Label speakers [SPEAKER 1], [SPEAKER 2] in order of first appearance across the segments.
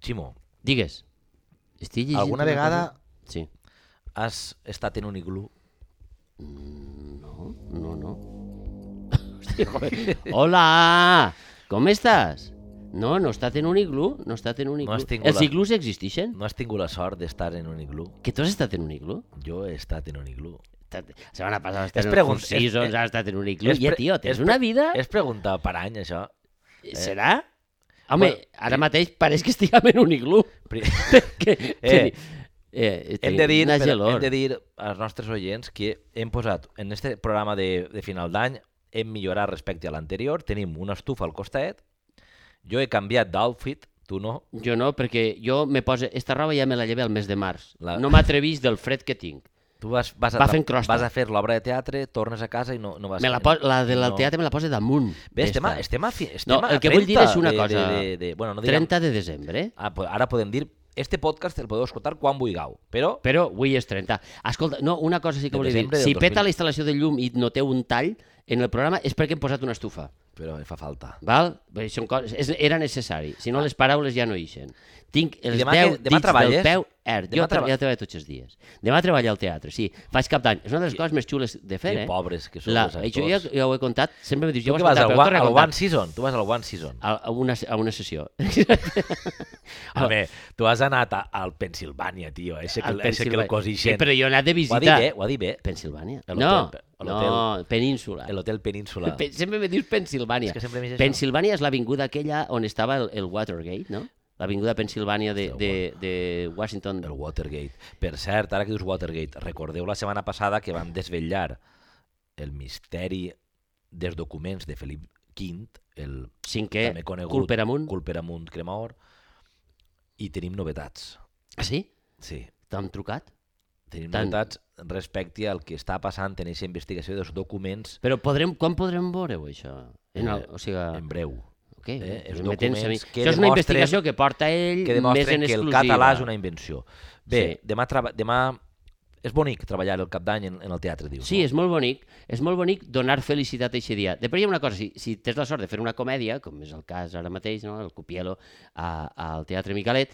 [SPEAKER 1] Ximo,
[SPEAKER 2] Digues. Estic llegint
[SPEAKER 1] alguna
[SPEAKER 2] una
[SPEAKER 1] vegada
[SPEAKER 2] cosa- Sí.
[SPEAKER 1] has estat en un iglú?
[SPEAKER 2] No, no, no. Hòstia, joder. Hola! Com estàs? No, no he estat en un iglú, no he estat en un iglú.
[SPEAKER 1] has tingut
[SPEAKER 2] Els
[SPEAKER 1] la-
[SPEAKER 2] iglús existeixen?
[SPEAKER 1] No has tingut la sort d'estar en un iglú?
[SPEAKER 2] Que tu has estat en un iglú?
[SPEAKER 1] Jo he estat en un iglú.
[SPEAKER 2] La setmana passada has estat
[SPEAKER 1] És
[SPEAKER 2] en
[SPEAKER 1] pregun-
[SPEAKER 2] un Seasons,
[SPEAKER 1] és-
[SPEAKER 2] has estat en un iglú.
[SPEAKER 1] és
[SPEAKER 2] Ja,
[SPEAKER 1] pre-
[SPEAKER 2] tio, tens
[SPEAKER 1] és pre-
[SPEAKER 2] una vida... Eh.
[SPEAKER 1] És pregunta per any, això.
[SPEAKER 2] Serà? Home,
[SPEAKER 1] Bueno, eh.
[SPEAKER 2] ara mateix pareix que estiguem en un iglú.
[SPEAKER 1] Pri-
[SPEAKER 2] que,
[SPEAKER 1] Eh,
[SPEAKER 2] eh,
[SPEAKER 1] Hem de, dir,
[SPEAKER 2] una
[SPEAKER 1] però,
[SPEAKER 2] gelor.
[SPEAKER 1] hem de dir als nostres oients que hem posat en este programa de, de final d'any hem millorat respecte a l'anterior, tenim una estufa al costat, jo he canviat d'outfit, tu no,
[SPEAKER 2] Jo no, perquè jo me posa... Esta roba ja me la llevé el mes de març.
[SPEAKER 1] La-
[SPEAKER 2] No m'atrevís del fred que tinc.
[SPEAKER 1] tu vas, vas, a,
[SPEAKER 2] Va
[SPEAKER 1] tra-
[SPEAKER 2] fent crosta.
[SPEAKER 1] vas a fer l'obra de teatre, tornes a casa i no, no vas...
[SPEAKER 2] Me la, po... la de la teatre me la posa damunt.
[SPEAKER 1] Bé, estem a,
[SPEAKER 2] d'esta.
[SPEAKER 1] estem a, fi, estem
[SPEAKER 2] No,
[SPEAKER 1] a
[SPEAKER 2] el que vull dir
[SPEAKER 1] 30
[SPEAKER 2] és una
[SPEAKER 1] de,
[SPEAKER 2] cosa.
[SPEAKER 1] De, de, de, bueno, no diguem,
[SPEAKER 2] 30 de desembre, eh?
[SPEAKER 1] ah, po- ara podem dir, este podcast el podeu escoltar quan vulgueu, però
[SPEAKER 2] però avui és 30. Escolta, no, una cosa sí que
[SPEAKER 1] De
[SPEAKER 2] volia dir.
[SPEAKER 1] desembre del
[SPEAKER 2] Si
[SPEAKER 1] 2000.
[SPEAKER 2] peta la instal·lació de llum i noteu un tall en el programa és perquè hem posat una estufa.
[SPEAKER 1] però em fa falta.
[SPEAKER 2] Val? Bé, Són coses, és, era necessari. Si no, les paraules ja no ixen. Tinc els
[SPEAKER 1] demà
[SPEAKER 2] 10
[SPEAKER 1] que- demà
[SPEAKER 2] dits
[SPEAKER 1] treballes?
[SPEAKER 2] del peu er.
[SPEAKER 1] Demà
[SPEAKER 2] Jo
[SPEAKER 1] traba-
[SPEAKER 2] treba... ja treballo tots els dies. Demà treballo al teatre, sí. Faig cap d'any. És una de les coses més xules de fer,
[SPEAKER 1] Que
[SPEAKER 2] eh?
[SPEAKER 1] pobres que sou
[SPEAKER 2] La,
[SPEAKER 1] els
[SPEAKER 2] jo ja,
[SPEAKER 1] actors.
[SPEAKER 2] ja ho he contat, sempre m'ho dius, jo ho
[SPEAKER 1] Tu que
[SPEAKER 2] has
[SPEAKER 1] vas
[SPEAKER 2] contat,
[SPEAKER 1] al,
[SPEAKER 2] però ho
[SPEAKER 1] one,
[SPEAKER 2] torno a Ah,
[SPEAKER 1] al
[SPEAKER 2] contar.
[SPEAKER 1] one season, tu vas al one season.
[SPEAKER 2] A, a, una, a una sessió.
[SPEAKER 1] A veure, tu has anat a, al Pensilvània, tio. Eixe que,
[SPEAKER 2] Al
[SPEAKER 1] eixe que el
[SPEAKER 2] Pensilvània.
[SPEAKER 1] cosixen.
[SPEAKER 2] Eh, però jo he anat
[SPEAKER 1] ho
[SPEAKER 2] de
[SPEAKER 1] ha dit
[SPEAKER 2] visita.
[SPEAKER 1] bé, ho ha dit eh? bé.
[SPEAKER 2] Pensilvània?
[SPEAKER 1] A
[SPEAKER 2] No,
[SPEAKER 1] l'hotel- a
[SPEAKER 2] no,
[SPEAKER 1] l'hotel-
[SPEAKER 2] península.
[SPEAKER 1] L'hotel Península.
[SPEAKER 2] Pe- Sempre me dius Pensilvània.
[SPEAKER 1] És que sempre m'he dit això.
[SPEAKER 2] Pensilvània és l'avinguda aquella on estava el, el Watergate, no? L'avinguda Pensilvània de, de, de Washington.
[SPEAKER 1] El Watergate. Per cert, ara que dius Watergate, recordeu la setmana passada que vam desvetllar el misteri dels documents de Felip V, el
[SPEAKER 2] Cinquè,
[SPEAKER 1] també conegut
[SPEAKER 2] cul per amunt.
[SPEAKER 1] cul per amunt cremaor, i tenim novetats.
[SPEAKER 2] Ah, sí?
[SPEAKER 1] Sí,
[SPEAKER 2] T'han trucat?
[SPEAKER 1] tenim
[SPEAKER 2] Tant.
[SPEAKER 1] novetats respecte al que està passant en aquesta investigació dels documents eh,
[SPEAKER 2] Però podrem, quan podrem veure-ho, això? En el, o sigui,
[SPEAKER 1] en breu.
[SPEAKER 2] ok,
[SPEAKER 1] eh, els
[SPEAKER 2] me tens a mi.
[SPEAKER 1] documents que
[SPEAKER 2] Això és una
[SPEAKER 1] demostren-
[SPEAKER 2] investigació que porta ell
[SPEAKER 1] que
[SPEAKER 2] més
[SPEAKER 1] demostren
[SPEAKER 2] en
[SPEAKER 1] que el
[SPEAKER 2] exclusiva.
[SPEAKER 1] català és una invenció. Bé,
[SPEAKER 2] Sí.
[SPEAKER 1] sí. demà, traba- demà és bonic treballar el cap d'any en, en el teatre, dius.
[SPEAKER 2] Sí,
[SPEAKER 1] no?
[SPEAKER 2] és molt bonic, és molt bonic donar felicitat a aquest dia. Després hi ha una cosa, si, si tens la sort de fer una comèdia, com és el cas ara mateix, no? el Copielo a, al Teatre Micalet,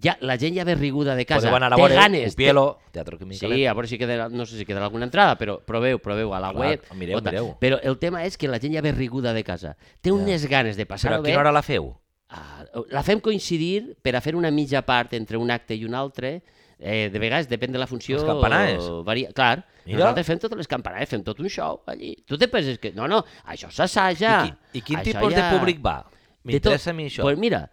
[SPEAKER 2] ja, la gent ja ve riguda de casa,
[SPEAKER 1] Podeu anar a
[SPEAKER 2] té
[SPEAKER 1] veure
[SPEAKER 2] ganes. té-
[SPEAKER 1] Upielo, Teatre Química.
[SPEAKER 2] Sí, a veure si quedarà, no sé si quedarà alguna entrada, però proveu, proveu a la
[SPEAKER 1] Clar,
[SPEAKER 2] web.
[SPEAKER 1] mireu,
[SPEAKER 2] o tal.
[SPEAKER 1] mireu.
[SPEAKER 2] Però el tema és que la gent ja ve riguda de casa. Té
[SPEAKER 1] Ja.
[SPEAKER 2] unes ganes de
[SPEAKER 1] Però
[SPEAKER 2] passar-ho
[SPEAKER 1] a
[SPEAKER 2] bé.
[SPEAKER 1] quina hora la feu?
[SPEAKER 2] Ah, la fem coincidir per a fer una mitja part entre un acte i un altre. Eh, de vegades, depèn de la funció...
[SPEAKER 1] Les campanades.
[SPEAKER 2] o Varia... Clar,
[SPEAKER 1] Mira.
[SPEAKER 2] Mira. nosaltres fem totes les campanades, fem tot un show allí. Tu te penses que... No, no, això s'assaja.
[SPEAKER 1] I, qui, I quin
[SPEAKER 2] Això
[SPEAKER 1] tipus de públic va? M'interessa a mi això.
[SPEAKER 2] Pues mira,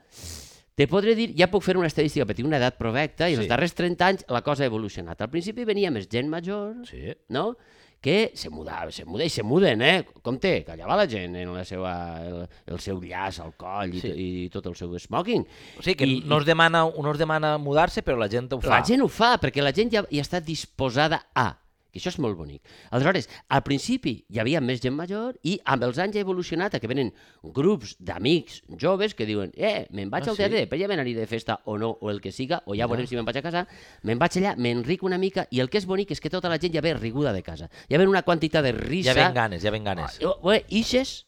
[SPEAKER 2] te podré dir, ja puc fer una estadística, perquè tinc una edat provecta i
[SPEAKER 1] Sí.
[SPEAKER 2] els darrers 30 anys la cosa ha evolucionat. Al principi venia més gent major,
[SPEAKER 1] Sí.
[SPEAKER 2] no? que se mudava, se muda i se muden, eh? Compte, que allà va la gent en la seva, el, el seu llaç al coll i,
[SPEAKER 1] Sí.
[SPEAKER 2] sí. i tot el seu smoking.
[SPEAKER 1] O sigui, que
[SPEAKER 2] I-
[SPEAKER 1] no, es demana, no es demana mudar-se, però la gent ho fa.
[SPEAKER 2] La gent ho fa, perquè la gent ja, ja està disposada a que això és molt bonic. Aleshores, al principi hi havia més gent major i amb els anys ha evolucionat a que venen grups d'amics joves que diuen eh, me'n vaig
[SPEAKER 1] Ah,
[SPEAKER 2] al teatre,
[SPEAKER 1] sí?
[SPEAKER 2] sí? però ja me n'aniré de festa o no, o el que siga, o ja
[SPEAKER 1] Mira.
[SPEAKER 2] veurem si me'n vaig a casa, me'n vaig allà, m'enric una mica i el que és bonic és que tota la gent ja ve riguda de casa. Ja ve una quantitat de risa.
[SPEAKER 1] Ja ven ganes, ja ven ganes.
[SPEAKER 2] Ah, Jo- bé, ixes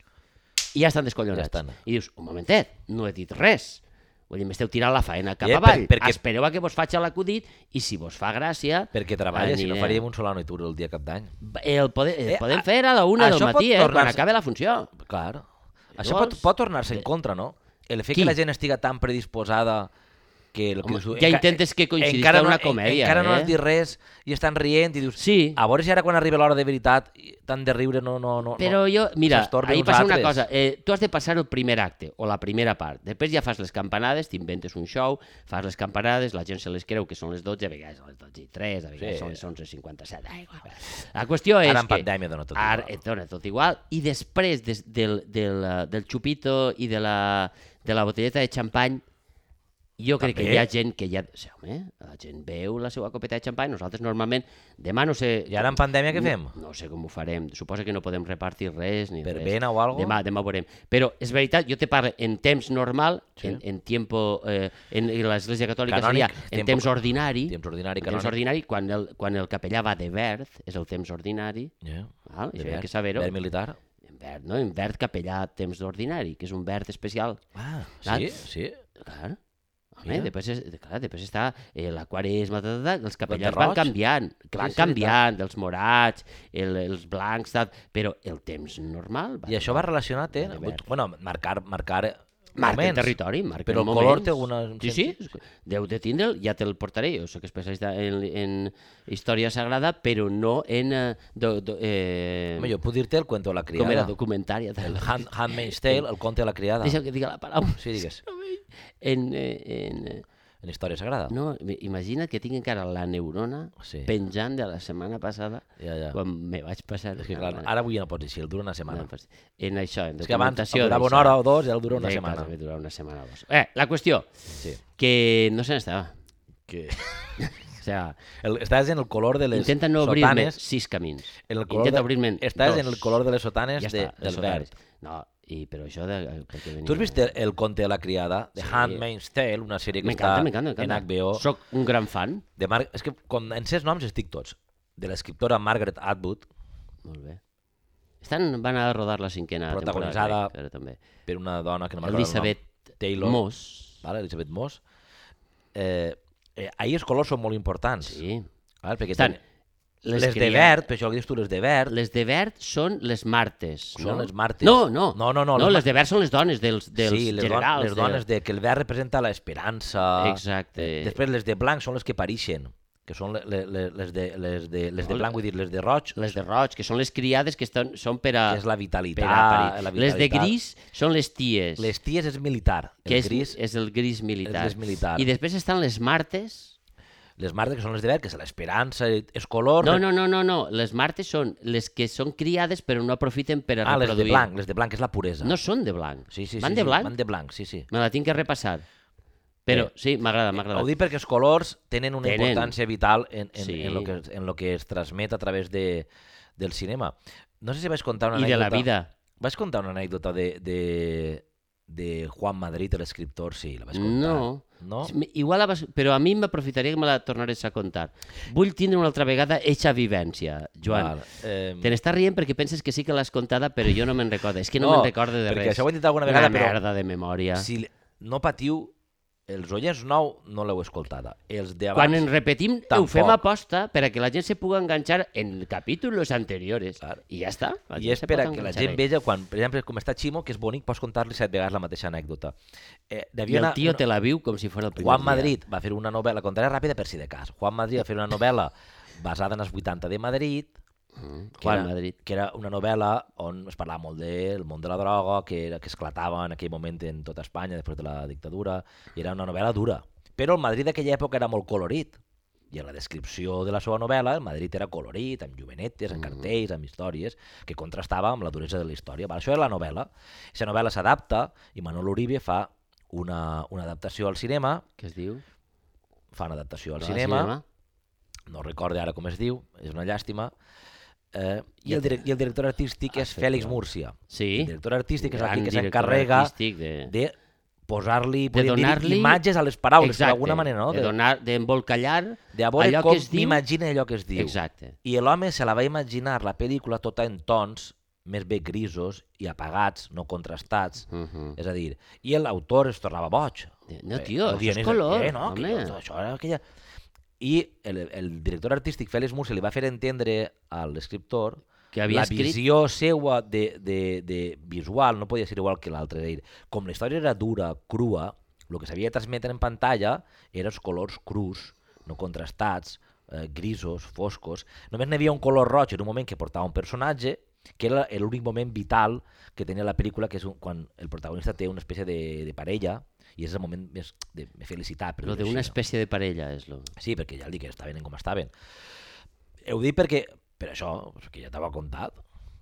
[SPEAKER 2] i ja estan descollonats.
[SPEAKER 1] Ja estan.
[SPEAKER 2] I dius, un momentet, no he dit res. Vull dir, m'esteu tirant la faena cap
[SPEAKER 1] Eh, per-
[SPEAKER 2] avall.
[SPEAKER 1] perquè-
[SPEAKER 2] Espereu a que vos faig l'acudit i si vos fa gràcia...
[SPEAKER 1] Perquè treballa, si no
[SPEAKER 2] anirem.
[SPEAKER 1] faríem un Solano i Tur el dia cap d'any.
[SPEAKER 2] El, pode, el
[SPEAKER 1] Eh,
[SPEAKER 2] podem
[SPEAKER 1] a-
[SPEAKER 2] fer a la una del
[SPEAKER 1] això pot
[SPEAKER 2] matí, eh, quan
[SPEAKER 1] tornar-se-
[SPEAKER 2] acabe la funció.
[SPEAKER 1] Clar. Això pot,
[SPEAKER 2] Llavors-
[SPEAKER 1] pot tornar-se en contra, no? El fet
[SPEAKER 2] Qui?
[SPEAKER 1] que la gent estiga tan predisposada que... El que
[SPEAKER 2] Home,
[SPEAKER 1] us diu-
[SPEAKER 2] ja
[SPEAKER 1] enca-
[SPEAKER 2] intentes que coincidisca
[SPEAKER 1] encara
[SPEAKER 2] una
[SPEAKER 1] en-
[SPEAKER 2] comèdia,
[SPEAKER 1] Encara no
[SPEAKER 2] eh?
[SPEAKER 1] has dit res i estan rient i dius...
[SPEAKER 2] Sí.
[SPEAKER 1] A veure si ara quan arriba l'hora de veritat i- t'han de riure, no, no, no.
[SPEAKER 2] Però
[SPEAKER 1] no.
[SPEAKER 2] jo, mira,
[SPEAKER 1] S'estorben
[SPEAKER 2] ahir
[SPEAKER 1] uns
[SPEAKER 2] passa una
[SPEAKER 1] altres.
[SPEAKER 2] cosa. Eh, tu has de passar el primer acte o la primera part. Després ja fas les campanades, t'inventes un show, fas les campanades, la gent se les creu que són les 12, a vegades a les 12 i 3, a
[SPEAKER 1] Sí.
[SPEAKER 2] vegades sí. són les 11.57. Ai, igual. La qüestió és
[SPEAKER 1] Ara en
[SPEAKER 2] que...
[SPEAKER 1] pandèmia dona tot
[SPEAKER 2] Ara
[SPEAKER 1] igual.
[SPEAKER 2] et dona tot igual. I després des, del, del, eh, del xupito i de la, de la botelleta de xampany, jo crec
[SPEAKER 1] També?
[SPEAKER 2] que hi ha gent que ja... Sí, home, la gent veu la seva copeta de xampany, nosaltres normalment, demà no sé...
[SPEAKER 1] I ara en pandèmia què fem?
[SPEAKER 2] No sé com ho farem. Suposa que no podem repartir res ni
[SPEAKER 1] Verbena
[SPEAKER 2] res.
[SPEAKER 1] o algo?
[SPEAKER 2] Demà, demà ho veurem. Però és veritat, jo te parlo en temps normal,
[SPEAKER 1] Sí.
[SPEAKER 2] sí. en, en tiempo... Eh, en en l'Església Catòlica
[SPEAKER 1] Canònic,
[SPEAKER 2] seria en
[SPEAKER 1] tiempo-
[SPEAKER 2] temps ordinari.
[SPEAKER 1] Temps ordinari,
[SPEAKER 2] en temps
[SPEAKER 1] canònic.
[SPEAKER 2] ordinari, quan el, quan el capellà va de verd, és el temps ordinari.
[SPEAKER 1] Yeah.
[SPEAKER 2] Val?
[SPEAKER 1] De
[SPEAKER 2] Això hi ha
[SPEAKER 1] verd,
[SPEAKER 2] que saber-ho.
[SPEAKER 1] verd militar.
[SPEAKER 2] En verd, no? En verd capellà a temps ordinari, que és un verd especial.
[SPEAKER 1] Ah, sí,
[SPEAKER 2] Saps?
[SPEAKER 1] sí.
[SPEAKER 2] Clar. Home,
[SPEAKER 1] Mira.
[SPEAKER 2] després, és, clar, després està eh, la quaresma, ta, ta, ta, els capellans
[SPEAKER 1] roig.
[SPEAKER 2] van canviant, que van
[SPEAKER 1] sí,
[SPEAKER 2] sí, canviant, els morats, el, els blancs, tal, però el temps normal...
[SPEAKER 1] I això va relacionat, eh?
[SPEAKER 2] va de verd.
[SPEAKER 1] Bueno, marcar, marcar
[SPEAKER 2] Marca
[SPEAKER 1] moments.
[SPEAKER 2] territori, marca
[SPEAKER 1] Però el
[SPEAKER 2] moments.
[SPEAKER 1] color té alguna-
[SPEAKER 2] Sí, sí, deu de tindre'l, ja te'l portaré. Jo soc especialista en, en història sagrada, però no en... eh, Do, do, eh,
[SPEAKER 1] Home, jo puc dir-te el cuento de la
[SPEAKER 2] com era?
[SPEAKER 1] criada.
[SPEAKER 2] Documentària. Tal.
[SPEAKER 1] El Hand, Handmaid's Tale, el conte de la criada.
[SPEAKER 2] Deixa'm que digui la paraula.
[SPEAKER 1] Sí, digues.
[SPEAKER 2] En, eh, en, eh,
[SPEAKER 1] En història sagrada.
[SPEAKER 2] no, imagina't que tinc encara la neurona
[SPEAKER 1] Sí.
[SPEAKER 2] penjant de la setmana passada
[SPEAKER 1] Ja, ja.
[SPEAKER 2] quan me vaig passar...
[SPEAKER 1] És que, clar,
[SPEAKER 2] una-
[SPEAKER 1] ara avui ja no pots dir així, el dura una setmana.
[SPEAKER 2] una pas- En això, en
[SPEAKER 1] És que abans
[SPEAKER 2] documentació...
[SPEAKER 1] durava una
[SPEAKER 2] d'això.
[SPEAKER 1] hora o dos i ara dura una
[SPEAKER 2] Sí,
[SPEAKER 1] setmana.
[SPEAKER 2] clar, també durava una setmana o dos. Eh, la qüestió,
[SPEAKER 1] Sí.
[SPEAKER 2] que no se n'estava.
[SPEAKER 1] Que...
[SPEAKER 2] O sea,
[SPEAKER 1] El, estàs en el color de les
[SPEAKER 2] Intenta no obrir-me
[SPEAKER 1] sotanes.
[SPEAKER 2] sis camins.
[SPEAKER 1] En el color
[SPEAKER 2] Intenta
[SPEAKER 1] de-
[SPEAKER 2] obrir-me'n
[SPEAKER 1] Estàs
[SPEAKER 2] dos.
[SPEAKER 1] en el color de les sotanes de,
[SPEAKER 2] està,
[SPEAKER 1] del
[SPEAKER 2] les
[SPEAKER 1] verd.
[SPEAKER 2] horaris. No, i, però això de... Per què venia...
[SPEAKER 1] Tu has vist el, el conte de la criada, de
[SPEAKER 2] Sí.
[SPEAKER 1] Handmaid's Tale, una sèrie que està
[SPEAKER 2] M'encanta, m'encanta,
[SPEAKER 1] en
[SPEAKER 2] m'encanta.
[SPEAKER 1] HBO.
[SPEAKER 2] Soc un gran fan.
[SPEAKER 1] De Mar... És que com en certs noms estic tots. De l'escriptora Margaret Atwood,
[SPEAKER 2] Molt bé. Estan, van a rodar la cinquena
[SPEAKER 1] Protagonitzada
[SPEAKER 2] temporada. crec, Ara, també.
[SPEAKER 1] per una dona que no m'agrada
[SPEAKER 2] Elizabeth
[SPEAKER 1] Taylor.
[SPEAKER 2] Moss.
[SPEAKER 1] Vale? Elizabeth Moss. Eh, eh, ahir els colors són molt importants.
[SPEAKER 2] Sí.
[SPEAKER 1] Val? Perquè
[SPEAKER 2] Estan...
[SPEAKER 1] tenen- les,
[SPEAKER 2] que
[SPEAKER 1] de
[SPEAKER 2] hi ha-
[SPEAKER 1] verd, per això el que dius tu, les de verd,
[SPEAKER 2] Les de verd són les martes.
[SPEAKER 1] Són
[SPEAKER 2] no?
[SPEAKER 1] les martes.
[SPEAKER 2] No, no.
[SPEAKER 1] No, no, no,
[SPEAKER 2] no
[SPEAKER 1] les
[SPEAKER 2] les,
[SPEAKER 1] mar-
[SPEAKER 2] de verd són les dones dels, dels
[SPEAKER 1] sí, les,
[SPEAKER 2] generals.
[SPEAKER 1] don, les dones de... que el verd representa l'esperança.
[SPEAKER 2] Exacte.
[SPEAKER 1] Després les de blanc són les que pareixen, que són les, les, les, de, les, de, les de blanc, vull dir, les de roig,
[SPEAKER 2] Les de roig, que són les criades que estan, són per a...
[SPEAKER 1] que és la
[SPEAKER 2] per
[SPEAKER 1] vitalitat.
[SPEAKER 2] a París.
[SPEAKER 1] la
[SPEAKER 2] les de
[SPEAKER 1] vitalitat.
[SPEAKER 2] gris són les ties.
[SPEAKER 1] Les ties és militar.
[SPEAKER 2] que
[SPEAKER 1] el
[SPEAKER 2] és,
[SPEAKER 1] gris,
[SPEAKER 2] és el gris militar.
[SPEAKER 1] és militar.
[SPEAKER 2] I després estan les martes...
[SPEAKER 1] Les martes, que són les de verd, que és l'esperança, és color...
[SPEAKER 2] No, no, no, no, no. Les martes són les que són criades però no aprofiten per a
[SPEAKER 1] Ah, les de
[SPEAKER 2] reproduir.
[SPEAKER 1] blanc, les de blanc, que és la puresa.
[SPEAKER 2] No són de blanc.
[SPEAKER 1] sí, sí,
[SPEAKER 2] Van
[SPEAKER 1] sí,
[SPEAKER 2] de
[SPEAKER 1] sí,
[SPEAKER 2] blanc?
[SPEAKER 1] Van de blanc, sí, sí.
[SPEAKER 2] Me la tinc que repassar. Però
[SPEAKER 1] Eh,
[SPEAKER 2] sí, m'agrada, m'agrada.
[SPEAKER 1] Ho dic perquè els colors tenen una
[SPEAKER 2] Tenen.
[SPEAKER 1] importància vital en, en,
[SPEAKER 2] Sí.
[SPEAKER 1] en, lo que, en lo que es transmet a través de, del cinema. No sé si vaig contar una
[SPEAKER 2] I de
[SPEAKER 1] anècdota...
[SPEAKER 2] la vida.
[SPEAKER 1] Vaig contar una anècdota de, de, de Juan Madrid, l'escriptor, sí, la vaig contar.
[SPEAKER 2] No.
[SPEAKER 1] No?
[SPEAKER 2] M- Igual la vas... Però a mi m'aprofitaria que me la tornares a contar. Vull tindre una altra vegada eixa vivència, Joan.
[SPEAKER 1] Val, eh,
[SPEAKER 2] Te n'estàs rient perquè penses que sí que l'has contada, però jo no me'n recordo. És que no, me'n recordo de
[SPEAKER 1] perquè
[SPEAKER 2] res.
[SPEAKER 1] Això ho he dit alguna
[SPEAKER 2] Una
[SPEAKER 1] vegada, però
[SPEAKER 2] merda de memòria.
[SPEAKER 1] si l- no patiu, els oients nou no l'heu escoltada. Els de
[SPEAKER 2] Quan
[SPEAKER 1] abans...
[SPEAKER 2] en repetim, ho
[SPEAKER 1] Tampoc.
[SPEAKER 2] fem aposta per a que la gent se puga enganxar en capítulos anteriores.
[SPEAKER 1] Clar.
[SPEAKER 2] I ja està. La
[SPEAKER 1] I
[SPEAKER 2] gent
[SPEAKER 1] és
[SPEAKER 2] se
[SPEAKER 1] per a
[SPEAKER 2] pot
[SPEAKER 1] que la
[SPEAKER 2] enganxar
[SPEAKER 1] gent
[SPEAKER 2] ahí.
[SPEAKER 1] veja, quan, per exemple, com està Ximo, que és bonic, pots contar-li set vegades la mateixa anècdota. Eh, hi
[SPEAKER 2] I
[SPEAKER 1] havia
[SPEAKER 2] el
[SPEAKER 1] una-
[SPEAKER 2] tio
[SPEAKER 1] una-
[SPEAKER 2] te la viu com si fos el primer
[SPEAKER 1] Juan
[SPEAKER 2] dia.
[SPEAKER 1] Madrid va fer una novel·la, contaré ràpida per si de cas. Juan Madrid va fer una novel·la basada en els 80 de Madrid,
[SPEAKER 2] Mm,
[SPEAKER 1] que
[SPEAKER 2] Juan
[SPEAKER 1] era,
[SPEAKER 2] Madrid.
[SPEAKER 1] que era una novel·la on es parlava molt del món de la droga, que, era, que esclatava en aquell moment en tota Espanya després de la dictadura, i era una novel·la dura. Però el Madrid d'aquella època era molt colorit, i en la descripció de la seva novel·la, el Madrid era colorit, amb jovenetes,
[SPEAKER 2] Mm.
[SPEAKER 1] amb cartells, amb històries, que contrastava amb la duresa de la història. Val, això era la novel·la. Aquesta novel·la s'adapta i Manol Uribe fa una, una adaptació al cinema,
[SPEAKER 2] Què es diu?
[SPEAKER 1] fa una adaptació al
[SPEAKER 2] Ah,
[SPEAKER 1] cinema, no recorde ara com es diu, és una llàstima, eh, i, el direc- i el director artístic és
[SPEAKER 2] fet
[SPEAKER 1] Fèlix
[SPEAKER 2] mal.
[SPEAKER 1] Múrcia.
[SPEAKER 2] Sí.
[SPEAKER 1] El director artístic és
[SPEAKER 2] Gran
[SPEAKER 1] aquí que
[SPEAKER 2] director
[SPEAKER 1] s'encarrega
[SPEAKER 2] artístic De...
[SPEAKER 1] de posar-li
[SPEAKER 2] De
[SPEAKER 1] podríem dir,
[SPEAKER 2] donar-li-
[SPEAKER 1] imatges a les paraules,
[SPEAKER 2] Exacte.
[SPEAKER 1] d'alguna Ah, manera, no?
[SPEAKER 2] De
[SPEAKER 1] De,
[SPEAKER 2] donar, d'embolcallar...
[SPEAKER 1] de a veure
[SPEAKER 2] allò que
[SPEAKER 1] com
[SPEAKER 2] es diu-
[SPEAKER 1] m'imagina allò que es diu.
[SPEAKER 2] Exacte.
[SPEAKER 1] I l'home se la va imaginar, la pel·lícula, tota en tons més bé grisos i apagats, no contrastats.
[SPEAKER 2] Uh -huh.
[SPEAKER 1] És a dir, i l'autor es tornava boig.
[SPEAKER 2] No, tio,
[SPEAKER 1] el
[SPEAKER 2] això és
[SPEAKER 1] guionista,
[SPEAKER 2] color,
[SPEAKER 1] Eh, no,
[SPEAKER 2] home.
[SPEAKER 1] que, jo- això era aquella... I el, el director artístic Félix Mussi li va fer entendre a l'escriptor
[SPEAKER 2] Que havia
[SPEAKER 1] la
[SPEAKER 2] escrit...
[SPEAKER 1] visió seua de, de, de visual, no podia ser igual que l'altre. és a dir, Com la història era dura, crua, el que s'havia de transmetre en pantalla eren els colors crus, no contrastats, eh, grisos, foscos. Només n'hi havia un color roig en un moment que portava un personatge que era l'únic moment vital que tenia la pel·lícula, que és un, quan el protagonista té una espècie de, de parella i és el moment més de, de felicitat. per
[SPEAKER 2] Lo
[SPEAKER 1] dir-ho
[SPEAKER 2] d'una
[SPEAKER 1] així, no?
[SPEAKER 2] espècie de parella és lo...
[SPEAKER 1] Sí, perquè ja el dic que estaven com estaven. Ho dic perquè, per això, que ja t'ho he contat,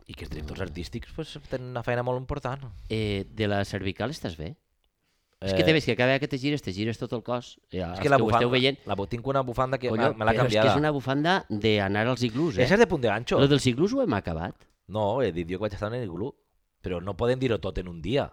[SPEAKER 1] i que els
[SPEAKER 2] Mm.
[SPEAKER 1] directors artístics pues, tenen una feina molt important.
[SPEAKER 2] Eh, de la cervical estàs bé? És que te ves que cada vegada que te gires, te gires tot el cos. Ja,
[SPEAKER 1] Eh. és
[SPEAKER 2] els
[SPEAKER 1] que la
[SPEAKER 2] ho
[SPEAKER 1] bufanda,
[SPEAKER 2] esteu veient,
[SPEAKER 1] la, bo- tinc una bufanda que
[SPEAKER 2] Colló,
[SPEAKER 1] Colló, me l'ha
[SPEAKER 2] però
[SPEAKER 1] canviada.
[SPEAKER 2] és que és una bufanda d'anar als iglús, eh?
[SPEAKER 1] Això és de punt de ganxo.
[SPEAKER 2] Lo dels iglús ho hem acabat.
[SPEAKER 1] No, he dit jo que vaig estar en el glu, però no podem dir-ho tot en un dia.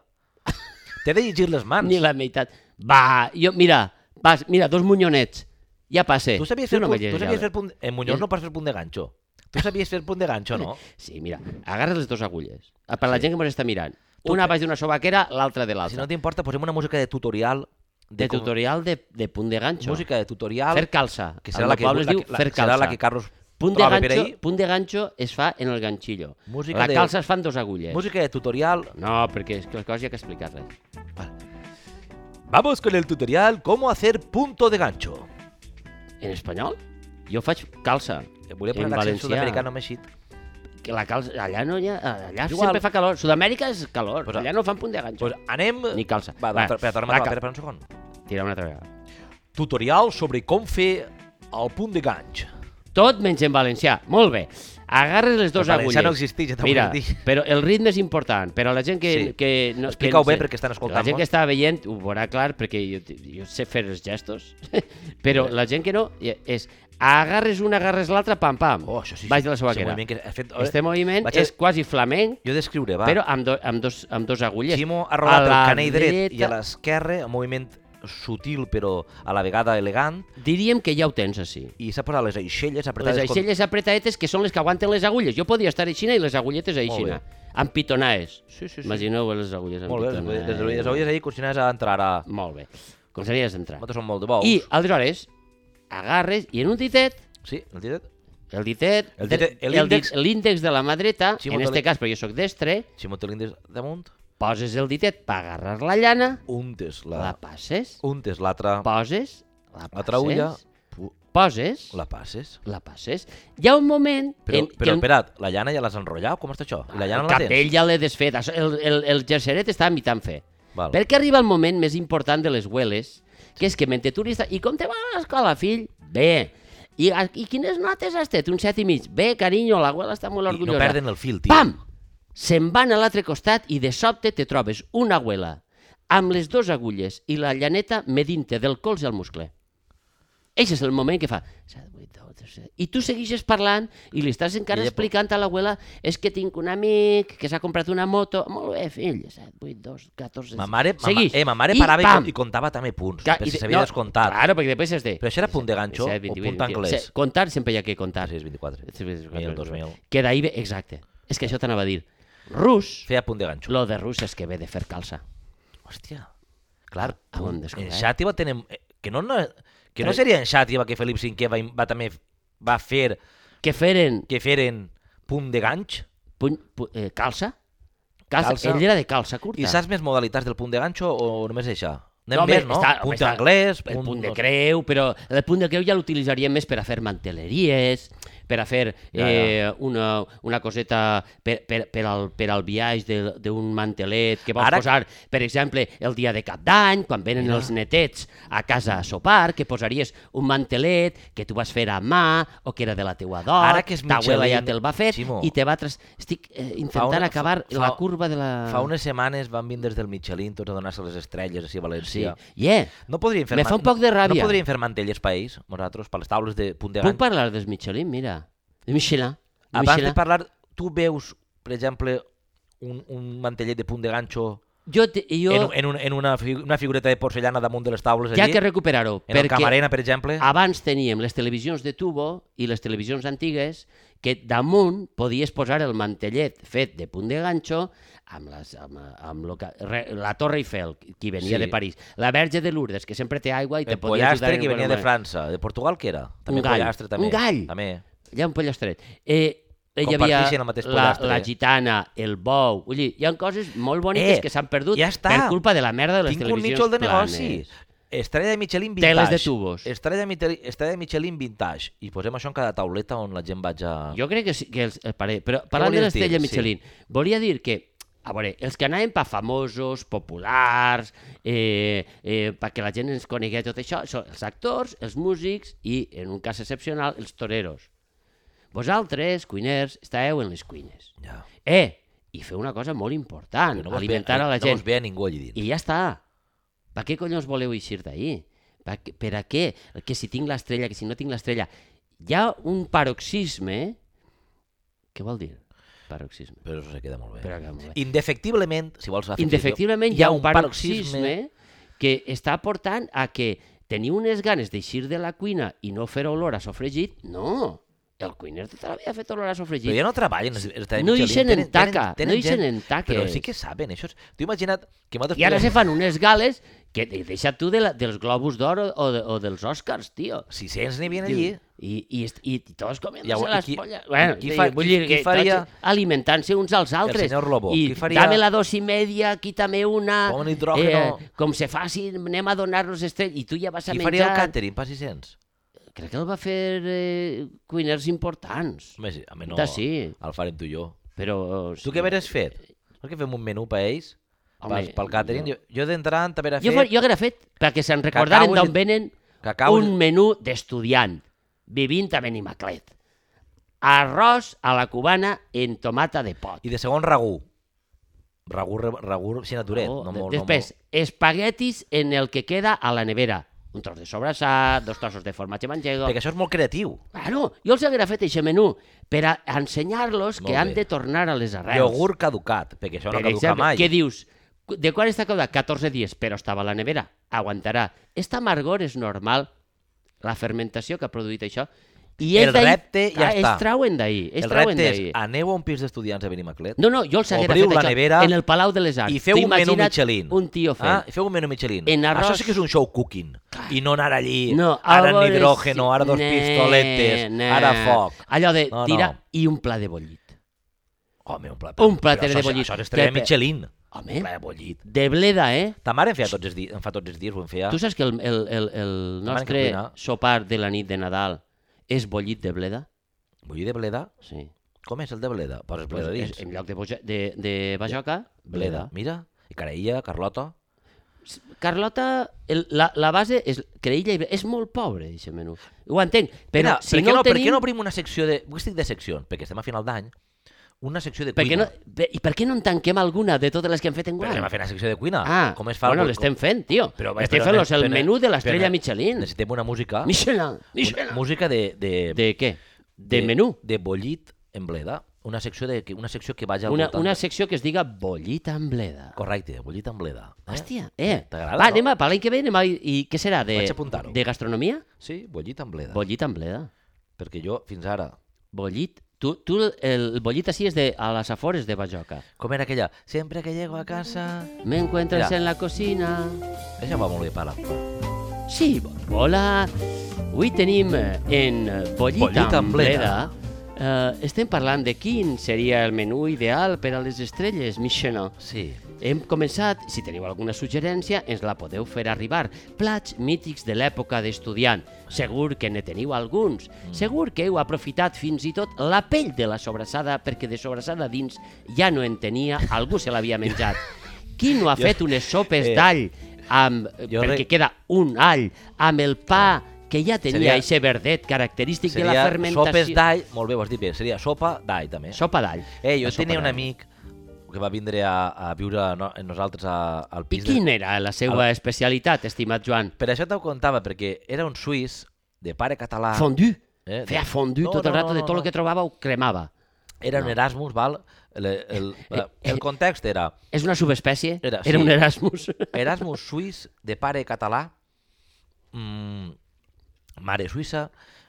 [SPEAKER 1] T'he de llegir les mans.
[SPEAKER 2] Ni la meitat. Va, jo, mira, vas, mira, dos munyonets. Ja passe.
[SPEAKER 1] Tu sabies fer,
[SPEAKER 2] no me
[SPEAKER 1] punt, tu
[SPEAKER 2] lleis
[SPEAKER 1] sabies
[SPEAKER 2] ara.
[SPEAKER 1] fer punt... En Muñoz no pots fer punt de ganxo. Tu sabies fer punt de ganxo, no?
[SPEAKER 2] Sí, mira, agarra les dues agulles. Ah, Per la
[SPEAKER 1] Sí.
[SPEAKER 2] gent que ens està mirant.
[SPEAKER 1] Tu
[SPEAKER 2] Una
[SPEAKER 1] què?
[SPEAKER 2] baix d'una sobaquera, l'altra de
[SPEAKER 1] Si no
[SPEAKER 2] l'altra.
[SPEAKER 1] t'importa, posem una música de tutorial
[SPEAKER 2] de
[SPEAKER 1] com-
[SPEAKER 2] tutorial de, de punt de ganxo.
[SPEAKER 1] música de tutorial
[SPEAKER 2] Fer calça.
[SPEAKER 1] que serà la que,
[SPEAKER 2] poble
[SPEAKER 1] la,
[SPEAKER 2] es diu
[SPEAKER 1] que- la,
[SPEAKER 2] fer calça.
[SPEAKER 1] serà la que Carlos
[SPEAKER 2] Punt de,
[SPEAKER 1] troba per
[SPEAKER 2] ganxo,
[SPEAKER 1] ahí.
[SPEAKER 2] punt de ganxo es fa en el ganxillo.
[SPEAKER 1] Música
[SPEAKER 2] la
[SPEAKER 1] de-
[SPEAKER 2] calça es fa amb dos agulles.
[SPEAKER 1] Música de tutorial.
[SPEAKER 2] No, perquè és que les coses hi ha que explicar-les.
[SPEAKER 1] Vamos con el tutorial cómo hacer punto de gancho.
[SPEAKER 2] En espanyol? Jo faig calça.
[SPEAKER 1] Eh, Volia
[SPEAKER 2] en
[SPEAKER 1] posar l'accent
[SPEAKER 2] valencià.
[SPEAKER 1] sud-americà, no m'ha eixit.
[SPEAKER 2] Que la calça, allà no hi ha... Allà
[SPEAKER 1] Igual.
[SPEAKER 2] sempre fa calor. Sud-amèrica és calor.
[SPEAKER 1] Pues,
[SPEAKER 2] allà no fan punt de ganxo.
[SPEAKER 1] Pues anem...
[SPEAKER 2] Ni calça.
[SPEAKER 1] Va, va,
[SPEAKER 2] Va,
[SPEAKER 1] espera, tornem
[SPEAKER 2] va,
[SPEAKER 1] a
[SPEAKER 2] cal-
[SPEAKER 1] espera un segon.
[SPEAKER 2] Tira una altra vegada.
[SPEAKER 1] Tutorial sobre com fer el punt de ganx.
[SPEAKER 2] Tot menys en valencià. Molt bé. Agarres les dues
[SPEAKER 1] El
[SPEAKER 2] agulles.
[SPEAKER 1] valencià no existeix, ja t'ho
[SPEAKER 2] Mira,
[SPEAKER 1] vull dir.
[SPEAKER 2] però el ritme és important. Per a la gent que...
[SPEAKER 1] Sí.
[SPEAKER 2] que no,
[SPEAKER 1] Explica-ho
[SPEAKER 2] que no
[SPEAKER 1] bé perquè estan escoltant
[SPEAKER 2] La gent
[SPEAKER 1] molt.
[SPEAKER 2] que està veient ho veurà clar perquè jo, jo sé fer els gestos, però la gent que no eh, és agarres una, agarres l'altra, pam, pam.
[SPEAKER 1] Oh, això sí.
[SPEAKER 2] Vaig
[SPEAKER 1] sí.
[SPEAKER 2] de la
[SPEAKER 1] Sí,
[SPEAKER 2] sobaquera.
[SPEAKER 1] moviment que has fet... eh,
[SPEAKER 2] Este moviment
[SPEAKER 1] Vaig a-
[SPEAKER 2] és quasi flamenc,
[SPEAKER 1] Jo descriuré, va.
[SPEAKER 2] però amb, do, amb, dos, amb dos agulles.
[SPEAKER 1] Ximo ha rodat
[SPEAKER 2] la
[SPEAKER 1] el canell dret i
[SPEAKER 2] dreta-
[SPEAKER 1] a l'esquerra, un moviment sutil però a la vegada elegant,
[SPEAKER 2] Diríem que ja ho tens així.
[SPEAKER 1] i s'ha posat les aixelles apretades
[SPEAKER 2] Les aixelles apretaetes que són les que aguanten les agulles. Jo podia estar aixina i les agulletes aixina.
[SPEAKER 1] Molt
[SPEAKER 2] Amb pitonades.
[SPEAKER 1] Com... Sí, sí, sí.
[SPEAKER 2] Imagineu les agulles amb
[SPEAKER 1] Molt bé, les-
[SPEAKER 2] pitonades.
[SPEAKER 1] les orelles ahir ahir considerades a entrar a...
[SPEAKER 2] Molt bé. Com s'anies d'entrar.
[SPEAKER 1] Nosaltres som molt de bous.
[SPEAKER 2] I aleshores, agarres i en un ditet,
[SPEAKER 1] Sí, el dit...
[SPEAKER 2] el ditet,
[SPEAKER 1] El ditet-
[SPEAKER 2] el
[SPEAKER 1] l'índex-
[SPEAKER 2] dit- l'índex de la mà dreta,
[SPEAKER 1] Sí,
[SPEAKER 2] en
[SPEAKER 1] molt
[SPEAKER 2] este
[SPEAKER 1] bé.
[SPEAKER 2] cas, perquè jo sóc destre,
[SPEAKER 1] Si m'ho tenim des damunt,
[SPEAKER 2] poses el ditet per agarrar la llana,
[SPEAKER 1] untes la...
[SPEAKER 2] la passes,
[SPEAKER 1] Untes l'altra...
[SPEAKER 2] poses, la
[SPEAKER 1] L'altra ulla...
[SPEAKER 2] passes, poses,
[SPEAKER 1] La passes.
[SPEAKER 2] la passes. Hi ha un moment...
[SPEAKER 1] Però,
[SPEAKER 2] en,
[SPEAKER 1] però
[SPEAKER 2] que el-
[SPEAKER 1] espera't, la llana ja l'has enrotllat? Com està això? I la llana
[SPEAKER 2] el
[SPEAKER 1] la
[SPEAKER 2] capell
[SPEAKER 1] tens?
[SPEAKER 2] ja l'he desfet, això- el, el, el jerseret està a mitant fer.
[SPEAKER 1] Val.
[SPEAKER 2] Perquè arriba el moment més important de les hueles, que és que mentre tu li estàs... I com te va a l'escola, fill? Bé. I, a- I quines notes has tret? Un set i mig. Bé, carinyo, la huela està molt
[SPEAKER 1] I no
[SPEAKER 2] orgullosa.
[SPEAKER 1] perden el fil, tio.
[SPEAKER 2] Pam! Se'n van a l'altre costat i de sobte te trobes una abuela amb les dues agulles i la llaneta medint-te del colze al muscle. Eixe és el moment que fa... "Set, vuit, deu, tres, set". I tu segueixes parlant i li estàs encara
[SPEAKER 1] I ella-
[SPEAKER 2] explicant a l'abuela és que tinc un amic que s'ha comprat una moto... Molt bé, fill, 7, 8, 2, 14...
[SPEAKER 1] Ma mare, ma, ma-
[SPEAKER 2] Seguix.
[SPEAKER 1] eh, ma mare
[SPEAKER 2] I
[SPEAKER 1] parava i,
[SPEAKER 2] pam!
[SPEAKER 1] i, contava també punts,
[SPEAKER 2] Ca-
[SPEAKER 1] per
[SPEAKER 2] i
[SPEAKER 1] si
[SPEAKER 2] de-
[SPEAKER 1] s'havia descomptat.
[SPEAKER 2] Claro, perquè després és de...
[SPEAKER 1] Però això era punt de ganxo o
[SPEAKER 2] 17, 28,
[SPEAKER 1] punt anglès?
[SPEAKER 2] 27. Contar sempre hi ha que
[SPEAKER 1] Ah,
[SPEAKER 2] contar.
[SPEAKER 1] sí, és 24.
[SPEAKER 2] Sí, sí, sí,
[SPEAKER 1] Mil,
[SPEAKER 2] sí,
[SPEAKER 1] dos
[SPEAKER 2] sí.
[SPEAKER 1] mil.
[SPEAKER 2] Que d'ahí ve... Exacte. És que això t'anava a dir. Rus,
[SPEAKER 1] Feia punt de ganxo.
[SPEAKER 2] lo de rus és que ve de fer calça.
[SPEAKER 1] Hòstia. Clar,
[SPEAKER 2] Ah, ho
[SPEAKER 1] punt-
[SPEAKER 2] hem
[SPEAKER 1] en
[SPEAKER 2] descobert.
[SPEAKER 1] Xàtiva tenen... eh, Que no, no, que no
[SPEAKER 2] Clar.
[SPEAKER 1] seria en Xàtiva que Felip V va, in- va també va fer
[SPEAKER 2] Que feren
[SPEAKER 1] que feren punt de ganx?
[SPEAKER 2] puny, pu, eh, calça? calça?
[SPEAKER 1] Calça.
[SPEAKER 2] Calça. Ell era de calça curta.
[SPEAKER 1] I saps més modalitats del punt de ganxo o només això? Anem
[SPEAKER 2] home,
[SPEAKER 1] més, no?
[SPEAKER 2] està-
[SPEAKER 1] punt
[SPEAKER 2] està-
[SPEAKER 1] anglès,
[SPEAKER 2] El punt de
[SPEAKER 1] no sé.
[SPEAKER 2] creu, però el punt de creu ja l'utilitzaríem més per a fer manteleries, per a fer
[SPEAKER 1] Ja, ja.
[SPEAKER 2] eh, una, una coseta per, per, per, al, per al viatge de- d'un mantelet que vols
[SPEAKER 1] Ara-
[SPEAKER 2] Ara... posar, per exemple, el dia de cap d'any, quan venen
[SPEAKER 1] Mira.
[SPEAKER 2] els netets a casa a sopar, que posaries un mantelet que tu vas fer a mà o que era de la teua dona,
[SPEAKER 1] Ara que és
[SPEAKER 2] t'abuela ja
[SPEAKER 1] Michelin,
[SPEAKER 2] te'l va fer
[SPEAKER 1] Ximo.
[SPEAKER 2] i te va... Tras... Estic eh, intentant
[SPEAKER 1] una-
[SPEAKER 2] acabar
[SPEAKER 1] fa-
[SPEAKER 2] la curva de la...
[SPEAKER 1] Fa unes setmanes van vindre des del Michelin tots a donar-se les estrelles així a
[SPEAKER 2] Sí,
[SPEAKER 1] València. Sí.
[SPEAKER 2] yeah.
[SPEAKER 1] No podríem fer
[SPEAKER 2] Me
[SPEAKER 1] man-
[SPEAKER 2] fa un poc de
[SPEAKER 1] No
[SPEAKER 2] ràbia.
[SPEAKER 1] podríem fer mantelles per ells, nosaltres, per les taules de punt de
[SPEAKER 2] Puc
[SPEAKER 1] ganx.
[SPEAKER 2] parlar dels Michelin? Mira. De Michelin. De
[SPEAKER 1] Abans de
[SPEAKER 2] Michelin.
[SPEAKER 1] parlar, tu veus, per exemple, un, un mantellet de punt de ganxo
[SPEAKER 2] Jo, te- jo
[SPEAKER 1] en, en, un, en una, fi- una figureta de porcellana damunt de les taules
[SPEAKER 2] hi ha
[SPEAKER 1] allí,
[SPEAKER 2] que recuperar-ho,
[SPEAKER 1] en el
[SPEAKER 2] perquè Ah,
[SPEAKER 1] Camarena, per exemple.
[SPEAKER 2] abans teníem les televisions de tubo i les televisions antigues que damunt podies posar el mantellet fet de punt de ganxo amb, les, amb, amb lo que, re, la Torre Eiffel, qui venia
[SPEAKER 1] Sí.
[SPEAKER 2] sí. de París, la Verge de Lourdes, que sempre té aigua i te
[SPEAKER 1] el
[SPEAKER 2] podia ajudar...
[SPEAKER 1] pollastre
[SPEAKER 2] en
[SPEAKER 1] que venia de
[SPEAKER 2] qualsevol
[SPEAKER 1] França. De Portugal, què era? També
[SPEAKER 2] Un gall.
[SPEAKER 1] pollastre, també.
[SPEAKER 2] Un gall.
[SPEAKER 1] També.
[SPEAKER 2] moment. Hi ha un pollastret. Eh, eh, hi havia
[SPEAKER 1] Comparteixen el mateix
[SPEAKER 2] la,
[SPEAKER 1] pollastre,
[SPEAKER 2] la
[SPEAKER 1] eh?
[SPEAKER 2] gitana, el bou... Vull dir, hi ha coses molt boniques
[SPEAKER 1] Eh,
[SPEAKER 2] que s'han perdut
[SPEAKER 1] ja està.
[SPEAKER 2] per culpa de la merda de les
[SPEAKER 1] Tinc un
[SPEAKER 2] televisions
[SPEAKER 1] nítxol de
[SPEAKER 2] planes.
[SPEAKER 1] negoci. Estrella de Michelin vintage.
[SPEAKER 2] Teles de tubos.
[SPEAKER 1] Estrella de, Michel- estrella de Michelin vintage. I posem això en cada tauleta on la gent vaig a...
[SPEAKER 2] Jo crec que sí, que els, eh, pare, però parlant de
[SPEAKER 1] volies
[SPEAKER 2] l'estrella
[SPEAKER 1] dir?
[SPEAKER 2] Michelin, volia dir que a veure, els que anaven per famosos, populars, eh, eh, perquè la gent ens conegués tot això, són els actors, els músics i, en un cas excepcional, els toreros. Vosaltres, cuiners, estàveu en les cuines.
[SPEAKER 1] Ja.
[SPEAKER 2] Eh, i feu una cosa molt important,
[SPEAKER 1] Que
[SPEAKER 2] no
[SPEAKER 1] vos
[SPEAKER 2] alimentar
[SPEAKER 1] ve,
[SPEAKER 2] a la
[SPEAKER 1] No
[SPEAKER 2] gent.
[SPEAKER 1] us ve a ningú allí dins.
[SPEAKER 2] I ja està. Per què collons voleu eixir d'ahir? Per, què- per a què? Que si tinc l'estrella, que si no tinc l'estrella... Hi ha un paroxisme... Què vol dir? Paroxisme.
[SPEAKER 1] Però això se queda molt bé.
[SPEAKER 2] Però que, molt bé.
[SPEAKER 1] Indefectiblement, si vols la
[SPEAKER 2] Indefectiblement hi ha un paroxisme que està portant a que tenir unes ganes d'eixir de la cuina i no fer olor a sofregit, no. El cuiner tota la vida ha fet olor a sofregit.
[SPEAKER 1] Però ja no treballen. els- els de
[SPEAKER 2] No hi
[SPEAKER 1] Michelin.
[SPEAKER 2] se
[SPEAKER 1] Tenen-
[SPEAKER 2] n'entaca,
[SPEAKER 1] tenen- tenen
[SPEAKER 2] no hi se
[SPEAKER 1] gent,
[SPEAKER 2] n'entaca.
[SPEAKER 1] Però sí que saben, això. és- T'ho imagina't que nosaltres...
[SPEAKER 2] I ara se
[SPEAKER 1] podem-
[SPEAKER 2] fan unes gales que de- deixa tu de la, dels Globus d'Or o, o, de, o dels Oscars, tio.
[SPEAKER 1] 600 n'hi havia
[SPEAKER 2] Diu,
[SPEAKER 1] allí.
[SPEAKER 2] I, i, est- i, i tots
[SPEAKER 1] Llavors,
[SPEAKER 2] comentant-se
[SPEAKER 1] i
[SPEAKER 2] les
[SPEAKER 1] qui-
[SPEAKER 2] polles.
[SPEAKER 1] i
[SPEAKER 2] Bueno,
[SPEAKER 1] qui
[SPEAKER 2] qui,
[SPEAKER 1] fa-
[SPEAKER 2] vull
[SPEAKER 1] qui-
[SPEAKER 2] dir
[SPEAKER 1] qui
[SPEAKER 2] que
[SPEAKER 1] faria-
[SPEAKER 2] tots alimentant-se uns als altres.
[SPEAKER 1] senyor Lobo,
[SPEAKER 2] I
[SPEAKER 1] qui faria-
[SPEAKER 2] dame la dos i media, quítame una... eh,
[SPEAKER 1] Pon nitrógeno.
[SPEAKER 2] com se faci, anem a donar-nos estrell. I tu ja vas a
[SPEAKER 1] Qui
[SPEAKER 2] menjar...
[SPEAKER 1] faria el càntering per 600?
[SPEAKER 2] Crec que el va fer eh, cuiners importants.
[SPEAKER 1] Home, sí, home, no,
[SPEAKER 2] De sí,
[SPEAKER 1] el farem tu i jo.
[SPEAKER 2] però...
[SPEAKER 1] Tu què haveres fet? No que fem un menú per ells?
[SPEAKER 2] Home,
[SPEAKER 1] Home, pel càtering? Jo, jo d'entrant t'haveré
[SPEAKER 2] Jo,
[SPEAKER 1] fet...
[SPEAKER 2] fa- jo hauria fet perquè se'n recordaren
[SPEAKER 1] Cacaus i-
[SPEAKER 2] d'on venen
[SPEAKER 1] Cacaus i-
[SPEAKER 2] un menú d'estudiant, vivint a Benimaclet. Arròs a la cubana en tomata de pot.
[SPEAKER 1] I de segon, ragú. Ragú, re- ragú sinaturet.
[SPEAKER 2] Oh,
[SPEAKER 1] no
[SPEAKER 2] de-
[SPEAKER 1] molt,
[SPEAKER 2] Després, espaguetis en el que queda a la nevera. Un tros de sobrassat, dos trossos de formatge
[SPEAKER 1] No
[SPEAKER 2] mangego...
[SPEAKER 1] molt. Perquè això és molt creatiu.
[SPEAKER 2] Bueno, jo els hauria fet aquest menú per a ensenyar-los
[SPEAKER 1] Molt
[SPEAKER 2] que han
[SPEAKER 1] bé.
[SPEAKER 2] de tornar a les arrels.
[SPEAKER 1] Iogurt caducat, perquè això no
[SPEAKER 2] Per
[SPEAKER 1] caduca
[SPEAKER 2] exemple,
[SPEAKER 1] mai.
[SPEAKER 2] Què dius? Cu- De quan està caducat? 14 dies, però estava a la nevera. Aguantarà. Esta amargor és normal, la fermentació que ha produït això, i
[SPEAKER 1] El
[SPEAKER 2] és d'ahir-
[SPEAKER 1] repte ja
[SPEAKER 2] Ah, es
[SPEAKER 1] està.
[SPEAKER 2] trauen d'ahir, es
[SPEAKER 1] El
[SPEAKER 2] trauen
[SPEAKER 1] repte és,
[SPEAKER 2] d'ahir.
[SPEAKER 1] aneu a un pis d'estudiants a Benimaclet
[SPEAKER 2] No, no, jo els haguera
[SPEAKER 1] Obriu
[SPEAKER 2] fet
[SPEAKER 1] la
[SPEAKER 2] això
[SPEAKER 1] nevera
[SPEAKER 2] en el Palau de les Arts.
[SPEAKER 1] i feu
[SPEAKER 2] T'ho
[SPEAKER 1] un menú
[SPEAKER 2] imagina't
[SPEAKER 1] Michelin.
[SPEAKER 2] Un tio fent.
[SPEAKER 1] Ah, i feu un menú Michelin.
[SPEAKER 2] En arròs.
[SPEAKER 1] Això sí que és un show cooking. I no anar allí,
[SPEAKER 2] No,
[SPEAKER 1] ara
[SPEAKER 2] a veure
[SPEAKER 1] hidrógeno,
[SPEAKER 2] si-
[SPEAKER 1] ara dos
[SPEAKER 2] Ne,
[SPEAKER 1] pistoletes,
[SPEAKER 2] ne.
[SPEAKER 1] ara foc.
[SPEAKER 2] Allò de
[SPEAKER 1] No, no.
[SPEAKER 2] tirar i un pla de bollit.
[SPEAKER 1] Home, un plat,
[SPEAKER 2] Un plater
[SPEAKER 1] però
[SPEAKER 2] de bollit.
[SPEAKER 1] Això és estrella
[SPEAKER 2] Pepe.
[SPEAKER 1] Michelin.
[SPEAKER 2] Home,
[SPEAKER 1] Un plat de bollit.
[SPEAKER 2] de bleda, eh?
[SPEAKER 1] Ta mare em feia tots els dies, em fa tots els dies, ho em feia.
[SPEAKER 2] Tu saps que el, el, el, el
[SPEAKER 1] van
[SPEAKER 2] nostre
[SPEAKER 1] combinar.
[SPEAKER 2] sopar de la nit de Nadal és bollit de bleda?
[SPEAKER 1] Bollit de bleda?
[SPEAKER 2] Sí.
[SPEAKER 1] Com és el de bleda? Poses
[SPEAKER 2] Pues,
[SPEAKER 1] bleda
[SPEAKER 2] és,
[SPEAKER 1] dins.
[SPEAKER 2] en lloc de, boja, de, de bajoca,
[SPEAKER 1] Bleda. Mira, i Carella, Carlota.
[SPEAKER 2] S- Carlota, el, la, la base és creïlla i bre- és molt pobre, aquest menú. Ho entenc, però
[SPEAKER 1] Mira,
[SPEAKER 2] si
[SPEAKER 1] per què
[SPEAKER 2] no, el
[SPEAKER 1] per
[SPEAKER 2] tenim...
[SPEAKER 1] què no obrim una secció de... Avui estic de seccions, perquè estem a final d'any. Una secció de
[SPEAKER 2] per què
[SPEAKER 1] cuina.
[SPEAKER 2] no, per- I per què no en tanquem alguna de totes les que hem fet en
[SPEAKER 1] Però
[SPEAKER 2] guany?
[SPEAKER 1] anem a fer una secció de cuina.
[SPEAKER 2] Ah,
[SPEAKER 1] com es fa
[SPEAKER 2] bueno,
[SPEAKER 1] el-
[SPEAKER 2] l'estem fent, tio.
[SPEAKER 1] Però,
[SPEAKER 2] Però,
[SPEAKER 1] vaja,
[SPEAKER 2] estem
[SPEAKER 1] però
[SPEAKER 2] fent
[SPEAKER 1] anem-
[SPEAKER 2] los el
[SPEAKER 1] però anem-
[SPEAKER 2] menú de l'estrella
[SPEAKER 1] però anem-
[SPEAKER 2] Michelin.
[SPEAKER 1] Necessitem una música.
[SPEAKER 2] Michelin,
[SPEAKER 1] Una,
[SPEAKER 2] Michelin.
[SPEAKER 1] música de... De,
[SPEAKER 2] De què? De, menú.
[SPEAKER 1] De bollit en bleda. Una secció, de, que- una secció que vagi al
[SPEAKER 2] Una,
[SPEAKER 1] voltant.
[SPEAKER 2] una secció que es diga bollita amb bleda.
[SPEAKER 1] Correcte, bollit en bleda. Eh?
[SPEAKER 2] Hòstia, eh?
[SPEAKER 1] T'agrada,
[SPEAKER 2] Va,
[SPEAKER 1] no?
[SPEAKER 2] anem a, per l'any que ve, anem a, i què serà? De,
[SPEAKER 1] Vaig a apuntar-ho. Ah.
[SPEAKER 2] de gastronomia?
[SPEAKER 1] Sí, bollit en bleda.
[SPEAKER 2] Bollita amb bleda.
[SPEAKER 1] Perquè jo, fins ara...
[SPEAKER 2] Bollit. Tu, tu el, el bollit així és de, a les afores de Bajoca.
[SPEAKER 1] Com era aquella? Sempre que llego a casa...
[SPEAKER 2] Me encuentras
[SPEAKER 1] Mira.
[SPEAKER 2] en la cocina.
[SPEAKER 1] Això va molt bé, pala.
[SPEAKER 2] Sí, bon- hola. Avui tenim eh, en eh, bollit,
[SPEAKER 1] Bollit amb
[SPEAKER 2] amb bleda. Eh, estem parlant de quin seria el menú ideal per a les estrelles, Michelin.
[SPEAKER 1] Sí.
[SPEAKER 2] Hem començat, si teniu alguna suggerència, ens la podeu fer arribar. Plats mítics de l'època d'estudiant. Segur que ne teniu alguns.
[SPEAKER 1] Mm.
[SPEAKER 2] Segur que heu aprofitat fins i tot la pell de la sobrassada perquè de sobrassada dins ja no en tenia, algú se l'havia menjat. Qui no ha
[SPEAKER 1] Jo-
[SPEAKER 2] fet unes sopes
[SPEAKER 1] eh,
[SPEAKER 2] d'all amb,
[SPEAKER 1] jo
[SPEAKER 2] perquè
[SPEAKER 1] re- Ah.
[SPEAKER 2] queda un all, amb el pa que ja
[SPEAKER 1] Seria-
[SPEAKER 2] tenia aquest verdet característic de
[SPEAKER 1] Seria
[SPEAKER 2] la
[SPEAKER 1] sopes
[SPEAKER 2] fermentació.
[SPEAKER 1] d'all, molt bé, ho has dit bé, seria sopa d'all també.
[SPEAKER 2] Sopa d'all.
[SPEAKER 1] Eh, jo
[SPEAKER 2] La sopa
[SPEAKER 1] tenia un
[SPEAKER 2] d'all.
[SPEAKER 1] amic que va vindre a, a viure a no, amb nosaltres a, al
[SPEAKER 2] I
[SPEAKER 1] pis de-
[SPEAKER 2] quina era la seva especialitat, estimat Joan?
[SPEAKER 1] Per això t'ho contava, perquè era un suís de pare català.
[SPEAKER 2] Fondue.
[SPEAKER 1] Eh, de-
[SPEAKER 2] Feia fondue
[SPEAKER 1] No,
[SPEAKER 2] tot el
[SPEAKER 1] no,
[SPEAKER 2] rato
[SPEAKER 1] no,
[SPEAKER 2] de
[SPEAKER 1] no,
[SPEAKER 2] tot
[SPEAKER 1] no.
[SPEAKER 2] el que trobava ho cremava.
[SPEAKER 1] Era un Erasmus, val? El, el,
[SPEAKER 2] Eh,
[SPEAKER 1] el, el context era
[SPEAKER 2] És una subespècie?
[SPEAKER 1] Era, sí.
[SPEAKER 2] Era un Erasmus?
[SPEAKER 1] Erasmus suís de pare català, mm, mare suïssa,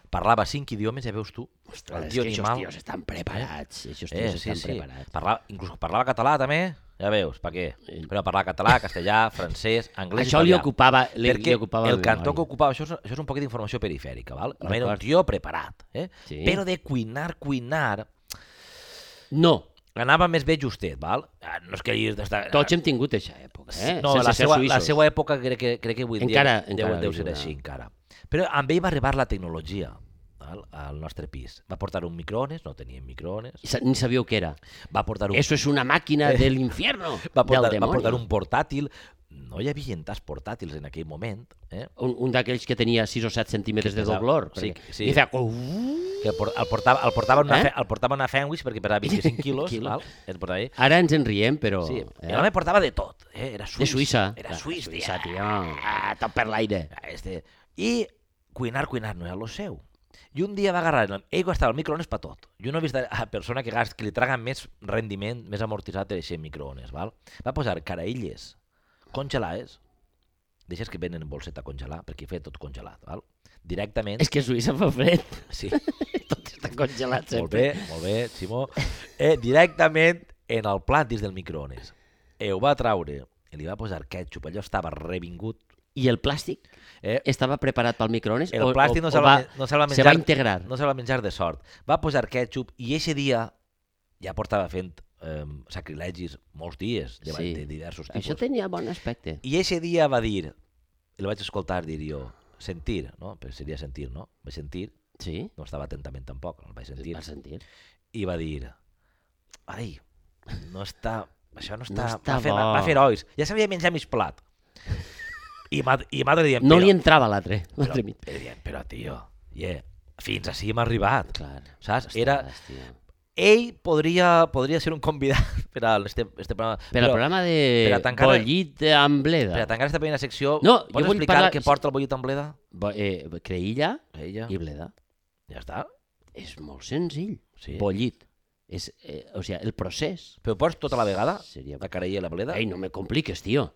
[SPEAKER 1] parlava cinc idiomes, ja veus tu.
[SPEAKER 2] Ostres, que aquests tios estan preparats. Aquests tios
[SPEAKER 1] Eh, sí,
[SPEAKER 2] estan
[SPEAKER 1] sí.
[SPEAKER 2] preparats.
[SPEAKER 1] Parlava, inclús parlava català també, ja veus, per què? Però parlava català, castellà, francès, anglès,
[SPEAKER 2] Això li
[SPEAKER 1] italià.
[SPEAKER 2] ocupava, li,
[SPEAKER 1] perquè
[SPEAKER 2] li ocupava
[SPEAKER 1] el
[SPEAKER 2] la
[SPEAKER 1] cantó que
[SPEAKER 2] memòria.
[SPEAKER 1] ocupava, això és, això és un poquet d'informació perifèrica, val? El era un
[SPEAKER 2] D'acord.
[SPEAKER 1] tio preparat, eh?
[SPEAKER 2] Sí.
[SPEAKER 1] Però de cuinar, cuinar,
[SPEAKER 2] No,
[SPEAKER 1] anava més bé justet, val? Ah, No és que hi d'estar... Ah,
[SPEAKER 2] tots hem tingut aquesta època, eh?
[SPEAKER 1] No,
[SPEAKER 2] Sense
[SPEAKER 1] la
[SPEAKER 2] ser
[SPEAKER 1] seva, la
[SPEAKER 2] suïssos.
[SPEAKER 1] seva època crec que, crec que avui en
[SPEAKER 2] Encara-
[SPEAKER 1] dia
[SPEAKER 2] encara
[SPEAKER 1] deu, deu
[SPEAKER 2] li
[SPEAKER 1] ser
[SPEAKER 2] dura.
[SPEAKER 1] així encara. Però amb ell va arribar la tecnologia val? al nostre pis. Va portar un microones, no teníem microones,
[SPEAKER 2] I sa- Ni sabíeu què era.
[SPEAKER 1] va portar un,
[SPEAKER 2] Eso es una màquina de l'infierno,
[SPEAKER 1] Eh. va
[SPEAKER 2] del
[SPEAKER 1] portar, va
[SPEAKER 2] demoni.
[SPEAKER 1] portar un portàtil, no hi havia tas portàtils en aquell moment, eh?
[SPEAKER 2] Un, un d'aquells que tenia 6 o 7 centímetres de
[SPEAKER 1] pesava.
[SPEAKER 2] doblor.
[SPEAKER 1] Sí,
[SPEAKER 2] perquè-
[SPEAKER 1] sí.
[SPEAKER 2] I feia... com-
[SPEAKER 1] que por- el portava, el portava, en una,
[SPEAKER 2] Eh?
[SPEAKER 1] fe, el portava en una Fenwich perquè pesava 25 quilos,
[SPEAKER 2] Quilo.
[SPEAKER 1] val? Et portava ahí.
[SPEAKER 2] Ara ens en riem, però...
[SPEAKER 1] Sí, eh?
[SPEAKER 2] eh?
[SPEAKER 1] l'home portava de tot, eh? era suís.
[SPEAKER 2] De Suïssa.
[SPEAKER 1] Era eh? suís, tia.
[SPEAKER 2] Suïssa, tio. Ah, tot per l'aire.
[SPEAKER 1] Este... I cuinar, cuinar no era lo seu. I un dia va agarrar, el- ell gastava el microones per tot. Jo no he vist a persona que, gast, que li traga més rendiment, més amortitzat de ser microones, val? Va posar caraïlles congelades, deixes que venen en bolseta a congelar, perquè feia tot congelat, val? Directament,
[SPEAKER 2] És que Suïssa fa fred.
[SPEAKER 1] sí,
[SPEAKER 2] Tot està congelat
[SPEAKER 1] Molt
[SPEAKER 2] sempre.
[SPEAKER 1] bé, molt bé, Simó. Eh, directament en el plantis del microones. Eh, ho va traure, i li va posar ketchup, allò estava revingut.
[SPEAKER 2] I el plàstic
[SPEAKER 1] Eh,
[SPEAKER 2] estava preparat pel microones?
[SPEAKER 1] el
[SPEAKER 2] o-
[SPEAKER 1] plàstic
[SPEAKER 2] o-
[SPEAKER 1] no
[SPEAKER 2] o
[SPEAKER 1] se'l va,
[SPEAKER 2] va,
[SPEAKER 1] no se va
[SPEAKER 2] se
[SPEAKER 1] menjar.
[SPEAKER 2] va integrar.
[SPEAKER 1] No se'l va menjar de sort. Va posar ketchup i eixe dia ja portava fent eh, sacrilegis molts dies de,
[SPEAKER 2] Sí.
[SPEAKER 1] sí. de diversos tipus.
[SPEAKER 2] Això tenia bon aspecte.
[SPEAKER 1] I ese dia va dir, el vaig escoltar dir jo, sentir, no? Però seria sentir, no? Vaig sentir,
[SPEAKER 2] Sí?
[SPEAKER 1] no estava atentament tampoc, el vaig sentir,
[SPEAKER 2] Vas sentir?
[SPEAKER 1] i va dir, ai, no està, això no
[SPEAKER 2] No
[SPEAKER 1] està,
[SPEAKER 2] està
[SPEAKER 1] va, fer,
[SPEAKER 2] bo."
[SPEAKER 1] va fer ois, ja s'havia menjat mig plat. I m'ha i m'ha dit,
[SPEAKER 2] No
[SPEAKER 1] però,
[SPEAKER 2] li entrava l'altre, l'altre
[SPEAKER 1] però,
[SPEAKER 2] mig.
[SPEAKER 1] però, dient, però tio, yeah, fins així hem arribat.
[SPEAKER 2] Clar.
[SPEAKER 1] Saps?
[SPEAKER 2] Ostres,
[SPEAKER 1] Era,
[SPEAKER 2] tio.
[SPEAKER 1] ell podria, podria ser un convidat per a este, este programa.
[SPEAKER 2] Per al programa de
[SPEAKER 1] per a tancar-
[SPEAKER 2] bollit amb bleda.
[SPEAKER 1] per a tancar aquesta primera secció,
[SPEAKER 2] No, jo
[SPEAKER 1] pots
[SPEAKER 2] vull
[SPEAKER 1] explicar
[SPEAKER 2] parlar-
[SPEAKER 1] què porta el bollit amb bleda?
[SPEAKER 2] Bo, eh, creïlla
[SPEAKER 1] Ella.
[SPEAKER 2] i bleda.
[SPEAKER 1] Ja està.
[SPEAKER 2] És molt senzill.
[SPEAKER 1] Sí.
[SPEAKER 2] Bollit. És, eh, o sigui, el procés.
[SPEAKER 1] Però ho pots tota la vegada?
[SPEAKER 2] Seria...
[SPEAKER 1] La carella i la bleda?
[SPEAKER 2] Ei, no me compliques, tio.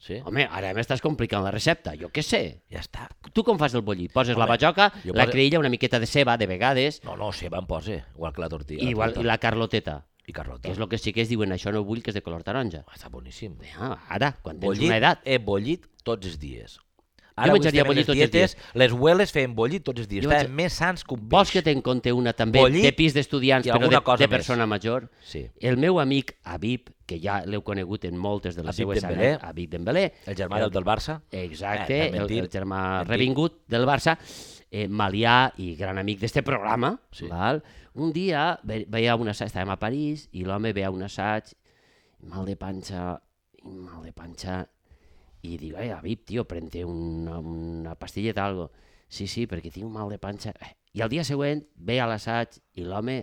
[SPEAKER 1] Sí.
[SPEAKER 2] Home, ara m'estàs complicant la recepta, jo què sé.
[SPEAKER 1] Ja està.
[SPEAKER 2] Tu com fas el bollit? Poses
[SPEAKER 1] Home,
[SPEAKER 2] la bajoca,
[SPEAKER 1] jo
[SPEAKER 2] la
[SPEAKER 1] poso-
[SPEAKER 2] creïlla, una miqueta de ceba, de vegades,
[SPEAKER 1] No, no, ceba em posa, igual que la tortilla.
[SPEAKER 2] i, igual, i
[SPEAKER 1] fruita.
[SPEAKER 2] la carloteta,
[SPEAKER 1] I carrota.
[SPEAKER 2] que és el que els xiquets diuen, això no ho vull, que és de color taronja.
[SPEAKER 1] Està boníssim.
[SPEAKER 2] Ah, ara, quan tens
[SPEAKER 1] Bollit,
[SPEAKER 2] una edat.
[SPEAKER 1] he bollit tots els dies.
[SPEAKER 2] Jo
[SPEAKER 1] Ara avui
[SPEAKER 2] menjaria
[SPEAKER 1] estem en
[SPEAKER 2] bollit
[SPEAKER 1] les
[SPEAKER 2] tots els
[SPEAKER 1] dietes, les hueles feien bollit tots els dies.
[SPEAKER 2] Jo
[SPEAKER 1] Estaven
[SPEAKER 2] menja-
[SPEAKER 1] més sans que un peix.
[SPEAKER 2] Vols que te'n conté una també
[SPEAKER 1] Bollit
[SPEAKER 2] de pis d'estudiants,
[SPEAKER 1] i
[SPEAKER 2] però de,
[SPEAKER 1] alguna cosa
[SPEAKER 2] de
[SPEAKER 1] més.
[SPEAKER 2] persona major?
[SPEAKER 1] Sí.
[SPEAKER 2] El meu amic Habib, que ja l'heu conegut en moltes de les
[SPEAKER 1] Habib
[SPEAKER 2] seues
[SPEAKER 1] Dembélé.
[SPEAKER 2] anècdotes, Habib Dembélé,
[SPEAKER 1] El germà del, del Barça?
[SPEAKER 2] Exacte,
[SPEAKER 1] Eh,
[SPEAKER 2] el,
[SPEAKER 1] mentir.
[SPEAKER 2] el germà
[SPEAKER 1] Mentir.
[SPEAKER 2] revingut del Barça, eh, malià i gran amic d'este programa, sí.
[SPEAKER 1] Sí.
[SPEAKER 2] val? un dia ve, veia un assaig, estàvem a París, i l'home veia un assaig, mal de panxa, i mal de panxa, i dic, ai, Habib, tio, prente una, una pastilleta o algo. Sí, sí, perquè tinc un mal de panxa. Eh, I el dia següent ve a l'assaig i l'home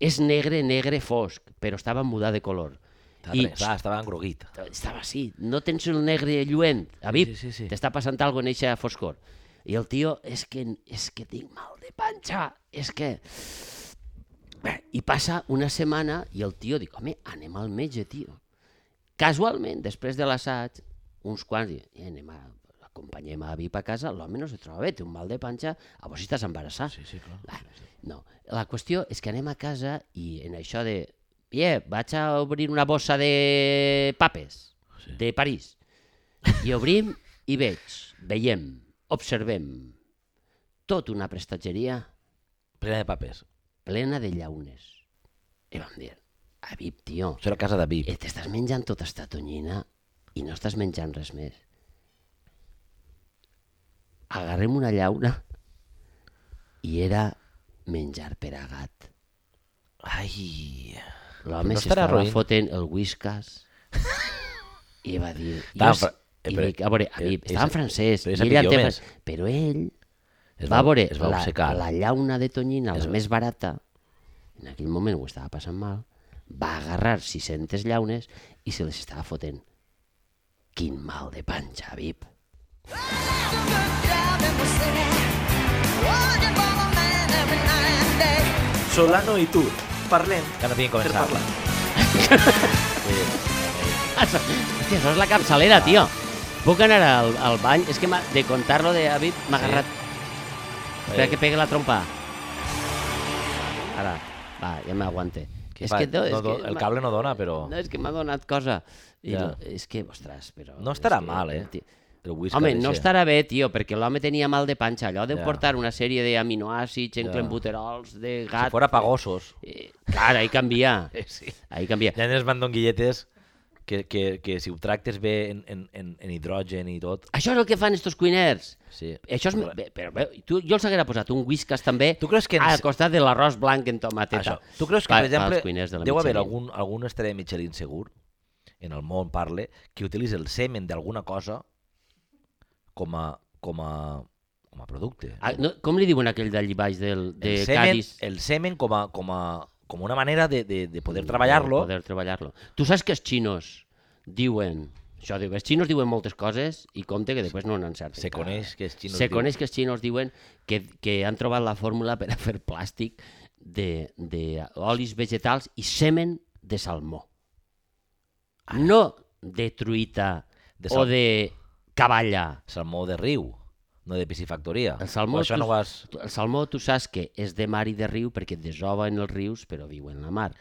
[SPEAKER 2] és negre, negre fosc, però estava mudat de color.
[SPEAKER 1] Estava,
[SPEAKER 2] I-
[SPEAKER 1] I... estava, estava engruguit.
[SPEAKER 2] Ah. Estava així, no tens el negre lluent, Habib,
[SPEAKER 1] Sí, sí, sí.
[SPEAKER 2] t'està passant alguna cosa en eixa foscor. I el tio, és que, és que tinc mal de panxa, és que... Bé, I passa una setmana i el tio diu, home, anem al metge, tio. Casualment, després de l'assaig, uns quants diuen, "Eh, anem a acompanyem a Habib a casa, l'home no se troba bé, té un mal de panxa, a vos si estàs embarassat.
[SPEAKER 1] Sí, sí, clar.
[SPEAKER 2] Ah, No, la qüestió és que anem a casa i en això de... Yeah, vaig a obrir una bossa de papes
[SPEAKER 1] Sí.
[SPEAKER 2] de París. I obrim i veig, veiem, observem tot una prestatgeria
[SPEAKER 1] Plena de papers.
[SPEAKER 2] plena de llaunes. I vam dir, Habib, tio,
[SPEAKER 1] Això era casa de Vip.
[SPEAKER 2] eh, t'estàs menjant tota esta tonyina i no estàs menjant res més. Agarrem una llauna i era menjar per a gat.
[SPEAKER 1] Ai... Però
[SPEAKER 2] L'home
[SPEAKER 1] no estarà
[SPEAKER 2] s'estava
[SPEAKER 1] roïn.
[SPEAKER 2] fotent el whiskas i va dir...
[SPEAKER 1] Estava
[SPEAKER 2] Jo,
[SPEAKER 1] fra- eh,
[SPEAKER 2] i
[SPEAKER 1] però-
[SPEAKER 2] dic, a veure, a mi,
[SPEAKER 1] eh,
[SPEAKER 2] estava en
[SPEAKER 1] és-
[SPEAKER 2] francès,
[SPEAKER 1] però és
[SPEAKER 2] i ell
[SPEAKER 1] millor
[SPEAKER 2] entén
[SPEAKER 1] més.
[SPEAKER 2] francès, però ell
[SPEAKER 1] Es
[SPEAKER 2] va, veure
[SPEAKER 1] es va
[SPEAKER 2] la,
[SPEAKER 1] obcecar.
[SPEAKER 2] la llauna de tonyina, la
[SPEAKER 1] va-
[SPEAKER 2] més barata, en aquell moment ho estava passant mal, va agarrar 600 llaunes i se les estava fotent. Quin mal de panxa, Vip.
[SPEAKER 3] Solano i tu, parlem
[SPEAKER 1] Ja no tinc
[SPEAKER 3] per
[SPEAKER 1] començat.
[SPEAKER 3] parlar.
[SPEAKER 2] Hòstia, això és la capçalera,
[SPEAKER 1] Ah.
[SPEAKER 2] tio. Puc anar al, al bany? És que m'ha- de contar-lo de Vip m'ha
[SPEAKER 1] Sí.
[SPEAKER 2] agarrat... Espera
[SPEAKER 1] Eh.
[SPEAKER 2] que pegue la trompa. Ara, va, ja m'aguante.
[SPEAKER 1] Què
[SPEAKER 2] És
[SPEAKER 1] fa?
[SPEAKER 2] que, no, és
[SPEAKER 1] No do-
[SPEAKER 2] que
[SPEAKER 1] el
[SPEAKER 2] m'ha-
[SPEAKER 1] cable no dona, però...
[SPEAKER 2] No, és que m'ha donat cosa. I
[SPEAKER 1] Ja.
[SPEAKER 2] no, és que, ostres, però...
[SPEAKER 1] No estarà
[SPEAKER 2] és que,
[SPEAKER 1] mal, eh?
[SPEAKER 2] ti-
[SPEAKER 1] El whisky
[SPEAKER 2] Home,
[SPEAKER 1] de
[SPEAKER 2] no
[SPEAKER 1] xe.
[SPEAKER 2] estarà bé, tio, perquè l'home tenia mal de panxa. Allò de
[SPEAKER 1] Ja.
[SPEAKER 2] portar una sèrie d'aminoàcids,
[SPEAKER 1] Ja.
[SPEAKER 2] enclenbuterols, de gat...
[SPEAKER 1] Si fora pagosos.
[SPEAKER 2] Eh, clar, ahí canvia.
[SPEAKER 1] Sí.
[SPEAKER 2] Ahí canvia.
[SPEAKER 1] Ja ens van guilletes que, que, que si ho tractes bé en, en, en, en hidrogen i tot...
[SPEAKER 2] Això és el que fan estos cuiners.
[SPEAKER 1] Sí.
[SPEAKER 2] Això és... Bé, però bé, tu, jo els hauria posat un whiskas també
[SPEAKER 1] Tu creus que ens-
[SPEAKER 2] al costat de l'arròs blanc en
[SPEAKER 1] Això.
[SPEAKER 2] tomateta.
[SPEAKER 1] Tu creus que,
[SPEAKER 2] Pa-
[SPEAKER 1] per
[SPEAKER 2] pels
[SPEAKER 1] exemple,
[SPEAKER 2] cuiners de la
[SPEAKER 1] deu haver
[SPEAKER 2] mitjanit.
[SPEAKER 1] algun, algun estrella Michelin segur, en el món parle, que utilitza el semen d'alguna cosa com a, com a, com a producte.
[SPEAKER 2] Ah, no, com li diuen aquell d'allí baix del, de
[SPEAKER 1] el, semen,
[SPEAKER 2] Cádiz?
[SPEAKER 1] el semen com a, com a, com una manera de, de, de poder
[SPEAKER 2] De
[SPEAKER 1] treballar-lo.
[SPEAKER 2] Mm, Poder treballar-lo. Tu saps que els xinos diuen... Això diu, els xinos diuen moltes coses i compte que després no n'encerten.
[SPEAKER 1] Se
[SPEAKER 2] cap.
[SPEAKER 1] coneix que els xinos
[SPEAKER 2] Se
[SPEAKER 1] diuen-
[SPEAKER 2] coneix que els xinos diuen que, que han trobat la fórmula per a fer plàstic d'olis vegetals i semen de salmó. No de truita
[SPEAKER 1] De
[SPEAKER 2] o
[SPEAKER 1] Ah. sal-
[SPEAKER 2] de cavalla.
[SPEAKER 1] Salmó de riu. no de piscifactoria.
[SPEAKER 2] El salmó,
[SPEAKER 1] O això
[SPEAKER 2] tu,
[SPEAKER 1] no ho has...
[SPEAKER 2] tu- el salmó, tu saps que és de mar i de riu perquè desoven els rius però viuen la mar.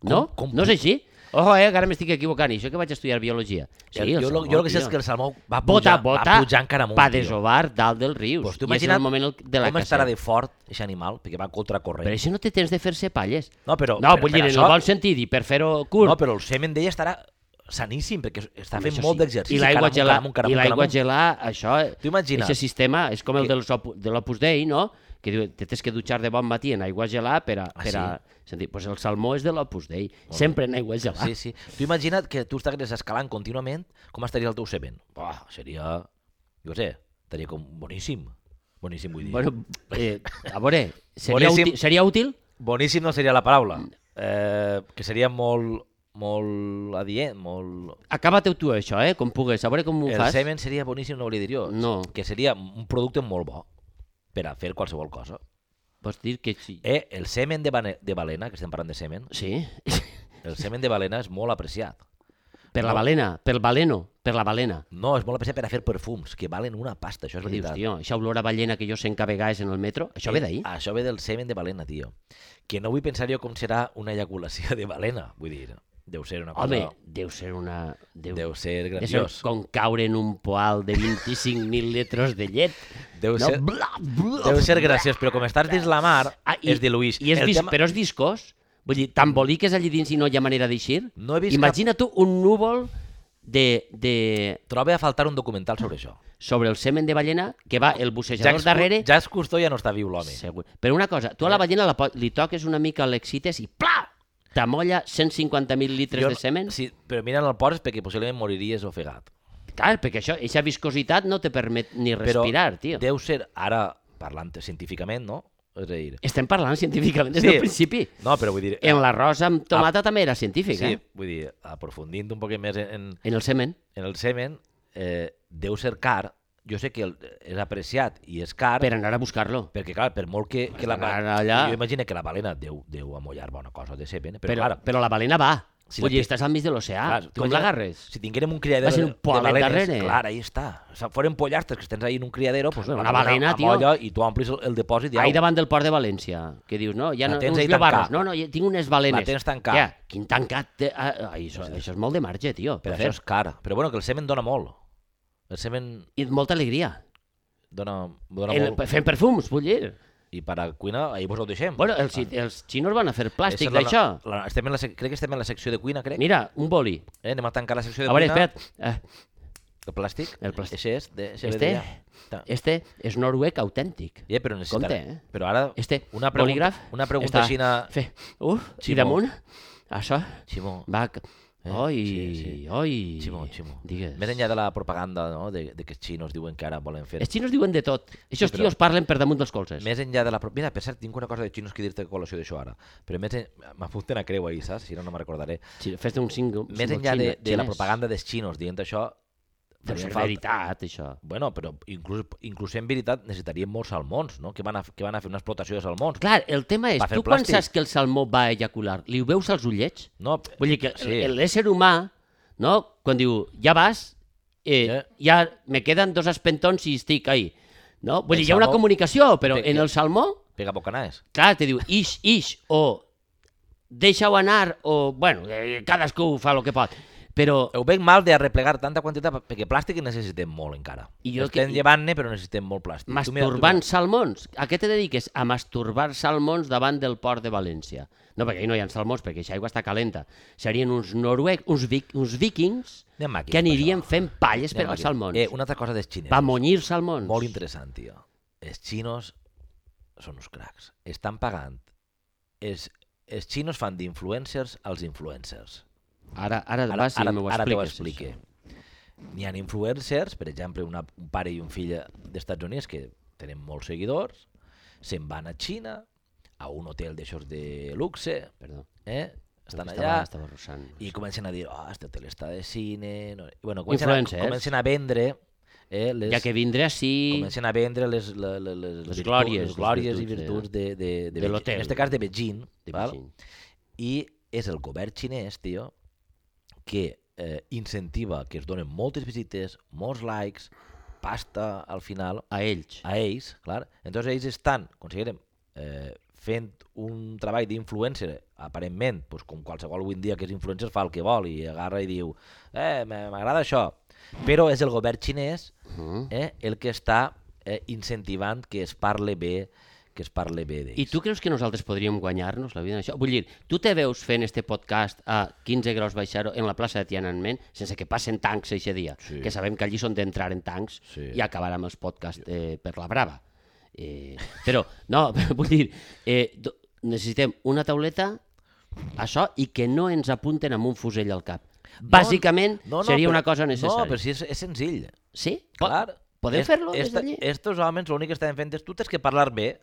[SPEAKER 1] Com-
[SPEAKER 2] No?
[SPEAKER 1] com
[SPEAKER 2] no és així? Ojo, eh, que ara m'estic equivocant. I això que vaig estudiar biologia. Sí,
[SPEAKER 1] jo,
[SPEAKER 2] el
[SPEAKER 1] jo,
[SPEAKER 2] salmó,
[SPEAKER 1] lo, jo el que sé
[SPEAKER 2] tio.
[SPEAKER 1] és que el salmó va
[SPEAKER 2] Bota,
[SPEAKER 1] pujar,
[SPEAKER 2] bota,
[SPEAKER 1] va pujar encara amunt.
[SPEAKER 2] va
[SPEAKER 1] tio.
[SPEAKER 2] desovar dalt dels rius.
[SPEAKER 1] Pues
[SPEAKER 2] Pues
[SPEAKER 1] tu
[SPEAKER 2] I és el
[SPEAKER 1] imagina't
[SPEAKER 2] moment el- de la
[SPEAKER 1] Com
[SPEAKER 2] caça.
[SPEAKER 1] estarà de fort, aquest animal, perquè va contra corrent.
[SPEAKER 2] Però això no té temps de fer-se palles.
[SPEAKER 1] No, però-
[SPEAKER 2] no
[SPEAKER 1] però
[SPEAKER 2] vull
[SPEAKER 1] per
[SPEAKER 2] dir, en
[SPEAKER 1] això-
[SPEAKER 2] el bon sentit, i per fer-ho curt.
[SPEAKER 1] No, però el semen d'ella estarà saníssim, perquè està fent
[SPEAKER 2] Això
[SPEAKER 1] molt
[SPEAKER 2] sí.
[SPEAKER 1] d'exercici.
[SPEAKER 2] I l'aigua
[SPEAKER 1] cara
[SPEAKER 2] gelar,
[SPEAKER 1] amunt, cara
[SPEAKER 2] i
[SPEAKER 1] amunt, cara
[SPEAKER 2] l'aigua
[SPEAKER 1] amunt.
[SPEAKER 2] gelar, això...
[SPEAKER 1] Tu imagina't.
[SPEAKER 2] Aquest sistema és com el
[SPEAKER 1] Que-
[SPEAKER 2] dels Opu- de l'Opus Dei, no? Que diu, te tens que dutxar de bon matí en aigua gelar per a...
[SPEAKER 1] Ah,
[SPEAKER 2] per a... Sentir, pues el salmó és de l'Opus Dei, sempre en aigua gelar.
[SPEAKER 1] Sí, sí. Tu imagina't que tu estaries escalant contínuament, com estaria el teu semen? Buah, seria... Jo què sé, estaria com boníssim. Boníssim, vull dir.
[SPEAKER 2] Bueno, eh, a veure, seria,
[SPEAKER 1] Boníssim.
[SPEAKER 2] útil, seria útil?
[SPEAKER 1] Boníssim no seria la paraula. Eh, que seria molt molt adient, molt...
[SPEAKER 2] Acaba-te tu això, eh, com pugues, a veure com ho
[SPEAKER 1] El
[SPEAKER 2] fas.
[SPEAKER 1] semen seria boníssim, no volia dir jo.
[SPEAKER 2] No.
[SPEAKER 1] Que seria un producte molt bo per a fer qualsevol cosa.
[SPEAKER 2] Pots dir que sí.
[SPEAKER 1] Eh, el semen de, bane- de balena, que estem parlant de semen,
[SPEAKER 2] Sí,
[SPEAKER 1] el semen de balena és molt apreciat.
[SPEAKER 2] per la
[SPEAKER 1] No.
[SPEAKER 2] balena, pel baleno, per la balena.
[SPEAKER 1] No, és molt apreciat per a fer perfums, que valen una pasta, això és
[SPEAKER 2] Què dius,
[SPEAKER 1] veritat. Ah,
[SPEAKER 2] tio? Això olor a ballena que jo sent que a vegades en el metro, això ve d'ahir?
[SPEAKER 1] Això ve del semen de balena, tio. Que no vull pensar jo com serà una eyaculació de balena, vull dir. Deu ser una cosa...
[SPEAKER 2] Home, deu ser una... Deu,
[SPEAKER 1] deu ser
[SPEAKER 2] És el,
[SPEAKER 1] grandiós.
[SPEAKER 2] com caure en un poal de 25.000 litres de llet.
[SPEAKER 1] Deu
[SPEAKER 2] no?
[SPEAKER 1] ser,
[SPEAKER 2] Bla, bla,
[SPEAKER 1] deu ser graciós, però com estàs dins la mar,
[SPEAKER 2] Ah,
[SPEAKER 1] es diluïx.
[SPEAKER 2] I és
[SPEAKER 1] El
[SPEAKER 2] vis,
[SPEAKER 1] tema-
[SPEAKER 2] Però és viscós. Vull dir, t'emboliques allà dins i no hi ha manera d'eixir.
[SPEAKER 1] No he vist
[SPEAKER 2] Imagina tu un núvol de, de,
[SPEAKER 1] Trobe a faltar un documental sobre això.
[SPEAKER 2] sobre el semen de ballena que va el bussejador
[SPEAKER 1] Jacques,
[SPEAKER 2] darrere.
[SPEAKER 1] Cou- Jacques Cousteau ja no està viu, l'home.
[SPEAKER 2] Segur. Però una cosa,
[SPEAKER 1] Eh.
[SPEAKER 2] tu a la ballena la, po- li toques una mica, l'excites i plà! T'amolla 150.000 litres
[SPEAKER 1] Jo-
[SPEAKER 2] de semen.
[SPEAKER 1] Sí, però mirant el port és perquè possiblement moriries ofegat.
[SPEAKER 2] Clar, perquè això, aquesta viscositat no te permet ni respirar,
[SPEAKER 1] però
[SPEAKER 2] tio.
[SPEAKER 1] deu ser, ara parlant científicament, no? És a dir...
[SPEAKER 2] Estem parlant científicament des
[SPEAKER 1] Sí.
[SPEAKER 2] del principi.
[SPEAKER 1] No, però vull dir...
[SPEAKER 2] En l'arròs amb tomata també era científic,
[SPEAKER 1] Eh, ah, sí,
[SPEAKER 2] eh?
[SPEAKER 1] vull dir, aprofundint un poquet més en,
[SPEAKER 2] En el semen.
[SPEAKER 1] en el semen, eh, deu ser car. Jo sé que el, és apreciat i és car,
[SPEAKER 2] Per anar a buscar-lo.
[SPEAKER 1] perquè clar, per molt que, que la
[SPEAKER 2] Has
[SPEAKER 1] balena...
[SPEAKER 2] d'anar allà.
[SPEAKER 1] Jo imagino que la balena deu, deu amollar bona cosa de semen, però,
[SPEAKER 2] Però,
[SPEAKER 1] però clar,
[SPEAKER 2] però la balena va.
[SPEAKER 1] Si
[SPEAKER 2] Si
[SPEAKER 1] la
[SPEAKER 2] Vull dir,
[SPEAKER 1] té-
[SPEAKER 2] estàs al mig de l'oceà.
[SPEAKER 1] Clar, tu
[SPEAKER 2] Com
[SPEAKER 1] imagina-
[SPEAKER 2] l'agarres?
[SPEAKER 1] Si tinguérem un criadero
[SPEAKER 2] Va ser
[SPEAKER 1] de,
[SPEAKER 2] un
[SPEAKER 1] de
[SPEAKER 2] poalet
[SPEAKER 1] balenes,
[SPEAKER 2] darrere.
[SPEAKER 1] clar, ahí està. O sea, foren pollastres que tens ahí en un criadero, pues,
[SPEAKER 2] Una balena, tio.
[SPEAKER 1] amolla I tu omplis el, el depòsit i au.
[SPEAKER 2] Ahir davant del port de València, que dius, no, ja
[SPEAKER 1] La
[SPEAKER 2] no,
[SPEAKER 1] tens
[SPEAKER 2] uns
[SPEAKER 1] ahí
[SPEAKER 2] llobarros.
[SPEAKER 1] tancada.
[SPEAKER 2] No, no, ja tinc unes balenes.
[SPEAKER 1] La tens tancada.
[SPEAKER 2] Ja, quin tancat? Te... Ah, ai, això, això és molt de marge, tio.
[SPEAKER 1] Però
[SPEAKER 2] Per
[SPEAKER 1] això
[SPEAKER 2] fer.
[SPEAKER 1] és car. Però bueno, que el semen dona molt. El semen
[SPEAKER 2] I molta alegria.
[SPEAKER 1] dona, dona
[SPEAKER 2] El,
[SPEAKER 1] molt. Mm.
[SPEAKER 2] fent perfums, vull dir.
[SPEAKER 1] I per a cuina, ahir vos ho deixem.
[SPEAKER 2] Bueno, els, els xinos van a fer plàstic
[SPEAKER 1] Esa és
[SPEAKER 2] d'això.
[SPEAKER 1] La, la, estem en la, sec- crec que estem en la secció de cuina, crec.
[SPEAKER 2] Mira, un boli.
[SPEAKER 1] Eh, anem a tancar la secció de
[SPEAKER 2] A veure,
[SPEAKER 1] cuina.
[SPEAKER 2] espera't. Eh,
[SPEAKER 1] El plàstic.
[SPEAKER 2] El plàstic.
[SPEAKER 1] Eixe és. De, eixe ve
[SPEAKER 2] Este?
[SPEAKER 1] d'allà. Ta-
[SPEAKER 2] Este és noruec autèntic.
[SPEAKER 1] Ja, però necessitarà...
[SPEAKER 2] Compte, eh?
[SPEAKER 1] Però ara,
[SPEAKER 2] Este
[SPEAKER 1] una pregunta,
[SPEAKER 2] bolígraf
[SPEAKER 1] una pregunta
[SPEAKER 2] està
[SPEAKER 1] xina...
[SPEAKER 2] Fe... Uf,
[SPEAKER 1] Ximó.
[SPEAKER 2] i damunt, això
[SPEAKER 1] Ximó,
[SPEAKER 2] va... c-
[SPEAKER 1] Eh?
[SPEAKER 2] Oi,
[SPEAKER 1] Sí, sí.
[SPEAKER 2] oi...
[SPEAKER 1] Ximó, Ximó.
[SPEAKER 2] Digues.
[SPEAKER 1] Més enllà de la propaganda no? de, de que els xinos diuen que ara volen fer...
[SPEAKER 2] Els xinos diuen de tot. Aquests
[SPEAKER 1] però-
[SPEAKER 2] tios parlen per damunt dels colzes.
[SPEAKER 1] Més enllà de la... pro- Mira, per cert, tinc una cosa de xinos que dir-te a col·lació d'això ara. Però més en... m'apunten a creu ahir, saps? Si no, no me'n recordaré.
[SPEAKER 2] Xi- Fes-te un single...
[SPEAKER 1] Més enllà de, de la propaganda dels xinos dient això...
[SPEAKER 2] Deu
[SPEAKER 1] faria
[SPEAKER 2] ser
[SPEAKER 1] falta-
[SPEAKER 2] veritat, això.
[SPEAKER 1] Bueno, però inclús, inclús en veritat necessitaríem molts salmons, no? Que van a, que van a fer una explotació de salmons.
[SPEAKER 2] Clar, el tema és,
[SPEAKER 1] Va fer
[SPEAKER 2] tu quan
[SPEAKER 1] plàstic.
[SPEAKER 2] saps que el salmó va ejacular, li ho veus als ullets?
[SPEAKER 1] No,
[SPEAKER 2] Vull dir que
[SPEAKER 1] Sí.
[SPEAKER 2] sí. l'ésser humà, no? quan diu, ja vas, eh,
[SPEAKER 1] Eh.
[SPEAKER 2] ja me queden dos espentons i estic ahí. No? Vull
[SPEAKER 1] El
[SPEAKER 2] dir, hi ha una
[SPEAKER 1] salmó-
[SPEAKER 2] comunicació, però
[SPEAKER 1] Perquè-
[SPEAKER 2] en el salmó,
[SPEAKER 1] pega bocanades.
[SPEAKER 2] clar, te diu, ix, ix, o deixa-ho anar, o, bueno, eh, cadascú fa el que pot. Però
[SPEAKER 1] Ho veig mal de replegar tanta quantitat perquè plàstic en necessitem molt encara.
[SPEAKER 2] I jo
[SPEAKER 1] Estem
[SPEAKER 2] que-
[SPEAKER 1] llevant-ne però necessitem molt plàstic. Tu mira- tu
[SPEAKER 2] masturbant salmons. A què te dediques? A masturbar salmons davant del port de València. No, perquè ahí no hi ha salmons, perquè aquesta aigua està calenta. Serien uns noruecs, uns, vic, uns vikings,
[SPEAKER 1] Anem maquis,
[SPEAKER 2] que
[SPEAKER 1] per
[SPEAKER 2] anirien
[SPEAKER 1] això.
[SPEAKER 2] fent palles per
[SPEAKER 1] Anem
[SPEAKER 2] als
[SPEAKER 1] aquí.
[SPEAKER 2] salmons.
[SPEAKER 1] Eh, una altra cosa dels xinesos.
[SPEAKER 2] Va monyir salmons.
[SPEAKER 1] Molt interessant, tio. Els xinos són uns cracs. Estan pagant. Els, els xinos fan d'influencers als influencers.
[SPEAKER 2] Ara,
[SPEAKER 1] Ara,
[SPEAKER 2] ara, ara, vas
[SPEAKER 1] ara,
[SPEAKER 2] i m'ho
[SPEAKER 1] ara te ho
[SPEAKER 2] expliques.
[SPEAKER 1] explique.
[SPEAKER 2] això.
[SPEAKER 1] N'hi ha influencers, per exemple, una, un pare i un fill d'Estats Units que tenen molts seguidors, se'n van a Xina, a un hotel d'aixòs de luxe,
[SPEAKER 2] Perdó.
[SPEAKER 1] eh? estan
[SPEAKER 2] Estava-
[SPEAKER 1] allà,
[SPEAKER 2] Estava rossant.
[SPEAKER 1] i comencen a dir, oh, este hotel està de cine... No... I, bueno, comencen, a,
[SPEAKER 2] Influencers.
[SPEAKER 1] comencen a vendre eh, les,
[SPEAKER 2] Ja que vindré així...
[SPEAKER 1] comencen a vendre les, les, les, les, virtu-
[SPEAKER 2] glòries,
[SPEAKER 1] les
[SPEAKER 2] les
[SPEAKER 1] glòries i virtuts
[SPEAKER 2] virtuts
[SPEAKER 1] de, de, de, Beijing.
[SPEAKER 2] l'hotel.
[SPEAKER 1] En aquest cas de Beijing,
[SPEAKER 2] de
[SPEAKER 1] val?
[SPEAKER 2] Beijing.
[SPEAKER 1] i és el govern xinès, tio, que eh, incentiva que es donen moltes visites, molts likes, pasta al final
[SPEAKER 2] a ells.
[SPEAKER 1] a ells, clar. Entonces ells estan, considerem, eh, fent un treball d'influencer, aparentment, doncs com qualsevol avui en dia que és influencer fa el que vol i agarra i diu eh, m- m'agrada això. Però és el govern xinès
[SPEAKER 2] Mm.
[SPEAKER 1] eh, el que està eh, incentivant que es parle bé que es parle bé d'ells.
[SPEAKER 2] I tu creus que nosaltres podríem guanyar-nos la vida en això? Vull dir, tu te veus fent este podcast a 15 graus baixar en la plaça de Tiananmen sense que passen tancs eixe dia,
[SPEAKER 1] Sí.
[SPEAKER 2] que sabem que allí són d'entrar en tancs
[SPEAKER 1] Sí.
[SPEAKER 2] i acabar amb els podcasts eh, per la brava. Eh, però, no, vull dir, eh, do- necessitem una tauleta, això, i que no ens apunten amb un fusell al cap. Bàsicament, no, no, seria
[SPEAKER 1] però-
[SPEAKER 2] una cosa
[SPEAKER 1] No,
[SPEAKER 2] necessària.
[SPEAKER 1] però si és, és senzill.
[SPEAKER 2] Sí? Po-
[SPEAKER 1] Clar.
[SPEAKER 2] podem
[SPEAKER 1] Est-
[SPEAKER 2] fer-lo des
[SPEAKER 1] esta-
[SPEAKER 2] d'allí?
[SPEAKER 1] Estos homes l'únic que estan fent és tu tens que parlar bé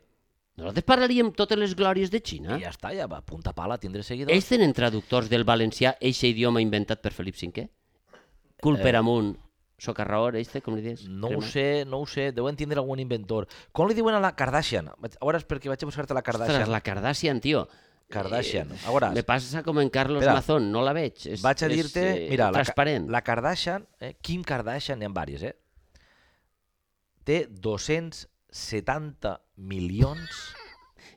[SPEAKER 2] Nosaltres parlaríem totes les glòries de Xina.
[SPEAKER 1] i ja està, ja va, punta pala, tindré seguidors.
[SPEAKER 2] Ells tenen traductors del valencià, eixe idioma inventat per Felip V? Cul per amunt, socarraor, eixe, com li
[SPEAKER 1] Eh.
[SPEAKER 2] dius?
[SPEAKER 1] No ho sé, no ho sé, deuen tindre algun inventor. Com li diuen a la Kardashian? Vaig- A veure, és perquè vaig a buscar-te la Kardashian.
[SPEAKER 2] Ostres, la eh, Kardashian, tio.
[SPEAKER 1] Kardashian. A veure,
[SPEAKER 2] Me passa com en Carlos
[SPEAKER 1] Espera.
[SPEAKER 2] Mazón, no la veig. És,
[SPEAKER 1] vaig a dir-te...
[SPEAKER 2] És, eh,
[SPEAKER 1] Mira, la, Ka-
[SPEAKER 2] transparent.
[SPEAKER 1] la Kardashian, eh, Kim Kardashian, n'hi ha diverses, eh? Té 270 milions...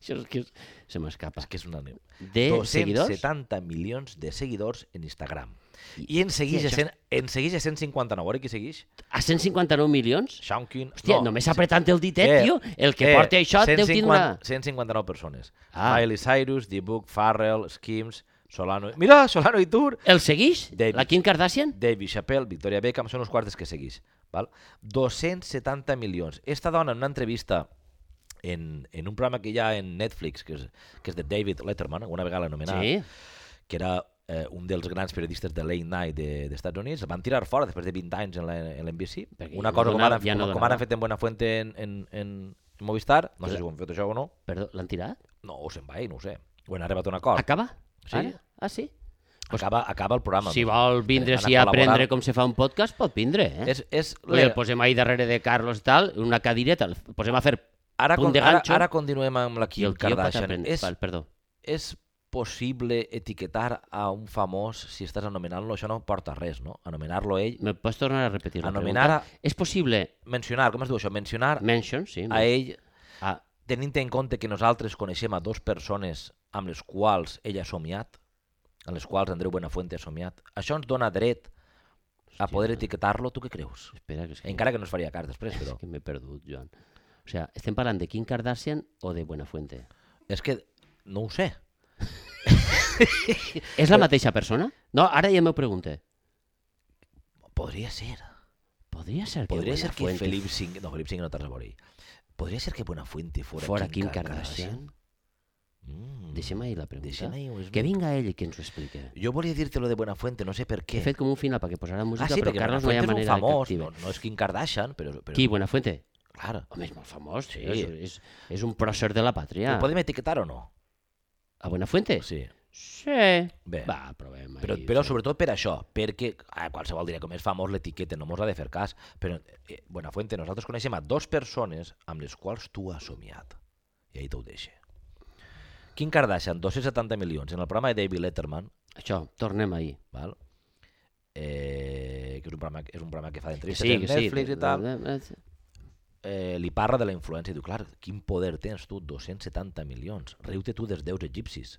[SPEAKER 2] Això és que és- se m'escapa.
[SPEAKER 1] és que és una neu.
[SPEAKER 2] De Eh, seguidors?
[SPEAKER 1] 270 milions de seguidors en Instagram. I en segueix,
[SPEAKER 2] Hòstia,
[SPEAKER 1] a, cent, en segueix a 159, ara qui segueix?
[SPEAKER 2] A 159 milions?
[SPEAKER 1] Sean Quinn...
[SPEAKER 2] Hòstia,
[SPEAKER 1] no,
[SPEAKER 2] només apretant el ditet,
[SPEAKER 1] Eh,
[SPEAKER 2] tio. El que porta això deu tindre...
[SPEAKER 1] 159 persones.
[SPEAKER 2] Ah.
[SPEAKER 1] Ah. Miley Cyrus, The Book, Farrell, Skims, Solano... Mira, Solano i Tour!
[SPEAKER 2] El seguix?
[SPEAKER 1] David.
[SPEAKER 2] La Kim Kardashian?
[SPEAKER 1] David Chappelle, Victoria Beckham, són els quartes que seguís. Val? 270 milions. Esta dona, en una entrevista en, en un programa que hi ha en Netflix, que és, que és de David Letterman, alguna vegada l'anomenava,
[SPEAKER 2] Sí.
[SPEAKER 1] que era eh, un dels grans periodistes de late night de- d'Estats Units, el van tirar fora després de 20 anys en la- en l'NBC.
[SPEAKER 2] Perquè
[SPEAKER 1] Una
[SPEAKER 2] no
[SPEAKER 1] cosa
[SPEAKER 2] donava-
[SPEAKER 1] com, ara,
[SPEAKER 2] ja no
[SPEAKER 1] com, com
[SPEAKER 2] donava.
[SPEAKER 1] ara han fet en Buenafuente en, en, en, en Movistar, no sé
[SPEAKER 2] Clar.
[SPEAKER 1] si ho han fet això o no,
[SPEAKER 2] Perdó, l'han tirat?
[SPEAKER 1] no, o se'n va i no ho sé. O han arribat a un acord.
[SPEAKER 2] Acaba?
[SPEAKER 1] Sí.
[SPEAKER 2] Ara? Ah, sí?
[SPEAKER 1] Acaba, acaba el programa.
[SPEAKER 2] Si vol vindre
[SPEAKER 1] doncs, eh, Han
[SPEAKER 2] si a
[SPEAKER 1] col·laborat.
[SPEAKER 2] aprendre com se fa un podcast, pot vindre, eh? És...
[SPEAKER 1] És, és
[SPEAKER 2] El posem ahir darrere de Carlos tal, una cadireta, el posem a fer...
[SPEAKER 1] ara,
[SPEAKER 2] punt
[SPEAKER 1] con,
[SPEAKER 2] de
[SPEAKER 1] ara,
[SPEAKER 2] ganxo.
[SPEAKER 1] ara continuem amb la
[SPEAKER 2] I
[SPEAKER 1] Kim
[SPEAKER 2] el tio pot
[SPEAKER 1] Kardashian.
[SPEAKER 2] aprendre.
[SPEAKER 1] És,
[SPEAKER 2] Val, perdó.
[SPEAKER 1] és possible etiquetar a un famós si estàs anomenant-lo? Això no porta a res, no? Anomenar-lo ell...
[SPEAKER 2] Me pots tornar a repetir la
[SPEAKER 1] Anomenar a,
[SPEAKER 2] pregunta? És possible...
[SPEAKER 1] mencionar, com es diu això? Mencionar
[SPEAKER 2] Mention, sí.
[SPEAKER 1] a ell
[SPEAKER 2] Ah,
[SPEAKER 1] tenint en compte que nosaltres coneixem a dos persones amb les quals ell ha somiat, amb les quals Andreu Buenafuente ha somiat, això ens dona dret a poder etiquetar-lo, tu què creus?
[SPEAKER 2] espera, que és que...
[SPEAKER 1] Encara que no es faria cas després,
[SPEAKER 2] És
[SPEAKER 1] però...
[SPEAKER 2] que m'he perdut, Joan. O sigui, estem parlant de Kim Kardashian o de Buenafuente?
[SPEAKER 1] És que no ho sé. Eh.
[SPEAKER 2] És la mateixa persona? No, ara ja m'ho pregunte.
[SPEAKER 1] Podria ser.
[SPEAKER 2] Podria ser que
[SPEAKER 1] Podria ser que
[SPEAKER 2] Buenafuente
[SPEAKER 1] Felip V... No, Felip V no t'has a veure. Podria ser que Buenafuente fora,
[SPEAKER 2] fora
[SPEAKER 1] Kim,
[SPEAKER 2] Kim Kardashian?
[SPEAKER 1] Mm.
[SPEAKER 2] Deixem ahir la pregunta.
[SPEAKER 1] Deixem ahir, és
[SPEAKER 2] Que
[SPEAKER 1] molt-
[SPEAKER 2] vinga ell i que ens ho expliqui.
[SPEAKER 1] Jo volia dir-te lo de Buenafuente, no sé per què.
[SPEAKER 2] He fet com un final perquè posarà música,
[SPEAKER 1] ah, sí,
[SPEAKER 2] però
[SPEAKER 1] perquè
[SPEAKER 2] Carlos no hi
[SPEAKER 1] Buenafuente
[SPEAKER 2] ha
[SPEAKER 1] és un
[SPEAKER 2] manera
[SPEAKER 1] famós,
[SPEAKER 2] que activi.
[SPEAKER 1] no, no és Kim Kardashian, però... però
[SPEAKER 2] Qui, Buenafuente?
[SPEAKER 1] Clar.
[SPEAKER 2] Home, és molt famós, sí.
[SPEAKER 1] Sí.
[SPEAKER 2] és, és, és un pròcer de la pàtria.
[SPEAKER 1] Ho podem etiquetar o no?
[SPEAKER 2] A Buenafuente?
[SPEAKER 1] Sí.
[SPEAKER 2] Sí.
[SPEAKER 1] Bé.
[SPEAKER 2] Va, provem.
[SPEAKER 1] Però,
[SPEAKER 2] ahí,
[SPEAKER 1] però
[SPEAKER 2] sí.
[SPEAKER 1] sobretot per això, perquè a qualsevol dirà com és famós l'etiqueta, no mos ha de fer cas, però eh, Buenafuente, nosaltres coneixem a dos persones amb les quals tu has somiat. I ahí t'ho deixe. Kim Kardashian, 270 milions, en el programa de David Letterman,
[SPEAKER 2] Això, tornem ahir.
[SPEAKER 1] val? Eh, que és un, programa, és un programa que fa
[SPEAKER 2] Que
[SPEAKER 1] d'entrevistes
[SPEAKER 2] sí,
[SPEAKER 1] en
[SPEAKER 2] que sí. eh,
[SPEAKER 1] Netflix i tal,
[SPEAKER 2] tal.
[SPEAKER 1] eh, li parla de la influència i diu, clar, quin poder tens tu, 270 milions, riu-te tu dels déus egipcis,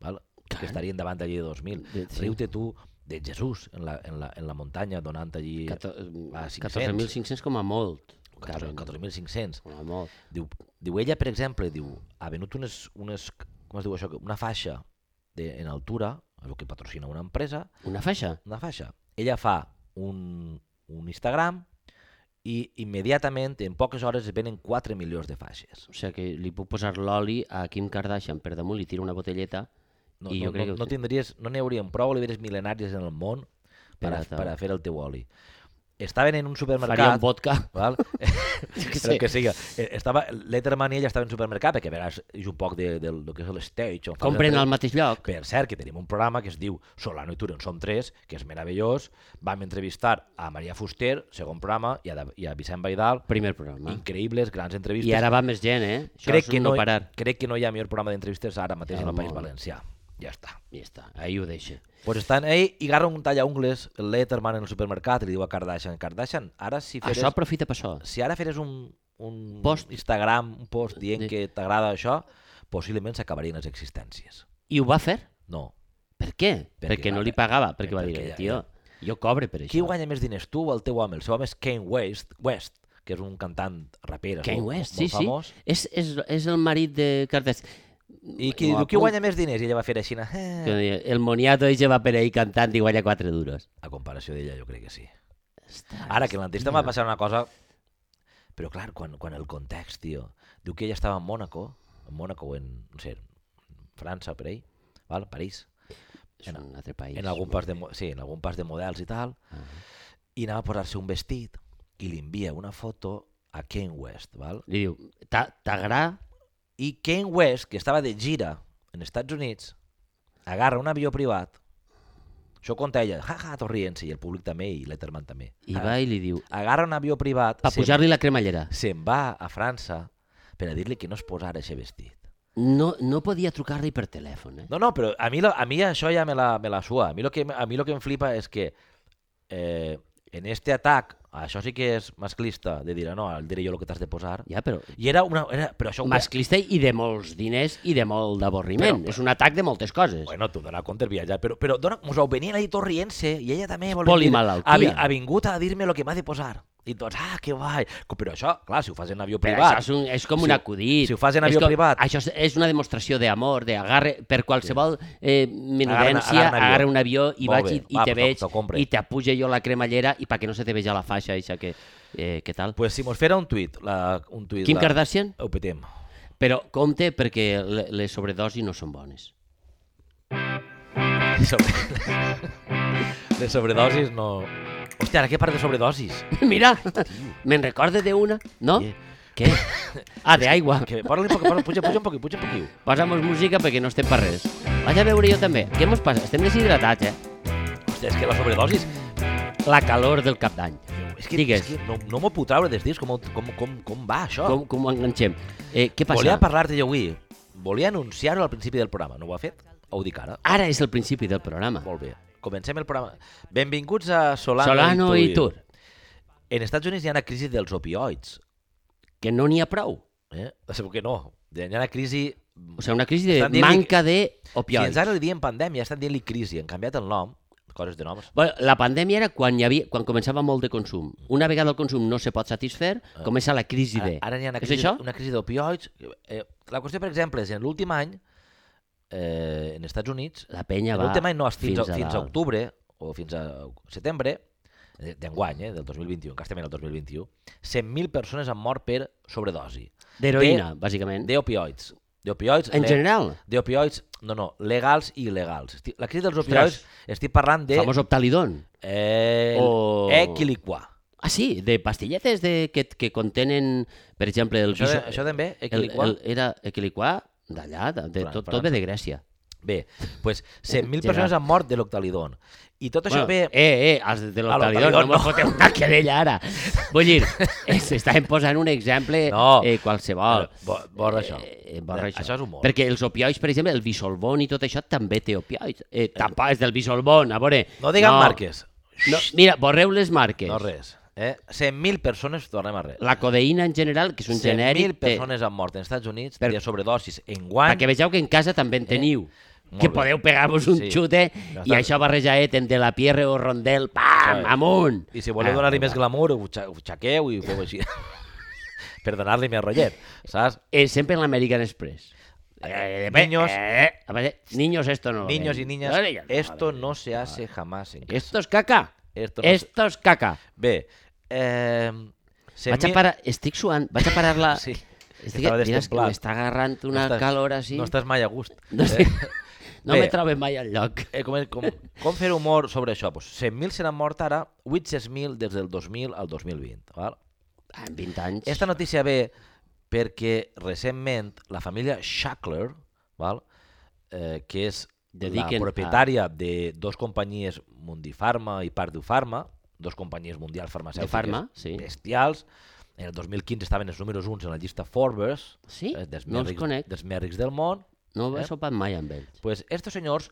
[SPEAKER 1] val? que estarien davant allí de 2.000,
[SPEAKER 2] De- sí.
[SPEAKER 1] riu-te tu de Jesús en la, en la, en la muntanya donant allí a 500,
[SPEAKER 2] 14.500 com a molt.
[SPEAKER 1] 14
[SPEAKER 2] caben.
[SPEAKER 1] 14.500.
[SPEAKER 2] Com a molt.
[SPEAKER 1] Diu, diu ella, per exemple, diu, ha venut unes, unes com es diu això, una faixa de, en altura, a lo que patrocina una empresa,
[SPEAKER 2] Una faixa?
[SPEAKER 1] una faixa. Ella fa un, un Instagram i immediatament, en poques hores, es venen 4 milions de faixes.
[SPEAKER 2] O sigui que li puc posar l'oli a Kim Kardashian per damunt, li tiro una botelleta
[SPEAKER 1] No,
[SPEAKER 2] i jo
[SPEAKER 1] no,
[SPEAKER 2] crec
[SPEAKER 1] no,
[SPEAKER 2] que...
[SPEAKER 1] no tindries, no n'hi haurien prou oliveres mil·lenàries en el món per a,
[SPEAKER 2] Pirata.
[SPEAKER 1] per a fer el teu oli. Estaven en un
[SPEAKER 2] faria un
[SPEAKER 1] supermercat...
[SPEAKER 2] vodka.
[SPEAKER 1] Val?
[SPEAKER 2] què
[SPEAKER 1] el
[SPEAKER 2] sé.
[SPEAKER 1] que siga. Eh, Estava, Letterman i ella estaven en supermercat, perquè a vegades és un poc de, de, del que és l'estage. on fas
[SPEAKER 2] Compren
[SPEAKER 1] el-
[SPEAKER 2] al mateix lloc.
[SPEAKER 1] Per cert, que tenim un programa que es diu Solano i Turen som tres, que és meravellós. Vam entrevistar a Maria Fuster, segon programa, i a, Da- i a Vicent Baidal.
[SPEAKER 2] Primer programa.
[SPEAKER 1] Increïbles, grans entrevistes.
[SPEAKER 2] I Ah. ara va més gent, eh? Això
[SPEAKER 1] crec
[SPEAKER 2] és
[SPEAKER 1] que
[SPEAKER 2] un
[SPEAKER 1] no,
[SPEAKER 2] parar.
[SPEAKER 1] crec que no hi ha millor programa d'entrevistes ara mateix
[SPEAKER 2] Ah,
[SPEAKER 1] en el País
[SPEAKER 2] molt.
[SPEAKER 1] Valencià. Ja està.
[SPEAKER 2] I ja està, ahir ho deixa.
[SPEAKER 1] Pues estan ahí i agarra un tallaungles, el Letterman en el supermercat i li diu a Kardashian, Kardashian, ara si feres,
[SPEAKER 2] Això aprofita per això.
[SPEAKER 1] si ara feres un, un
[SPEAKER 2] Post.
[SPEAKER 1] Instagram, un post dient
[SPEAKER 2] Di-
[SPEAKER 1] que t'agrada això, possiblement s'acabarien les existències.
[SPEAKER 2] I ho va fer?
[SPEAKER 1] No.
[SPEAKER 2] Per què?
[SPEAKER 1] Perquè
[SPEAKER 2] Perquè, no
[SPEAKER 1] va-
[SPEAKER 2] li pagava, perquè va dir,
[SPEAKER 1] perquè ja-
[SPEAKER 2] tio, jo cobre per això.
[SPEAKER 1] Qui guanya més diners, tu o el teu home? El seu home és Kanye West, West que és un cantant raper
[SPEAKER 2] Kanye
[SPEAKER 1] molt,
[SPEAKER 2] West, sí,
[SPEAKER 1] molt famós.
[SPEAKER 2] sí. És, és, és el marit de Kardashian.
[SPEAKER 1] I qui,
[SPEAKER 2] Ho
[SPEAKER 1] diu, qui
[SPEAKER 2] apunto.
[SPEAKER 1] guanya més diners? I ella va fer així, eh,
[SPEAKER 2] Que deia, el moniato ell va per ahir cantant i guanya 4 duros.
[SPEAKER 1] a comparació d'ella, jo crec que sí.
[SPEAKER 2] Ostres,
[SPEAKER 1] Ara, que en l'entrevista
[SPEAKER 2] tio.
[SPEAKER 1] va passar una cosa... Però, clar, quan, quan el context, tio... Diu que ella estava en Mònaco, en Mònaco, o en, no sé, en França, per ahí, val? París,
[SPEAKER 2] És un altre país.
[SPEAKER 1] en algun, pas de, mo- sí, en algun pas de models i tal,
[SPEAKER 2] Ah.
[SPEAKER 1] i anava a posar-se un vestit i li envia una foto a Kanye West, val?
[SPEAKER 2] Li diu, "T'a- t'agrada?
[SPEAKER 1] I Kanye West, que estava de gira en Estats Units, agarra un avió privat, això conta ella, ja, ja, tot rient-se, i el públic també, i Letterman també.
[SPEAKER 2] I va i li diu,
[SPEAKER 1] Agarra un avió privat,
[SPEAKER 2] per
[SPEAKER 1] se'n-
[SPEAKER 2] pujar-li la cremallera.
[SPEAKER 1] se'n va a França per a dir-li que no es posara aquest vestit.
[SPEAKER 2] No, no podia trucar-li per telèfon, eh?
[SPEAKER 1] No, no, però a mi, la- a mi això ja me la, me la sua. A mi, lo que, a mi lo que em flipa és que eh, en este atac, això sí que és masclista, de dir, "Ah, no, el diré jo el que t'has de posar.
[SPEAKER 2] Ja, però
[SPEAKER 1] I era una... Era, però això... ho-
[SPEAKER 2] masclista i de molts diners i de molt
[SPEAKER 1] Però-
[SPEAKER 2] d'avorriment.
[SPEAKER 1] però-
[SPEAKER 2] És un atac de moltes coses.
[SPEAKER 1] Bueno, tu dona compte el viatjar, però, però dona, mos ho venien ahí tot rient-se i ella també vol
[SPEAKER 2] polimalaltia.
[SPEAKER 1] ha, vi- ha vingut a dir-me el que m'ha de posar. I tots, ah, que guai. Però això, clar, si ho fas en avió
[SPEAKER 2] Però
[SPEAKER 1] privat...
[SPEAKER 2] això és, un, és com
[SPEAKER 1] Si-
[SPEAKER 2] un acudit.
[SPEAKER 1] si ho fas en
[SPEAKER 2] És
[SPEAKER 1] avió
[SPEAKER 2] com-
[SPEAKER 1] privat.
[SPEAKER 2] Això és, és una demostració d'amor, d'agarre per qualsevol eh,
[SPEAKER 1] agarra
[SPEAKER 2] menudència,
[SPEAKER 1] un avió.
[SPEAKER 2] agarra un avió i
[SPEAKER 1] Molt
[SPEAKER 2] vaig i,
[SPEAKER 1] bé.
[SPEAKER 2] i
[SPEAKER 1] Va,
[SPEAKER 2] te
[SPEAKER 1] pues
[SPEAKER 2] veig
[SPEAKER 1] te'l compre.
[SPEAKER 2] i t'apuja jo la cremallera i perquè no se te veja la faixa eixa que... Eh, què tal?
[SPEAKER 1] Pues si mos fera un tuit, la, un tuit...
[SPEAKER 2] Kim
[SPEAKER 1] la-
[SPEAKER 2] Kardashian?
[SPEAKER 1] Ho petem.
[SPEAKER 2] Però compte perquè le- les sobredosis no són bones.
[SPEAKER 1] Sobre... Les sobredosis no... Hòstia, ara què part de sobredosis?
[SPEAKER 2] Mira, me'n recorda d'una, no?
[SPEAKER 1] Sí.
[SPEAKER 2] Què? Ah, d'aigua.
[SPEAKER 1] Que parla un poc, parla, puja, puja un poquí, puja un poquí.
[SPEAKER 2] Posa'm música perquè no estem per res. Vaig a veure jo també. Què mos passa? Estem deshidratats, eh?
[SPEAKER 1] Hòstia, és que la sobredosis...
[SPEAKER 2] La calor del cap d'any.
[SPEAKER 1] És que,
[SPEAKER 2] Digues.
[SPEAKER 1] és que no, no m'ho puc traure des dins, com, com, com, com va això?
[SPEAKER 2] Com, com ho enganxem? Eh, què passa?
[SPEAKER 1] Volia parlar-te jo avui. Volia anunciar-ho al principi del programa. No ho ha fet? Ho dic ara.
[SPEAKER 2] Ara és el principi del programa.
[SPEAKER 1] Molt bé. Comencem el programa. Benvinguts a Solano,
[SPEAKER 2] Solano
[SPEAKER 1] i
[SPEAKER 2] i
[SPEAKER 1] Tur.
[SPEAKER 2] Tur,
[SPEAKER 1] En Estats Units hi ha una crisi dels opioids.
[SPEAKER 2] que no n'hi ha prou.
[SPEAKER 1] Eh? Segur que no. Hi ha una crisi...
[SPEAKER 2] O sigui, una crisi de
[SPEAKER 1] Estan dient-li
[SPEAKER 2] manca de
[SPEAKER 1] Fins
[SPEAKER 2] opioids.
[SPEAKER 1] ara li dien pandèmia, estan dient-li crisi. Han canviat el nom, coses de noms.
[SPEAKER 2] Bueno, la pandèmia era quan, hi havia, quan començava molt de consum. Una vegada el consum no se pot satisfer, comença la crisi
[SPEAKER 1] Ara,
[SPEAKER 2] de...
[SPEAKER 1] Ah. ara n'hi ha una
[SPEAKER 2] És
[SPEAKER 1] crisi,
[SPEAKER 2] això?
[SPEAKER 1] una crisi d'opioids. Eh, la qüestió, per exemple, és en l'últim any, eh, en Estats Units,
[SPEAKER 2] La penya
[SPEAKER 1] En
[SPEAKER 2] va
[SPEAKER 1] l'últim any no, és fins,
[SPEAKER 2] fins
[SPEAKER 1] a,
[SPEAKER 2] a
[SPEAKER 1] fins a
[SPEAKER 2] dalt.
[SPEAKER 1] octubre o fins a setembre eh, d'enguany, eh, del 2021, que estem en el 2021, 100.000 persones han mort per sobredosi
[SPEAKER 2] D'heroïna, bàsicament.
[SPEAKER 1] d'opioids. D'opioids...
[SPEAKER 2] En
[SPEAKER 1] le-
[SPEAKER 2] general,
[SPEAKER 1] D'opioids, no, no, legals i il·legals. Esti- La crisi dels opioids, estic parlant de...
[SPEAKER 2] de... famós optalidon.
[SPEAKER 1] Eh,
[SPEAKER 2] O-
[SPEAKER 1] Equiliquà.
[SPEAKER 2] Ah, sí, de pastilletes de, que, que contenen, per exemple, el...
[SPEAKER 1] Això, de,
[SPEAKER 2] biso-
[SPEAKER 1] això també,
[SPEAKER 2] el,
[SPEAKER 1] equiliquà.
[SPEAKER 2] el, era equiliquà d'allà, de, de,
[SPEAKER 1] Fran-
[SPEAKER 2] tot, tot
[SPEAKER 1] França.
[SPEAKER 2] ve de Grècia.
[SPEAKER 1] Bé, pues 100.000
[SPEAKER 2] Gerard.
[SPEAKER 1] persones han mort de l'octalidon. I tot això
[SPEAKER 2] Bueno,
[SPEAKER 1] ve...
[SPEAKER 2] Eh, eh, els de l'Octalidor,
[SPEAKER 1] l'Octalidor
[SPEAKER 2] no, no. foteu una querella ara. Vull dir, eh, s'estàvem posant un exemple
[SPEAKER 1] No.
[SPEAKER 2] eh, qualsevol.
[SPEAKER 1] Bo, borra això.
[SPEAKER 2] Eh, eh, borra això.
[SPEAKER 1] Això és humor.
[SPEAKER 2] Perquè els opioids, per exemple, el bisolbon i tot això també té opioids. Eh, tampoc és del bisolbon, a veure.
[SPEAKER 1] No diguem marques.
[SPEAKER 2] No, mira, borreu les marques.
[SPEAKER 1] No res. Eh? 100.000 persones, tornem a res.
[SPEAKER 2] La codeïna en general, que és un
[SPEAKER 1] 100.000
[SPEAKER 2] genèric, té,
[SPEAKER 1] persones han mort als Estats Units per...
[SPEAKER 2] Per-
[SPEAKER 1] de sobredosis en guany.
[SPEAKER 2] perquè vegeu que en casa també en teniu.
[SPEAKER 1] Eh, Molt
[SPEAKER 2] Que
[SPEAKER 1] bé.
[SPEAKER 2] podeu pegar-vos un
[SPEAKER 1] Sí.
[SPEAKER 2] xute i
[SPEAKER 1] està.
[SPEAKER 2] això barrejaet amb de la Pierre o Rondel, pam,
[SPEAKER 1] Això és.
[SPEAKER 2] amunt.
[SPEAKER 1] I si voleu
[SPEAKER 2] Ah,
[SPEAKER 1] donar-li
[SPEAKER 2] vinga.
[SPEAKER 1] més glamour, ho, xa- ho xaqueu i ho feu així. per donar-li més rotllet, saps?
[SPEAKER 2] Eh, sempre en l'American Express.
[SPEAKER 1] Eh,
[SPEAKER 2] Eh,
[SPEAKER 1] niños-
[SPEAKER 2] eh, a veure, niños, esto no. lo
[SPEAKER 1] Niños y
[SPEAKER 2] ven.
[SPEAKER 1] niñas,
[SPEAKER 2] Ahora ya no, a
[SPEAKER 1] esto
[SPEAKER 2] ver.
[SPEAKER 1] no se hace jamás en casa.
[SPEAKER 2] Esto es caca.
[SPEAKER 1] Esto no se-
[SPEAKER 2] Esto es caca.
[SPEAKER 1] Bé, eh, 100.000
[SPEAKER 2] Vaig a parar... Estic suant. Vaig a parar la...
[SPEAKER 1] Sí,
[SPEAKER 2] Estic...
[SPEAKER 1] estava
[SPEAKER 2] Mira, és que
[SPEAKER 1] destemplat.
[SPEAKER 2] m'està agarrant una
[SPEAKER 1] estàs-
[SPEAKER 2] calor així.
[SPEAKER 1] No
[SPEAKER 2] No,
[SPEAKER 1] estàs mai a gust.
[SPEAKER 2] no, sé. no
[SPEAKER 1] Bé.
[SPEAKER 2] me trobo mai al lloc.
[SPEAKER 1] Eh, com, com, com fer humor sobre això? Doncs Pues 100.000 se n'han mort ara, 800.000 des del 2000 al 2020. Val?
[SPEAKER 2] Ah, En 20 anys.
[SPEAKER 1] Esta notícia ve perquè recentment la família Shackler, val? Eh, que és
[SPEAKER 2] Dediquen
[SPEAKER 1] la propietària de dos companyies Mundifarma i Pardufarma, dos companyies mundials farmacèutiques
[SPEAKER 2] farma, sí.
[SPEAKER 1] bestials, en el 2015 estaven els números 1 en la llista Forbes,
[SPEAKER 2] Sí?
[SPEAKER 1] eh, dels,
[SPEAKER 2] No
[SPEAKER 1] més
[SPEAKER 2] els
[SPEAKER 1] rics,
[SPEAKER 2] conec.
[SPEAKER 1] dels més rics del món,
[SPEAKER 2] No he sopat mai amb ells.
[SPEAKER 1] Pues estos senyors,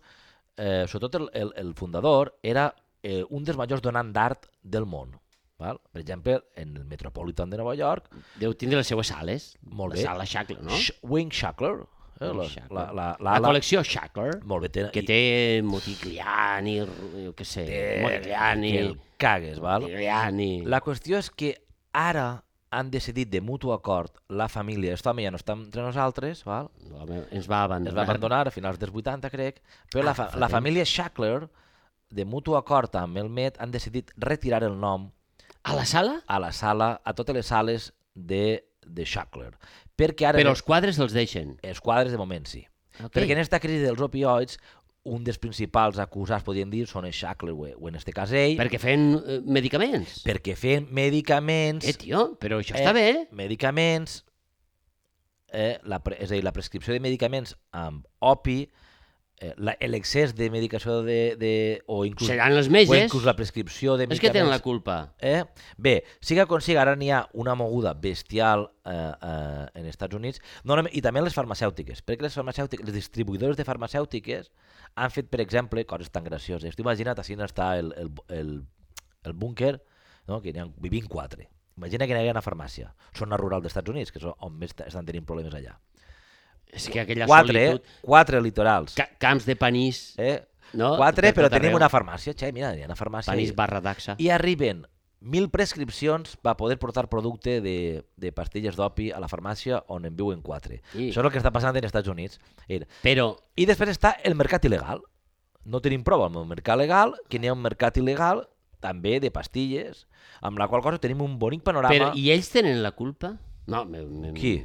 [SPEAKER 1] eh, sobretot el, el, el fundador, era eh, un dels majors donant d'art del món. Val? Per exemple, en el Metropolitan de Nova York,
[SPEAKER 2] Deu tindre les seues sales.
[SPEAKER 1] Molt
[SPEAKER 2] la
[SPEAKER 1] bé.
[SPEAKER 2] Sala Shackler, no?
[SPEAKER 1] Sh Wayne Shackler, eh, la,
[SPEAKER 2] Shackler.
[SPEAKER 1] la, la,
[SPEAKER 2] La,
[SPEAKER 1] la, la,
[SPEAKER 2] col·lecció Shackler,
[SPEAKER 1] molt bé, té,
[SPEAKER 2] que
[SPEAKER 1] i-
[SPEAKER 2] té Modigliani, jo què sé,
[SPEAKER 1] té-
[SPEAKER 2] Modigliani,
[SPEAKER 1] que el cagues, val?
[SPEAKER 2] Modigliani...
[SPEAKER 1] La qüestió és que ara han decidit de mutu acord la família, aquest home ja no està entre nosaltres, val?
[SPEAKER 2] L'home ens va abandonar.
[SPEAKER 1] es va abandonar a finals dels 80, crec, però la, fa
[SPEAKER 2] fa
[SPEAKER 1] la
[SPEAKER 2] temps.
[SPEAKER 1] família Shackler, de mutu acord amb el Met, han decidit retirar el nom
[SPEAKER 2] A la sala?
[SPEAKER 1] a la sala, a totes les sales de, de Shackler. Perquè ara...
[SPEAKER 2] Però els quadres els deixen.
[SPEAKER 1] els quadres de moment sí.
[SPEAKER 2] Okay.
[SPEAKER 1] Perquè en aquesta crisi dels opioids, un dels principals acusats, podríem dir, són els Shackler, o, o en este cas ell,
[SPEAKER 2] Perquè feien eh, medicaments.
[SPEAKER 1] perquè feien medicaments...
[SPEAKER 2] Eh, tio, però això està bé.
[SPEAKER 1] Medicaments, eh, la, pre- és a dir, la prescripció de medicaments amb opi, eh, la- l'excés de medicació de, de, o inclús,
[SPEAKER 2] Seran els
[SPEAKER 1] o
[SPEAKER 2] metges.
[SPEAKER 1] inclús la prescripció de
[SPEAKER 2] És
[SPEAKER 1] medicaments...
[SPEAKER 2] que tenen la culpa.
[SPEAKER 1] Eh? Bé, siga com siga, ara n'hi ha una moguda bestial eh, eh, en Estats Units, no, només- i també en les farmacèutiques, perquè les farmacèutiques, les distribuïdores de farmacèutiques han fet, per exemple, coses tan gracioses. T'ho imagina't, així està el, el, el, el búnquer, no? que n'hi ha vivint quatre. Imagina que n'hi ha una farmàcia, zona rural dels Estats Units, que és on més t- estan tenint problemes allà.
[SPEAKER 2] És que aquella
[SPEAKER 1] Quatre,
[SPEAKER 2] solitud...
[SPEAKER 1] eh? Quatre litorals.
[SPEAKER 2] Ca camps de panís.
[SPEAKER 1] Eh?
[SPEAKER 2] No?
[SPEAKER 1] Quatre,
[SPEAKER 2] Per
[SPEAKER 1] però
[SPEAKER 2] tot
[SPEAKER 1] tenim
[SPEAKER 2] arreu.
[SPEAKER 1] una farmàcia. Xe, mira, hi ha una farmàcia.
[SPEAKER 2] Panís
[SPEAKER 1] i-
[SPEAKER 2] barra d'axa.
[SPEAKER 1] i arriben mil prescripcions per poder portar producte de, de pastilles d'opi a la farmàcia on en viuen quatre. I...
[SPEAKER 2] I-
[SPEAKER 1] Això és el que està passant en Estats Units. Era.
[SPEAKER 2] Però
[SPEAKER 1] I després està el mercat il·legal. No tenim prova amb el mercat legal, que n'hi ha un mercat il·legal també de pastilles, amb la qual cosa tenim un bonic panorama.
[SPEAKER 2] Però,
[SPEAKER 1] Però,
[SPEAKER 2] I ells tenen la culpa? No, me, me,
[SPEAKER 1] Qui?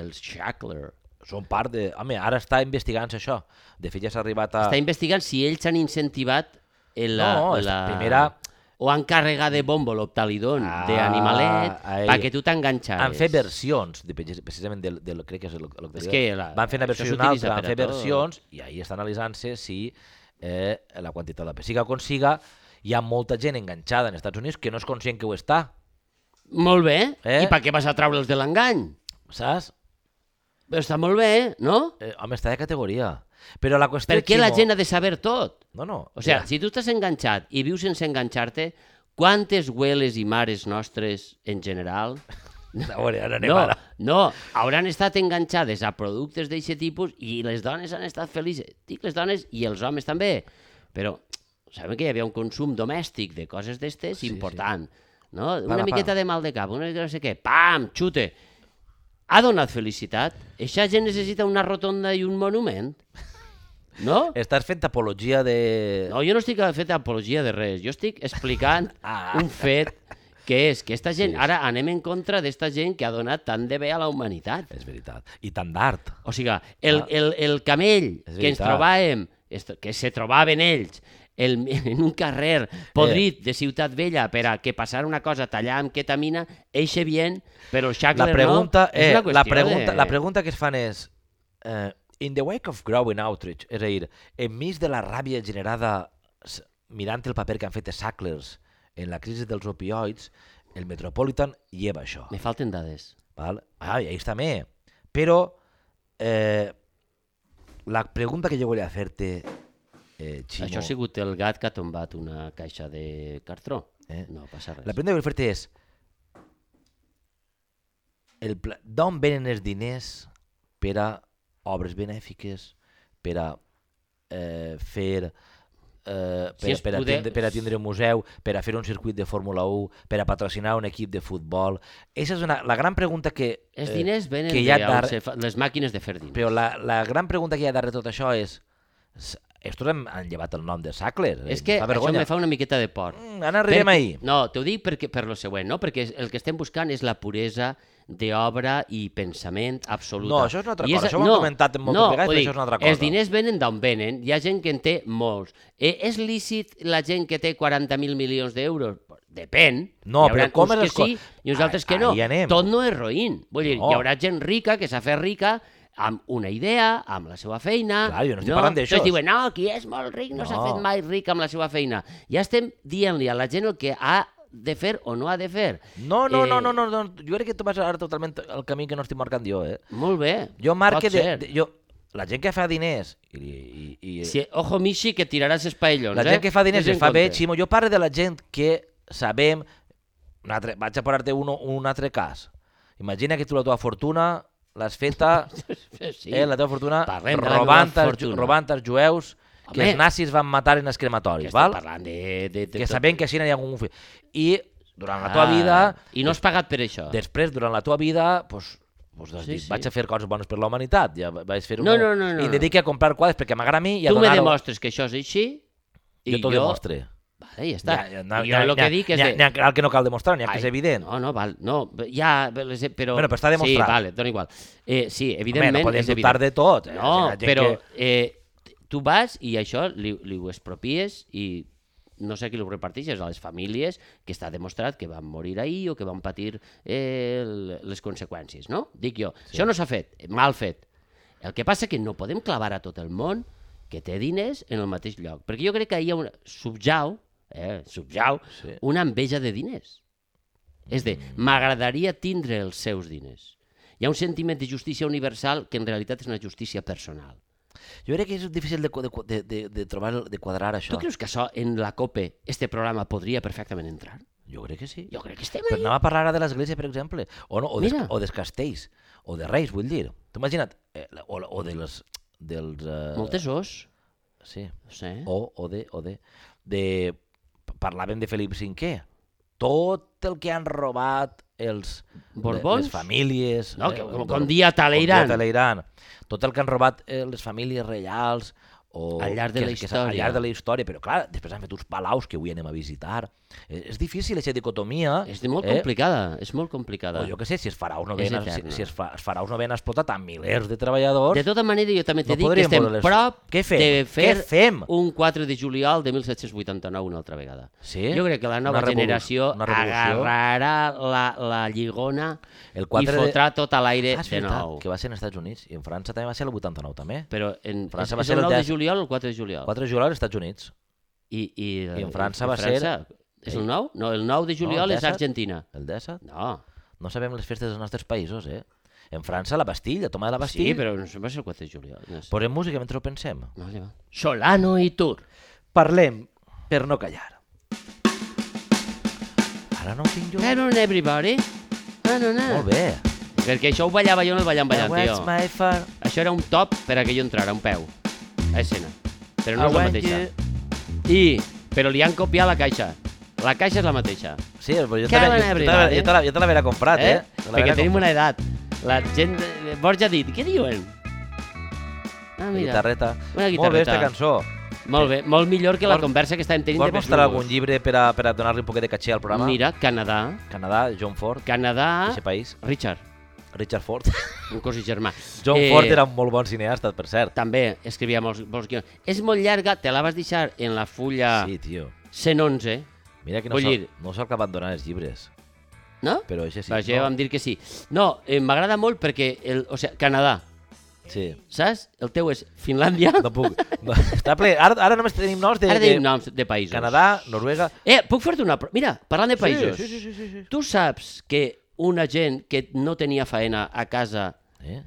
[SPEAKER 2] Els Shackler.
[SPEAKER 1] Són part de... Home, ara està investigant-se això. De fet, ja s'ha arribat a...
[SPEAKER 2] Està investigant si ells han incentivat el- la...
[SPEAKER 1] Ah. No, és
[SPEAKER 2] la...
[SPEAKER 1] la primera-
[SPEAKER 2] O han carregat de bombo l'optalidon
[SPEAKER 1] Ah,
[SPEAKER 2] ah, d'animalet
[SPEAKER 1] ai.
[SPEAKER 2] perquè tu t'enganxaves.
[SPEAKER 1] Han fet versions, de, precisament, del, del, crec que és el, el
[SPEAKER 2] Ah, És que la-
[SPEAKER 1] van fer una
[SPEAKER 2] això
[SPEAKER 1] versió i una
[SPEAKER 2] s'utilitza
[SPEAKER 1] altra, van
[SPEAKER 2] per a
[SPEAKER 1] fer
[SPEAKER 2] tot.
[SPEAKER 1] versions, i ahir està analitzant-se si eh, la quantitat de siga com siga, hi ha molta gent enganxada en Estats Units que no és conscient que ho està,
[SPEAKER 2] Molt bé.
[SPEAKER 1] Eh?
[SPEAKER 2] Eh? I per què vas a treure'ls de l'engany?
[SPEAKER 1] saps?
[SPEAKER 2] Però està molt bé, no?
[SPEAKER 1] Eh, home, està de categoria. Però la qüestió...
[SPEAKER 2] Per què la
[SPEAKER 1] Ximo,
[SPEAKER 2] gent ha de saber tot?
[SPEAKER 1] No, no.
[SPEAKER 2] O sigui,
[SPEAKER 1] mira,
[SPEAKER 2] si tu estàs enganxat i vius sense enganxar-te, quantes güeles i mares nostres, en general,
[SPEAKER 1] a veure, ara anem
[SPEAKER 2] No,
[SPEAKER 1] ara.
[SPEAKER 2] no, hauran estat enganxades a productes d'aquest tipus i les dones han estat felices. Dic les dones i els homes també. Però sabem que hi havia un consum domèstic de coses d'estes
[SPEAKER 1] Sí, sí.
[SPEAKER 2] important. No?
[SPEAKER 1] Pam,
[SPEAKER 2] una
[SPEAKER 1] pam.
[SPEAKER 2] miqueta de mal de cap, una miqueta de no sé què, pam, xute. Ha donat felicitat. Eixa gent necessita una rotonda i un monument. No?
[SPEAKER 1] Estàs fent apologia de...
[SPEAKER 2] No, jo no estic fent apologia de res. Jo estic explicant ah.
[SPEAKER 1] Ah.
[SPEAKER 2] un fet que és que esta gent, ara anem en contra d'esta gent que ha donat tant de bé a la humanitat.
[SPEAKER 1] És veritat. I tant d'art.
[SPEAKER 2] O sigui, el, el, el camell
[SPEAKER 1] Ah. És
[SPEAKER 2] que ens
[SPEAKER 1] veritat.
[SPEAKER 2] trobàvem, est- que se trobaven ells, el, en un carrer
[SPEAKER 1] Eh.
[SPEAKER 2] podrit de Ciutat Vella per a que passar una cosa tallar amb ketamina, eixe bien, però el Shackler
[SPEAKER 1] La pregunta,
[SPEAKER 2] Ah, no.
[SPEAKER 1] eh,
[SPEAKER 2] una
[SPEAKER 1] la,
[SPEAKER 2] qüestió
[SPEAKER 1] pregunta,
[SPEAKER 2] de-
[SPEAKER 1] la pregunta que es fan és... Eh, in the wake of growing outrage, és a dir, enmig de la ràbia generada s- mirant el paper que han fet els Sacklers en la crisi dels opioids, el Metropolitan lleva això.
[SPEAKER 2] Me falten dades.
[SPEAKER 1] Val? Ah, i ahí està bé. Però eh, la pregunta que jo volia fer-te, eh, Ximo...
[SPEAKER 2] Això ha sigut el gat que ha tombat una caixa de cartró.
[SPEAKER 1] Eh?
[SPEAKER 2] No passa res.
[SPEAKER 1] La pregunta que vull fer-te és el pla... d'on venen els diners per a obres benèfiques, per a eh, fer eh,
[SPEAKER 2] Si
[SPEAKER 1] per,
[SPEAKER 2] es
[SPEAKER 1] per, a
[SPEAKER 2] poder-
[SPEAKER 1] tindre, per a tindre un museu, per a fer un circuit de Fórmula 1, per a patrocinar un equip de futbol. Eixa és una, la gran pregunta que...
[SPEAKER 2] Els diners venen
[SPEAKER 1] Eh, que
[SPEAKER 2] de
[SPEAKER 1] hi ha
[SPEAKER 2] on
[SPEAKER 1] dar-
[SPEAKER 2] se fa, les màquines de fer diners.
[SPEAKER 1] Però la, la gran pregunta que hi ha darrere tot això és... s- Estos han, han llevat el nom de Sackler.
[SPEAKER 2] És que
[SPEAKER 1] eh, fa
[SPEAKER 2] això
[SPEAKER 1] vergonya.
[SPEAKER 2] me fa una miqueta de por.
[SPEAKER 1] Mm, Ara arribem
[SPEAKER 2] Perquè-
[SPEAKER 1] ahir.
[SPEAKER 2] No, t'ho dic perquè, per lo següent, no? perquè és- el que estem buscant és la puresa d'obra i pensament absoluta.
[SPEAKER 1] No, això és una altra
[SPEAKER 2] I
[SPEAKER 1] cosa, això ho hem comentat moltes
[SPEAKER 2] no,
[SPEAKER 1] vegades, però
[SPEAKER 2] ho dic,
[SPEAKER 1] això és una altra cosa.
[SPEAKER 2] Els diners venen d'on venen, hi ha gent que en té molts. Eh, és lícit la gent que té 40.000 milions d'euros? Depèn.
[SPEAKER 1] No,
[SPEAKER 2] Hi haurà
[SPEAKER 1] però com és
[SPEAKER 2] uns que
[SPEAKER 1] les co-
[SPEAKER 2] sí i uns altres que
[SPEAKER 1] Ah,
[SPEAKER 2] no.
[SPEAKER 1] ahí anem.
[SPEAKER 2] Tot no és roïn. Vull dir,
[SPEAKER 1] No.
[SPEAKER 2] hi haurà gent rica que s'ha fet rica amb una idea, amb la seva feina...
[SPEAKER 1] Clar, jo no estic parlant d'això.
[SPEAKER 2] Entonces diuen, no, qui és molt ric no, no. s'ha
[SPEAKER 1] No.
[SPEAKER 2] fet mai ric amb la seva feina. Ja estem dient-li a la gent el que ha de fer o no ha de fer.
[SPEAKER 1] No, no, no,
[SPEAKER 2] Eh,
[SPEAKER 1] no, no, no, jo crec que tu vas ara totalment el camí que no estic marcant jo, eh?
[SPEAKER 2] Molt bé.
[SPEAKER 1] Jo marque
[SPEAKER 2] pot
[SPEAKER 1] de,
[SPEAKER 2] ser.
[SPEAKER 1] de, jo, la gent que fa diners i, i, i,
[SPEAKER 2] Si, ojo, Michi, que tiraràs els paellons,
[SPEAKER 1] la
[SPEAKER 2] eh?
[SPEAKER 1] gent que fa diners
[SPEAKER 2] Vés
[SPEAKER 1] i
[SPEAKER 2] en
[SPEAKER 1] fa bé,
[SPEAKER 2] compte.
[SPEAKER 1] Ximo, jo parlo de la gent que sabem... Un altre, vaig a parar-te un, un altre cas. Imagina que tu la teva fortuna l'has feta,
[SPEAKER 2] Sí.
[SPEAKER 1] sí. eh, la teva fortuna,
[SPEAKER 2] Parlem de la meva
[SPEAKER 1] robant, els, ju-
[SPEAKER 2] fortuna.
[SPEAKER 1] robant els jueus que
[SPEAKER 2] Home.
[SPEAKER 1] els nazis van matar en els
[SPEAKER 2] Que
[SPEAKER 1] crematoris,
[SPEAKER 2] estem
[SPEAKER 1] val?
[SPEAKER 2] parlant de... de, de
[SPEAKER 1] que
[SPEAKER 2] tot. eh.
[SPEAKER 1] sabem que així n'hi ha algun fill. I durant la
[SPEAKER 2] Ah,
[SPEAKER 1] teva vida
[SPEAKER 2] I no has pagat per això.
[SPEAKER 1] Després, durant la teva vida, doncs, doncs has
[SPEAKER 2] Sí,
[SPEAKER 1] dit,
[SPEAKER 2] sí.
[SPEAKER 1] vaig a fer coses bones per la humanitat. Ja va- vaig fer
[SPEAKER 2] No, no, no, no,
[SPEAKER 1] I
[SPEAKER 2] no.
[SPEAKER 1] dediqui a comprar quadres perquè m'agrada a mi i a
[SPEAKER 2] tu me
[SPEAKER 1] donar-ho.
[SPEAKER 2] demostres que això és així i
[SPEAKER 1] Jo t'ho demostre.
[SPEAKER 2] Vale, ja està.
[SPEAKER 1] Ja, ja,
[SPEAKER 2] I jo el que dic és...
[SPEAKER 1] N'hi ha,
[SPEAKER 2] de-
[SPEAKER 1] n'hi ha el que no cal demostrar, n'hi ha que
[SPEAKER 2] Ai,
[SPEAKER 1] és evident.
[SPEAKER 2] No, no, val, no, ja, les- però...
[SPEAKER 1] Bueno, però està demostrat.
[SPEAKER 2] Sí, vale, dona igual. Eh, sí,
[SPEAKER 1] Home,
[SPEAKER 2] evidentment
[SPEAKER 1] no podem
[SPEAKER 2] és
[SPEAKER 1] dubtar
[SPEAKER 2] evident.
[SPEAKER 1] de tot. eh?
[SPEAKER 2] No,
[SPEAKER 1] O sigui, la gent
[SPEAKER 2] però
[SPEAKER 1] Que...
[SPEAKER 2] eh, tu vas i això li, li ho expropies i no sé a qui ho reparteixes, a les famílies que està demostrat que van morir ahir o que van patir eh, l- les conseqüències, no? Dic jo, sí. això no s'ha fet, mal fet. El que passa que no podem clavar a tot el món que té diners en el mateix lloc, perquè jo crec que hi ha una... subjau, eh, subjau,
[SPEAKER 1] Sí.
[SPEAKER 2] una enveja de diners. És de, m'agradaria tindre els seus diners. Hi ha un sentiment de justícia universal que en realitat és una justícia personal.
[SPEAKER 1] Jo crec que és difícil de, de, de, de, de trobar, el- de quadrar això.
[SPEAKER 2] Tu creus que això en la COPE, este programa, podria perfectament entrar?
[SPEAKER 1] Jo crec que sí.
[SPEAKER 2] Jo crec que estem
[SPEAKER 1] Però
[SPEAKER 2] ahí.
[SPEAKER 1] anem a parlar ara de l'Església, per exemple, o, no, o, dels,
[SPEAKER 2] Mira.
[SPEAKER 1] o dels castells, o de reis, vull dir. T'ho imagina't, eh, o, o de les, dels... Eh,
[SPEAKER 2] Moltes os.
[SPEAKER 1] Sí.
[SPEAKER 2] No sé.
[SPEAKER 1] o, o de, o de, de... Parlàvem de Felip V. Tot el que han robat els... eh,
[SPEAKER 2] Borbons?
[SPEAKER 1] Les famílies... eh,
[SPEAKER 2] No, que- com-
[SPEAKER 1] el-
[SPEAKER 2] com dia Talleyrand.
[SPEAKER 1] com dia Talleyrand. Tot el que han robat eh, les famílies reials o
[SPEAKER 2] Al llarg de
[SPEAKER 1] que-
[SPEAKER 2] la
[SPEAKER 1] que s'ha- al
[SPEAKER 2] història.
[SPEAKER 1] llarg de la història, però clar, després han fet uns palaus que avui anem a visitar. Eh, És, és difícil, aquesta dicotomia.
[SPEAKER 2] És de- molt
[SPEAKER 1] eh?
[SPEAKER 2] complicada, és molt complicada.
[SPEAKER 1] O jo què sé, si els faraós no
[SPEAKER 2] És
[SPEAKER 1] ven, si,
[SPEAKER 2] eterna.
[SPEAKER 1] si els, fa, els faraós no ven explotat a milers de treballadors...
[SPEAKER 2] De tota manera, jo també t'he
[SPEAKER 1] No
[SPEAKER 2] dit que
[SPEAKER 1] podríem
[SPEAKER 2] estem
[SPEAKER 1] voler-les-
[SPEAKER 2] prop
[SPEAKER 1] Què fem?
[SPEAKER 2] de
[SPEAKER 1] Què
[SPEAKER 2] fer
[SPEAKER 1] fem?
[SPEAKER 2] un 4 de juliol de 1789 una altra vegada.
[SPEAKER 1] Sí?
[SPEAKER 2] Jo crec que la nova
[SPEAKER 1] Una revolu-
[SPEAKER 2] generació
[SPEAKER 1] una revolució.
[SPEAKER 2] agarrarà la, la lligona
[SPEAKER 1] El
[SPEAKER 2] el
[SPEAKER 1] 4
[SPEAKER 2] i
[SPEAKER 1] de-
[SPEAKER 2] fotrà tot a l'aire
[SPEAKER 1] Ah, és
[SPEAKER 2] de
[SPEAKER 1] veritat,
[SPEAKER 2] nou.
[SPEAKER 1] que va ser als Estats Units. I en França també va ser el 89, també.
[SPEAKER 2] Però en, és,
[SPEAKER 1] França va
[SPEAKER 2] és
[SPEAKER 1] ser
[SPEAKER 2] el
[SPEAKER 1] el
[SPEAKER 2] 9 de
[SPEAKER 1] deu-
[SPEAKER 2] juliol o el 4 de juliol?
[SPEAKER 1] 4 de juliol als Estats Units.
[SPEAKER 2] I, i,
[SPEAKER 1] I en França va
[SPEAKER 2] És el 9? No, el 9
[SPEAKER 1] No,
[SPEAKER 2] de
[SPEAKER 1] el
[SPEAKER 2] juliol és
[SPEAKER 1] 17.
[SPEAKER 2] Argentina.
[SPEAKER 1] El 17.
[SPEAKER 2] No,
[SPEAKER 1] No sabem les festes dels nostres països, eh? En França, la Bastilla, toma de la Bastilla.
[SPEAKER 2] sí, però no sé, va ser el 4 de juliol. No sé.
[SPEAKER 1] Posem música mentre ho pensem.
[SPEAKER 2] No, ja va. Solano i Tur.
[SPEAKER 1] Parlem per no callar. Ara no ho tinc jo.
[SPEAKER 2] Hello everybody. No, no, no.
[SPEAKER 1] Molt bé.
[SPEAKER 2] Perquè això ho ballava jo en el ballant ballant,
[SPEAKER 1] What's
[SPEAKER 2] tio.
[SPEAKER 1] my far...
[SPEAKER 2] Això era un top per a que jo entrara, un peu, a escena. Però
[SPEAKER 1] I
[SPEAKER 2] no és la
[SPEAKER 1] want
[SPEAKER 2] mateixa.
[SPEAKER 1] you-
[SPEAKER 2] I, però li han copiat la caixa. La caixa és la mateixa.
[SPEAKER 1] Sí, però jo te
[SPEAKER 2] Carmen
[SPEAKER 1] la- jo te la-
[SPEAKER 2] Everybody.
[SPEAKER 1] jo te la- jo te l'havia comprat, eh? Te l'havia
[SPEAKER 2] Perquè tenim
[SPEAKER 1] comprat.
[SPEAKER 2] una edat. La gent... de- Borja ha dit, què diuen? Ah,
[SPEAKER 1] Una
[SPEAKER 2] mira.
[SPEAKER 1] guitarreta.
[SPEAKER 2] Una
[SPEAKER 1] Molt bé,
[SPEAKER 2] guitarreta.
[SPEAKER 1] esta cançó.
[SPEAKER 2] Molt bé, molt millor que la
[SPEAKER 1] Vols-
[SPEAKER 2] conversa que estàvem tenint
[SPEAKER 1] Vols
[SPEAKER 2] de
[SPEAKER 1] mostrar
[SPEAKER 2] Besnubos.
[SPEAKER 1] algun llibre per a, per a donar-li un poquet de caché al programa?
[SPEAKER 2] Mira, Canadà.
[SPEAKER 1] Canadà, John Ford,
[SPEAKER 2] Canadà...
[SPEAKER 1] aquest país.
[SPEAKER 2] Richard,
[SPEAKER 1] Richard Ford.
[SPEAKER 2] un cos i germà.
[SPEAKER 1] John eh... Ford era un molt bon cineasta, per cert.
[SPEAKER 2] També escrivia molts, molts guions. És molt llarga, te la vas deixar en la fulla
[SPEAKER 1] Sí, tio.
[SPEAKER 2] 111,
[SPEAKER 1] Mira que no
[SPEAKER 2] Ah. Vull
[SPEAKER 1] sóc
[SPEAKER 2] dir-
[SPEAKER 1] no sóc abandonar els llibres,
[SPEAKER 2] no?
[SPEAKER 1] però això sí.
[SPEAKER 2] Però això ja
[SPEAKER 1] no.
[SPEAKER 2] vam dir que sí. No, eh, m'agrada molt perquè, el, o sigui, Canadà,
[SPEAKER 1] Sí.
[SPEAKER 2] saps? El teu és Finlàndia.
[SPEAKER 1] No puc. No, està ple. Ara, ara només tenim noms de,
[SPEAKER 2] Ara
[SPEAKER 1] de
[SPEAKER 2] tenim noms de països.
[SPEAKER 1] Canadà, Noruega...
[SPEAKER 2] Eh, puc fer-te una... pro- Mira, parlant de països.
[SPEAKER 1] Sí, sí, sí. sí, sí.
[SPEAKER 2] Tu saps que una gent que no tenia faena a casa
[SPEAKER 1] Eh?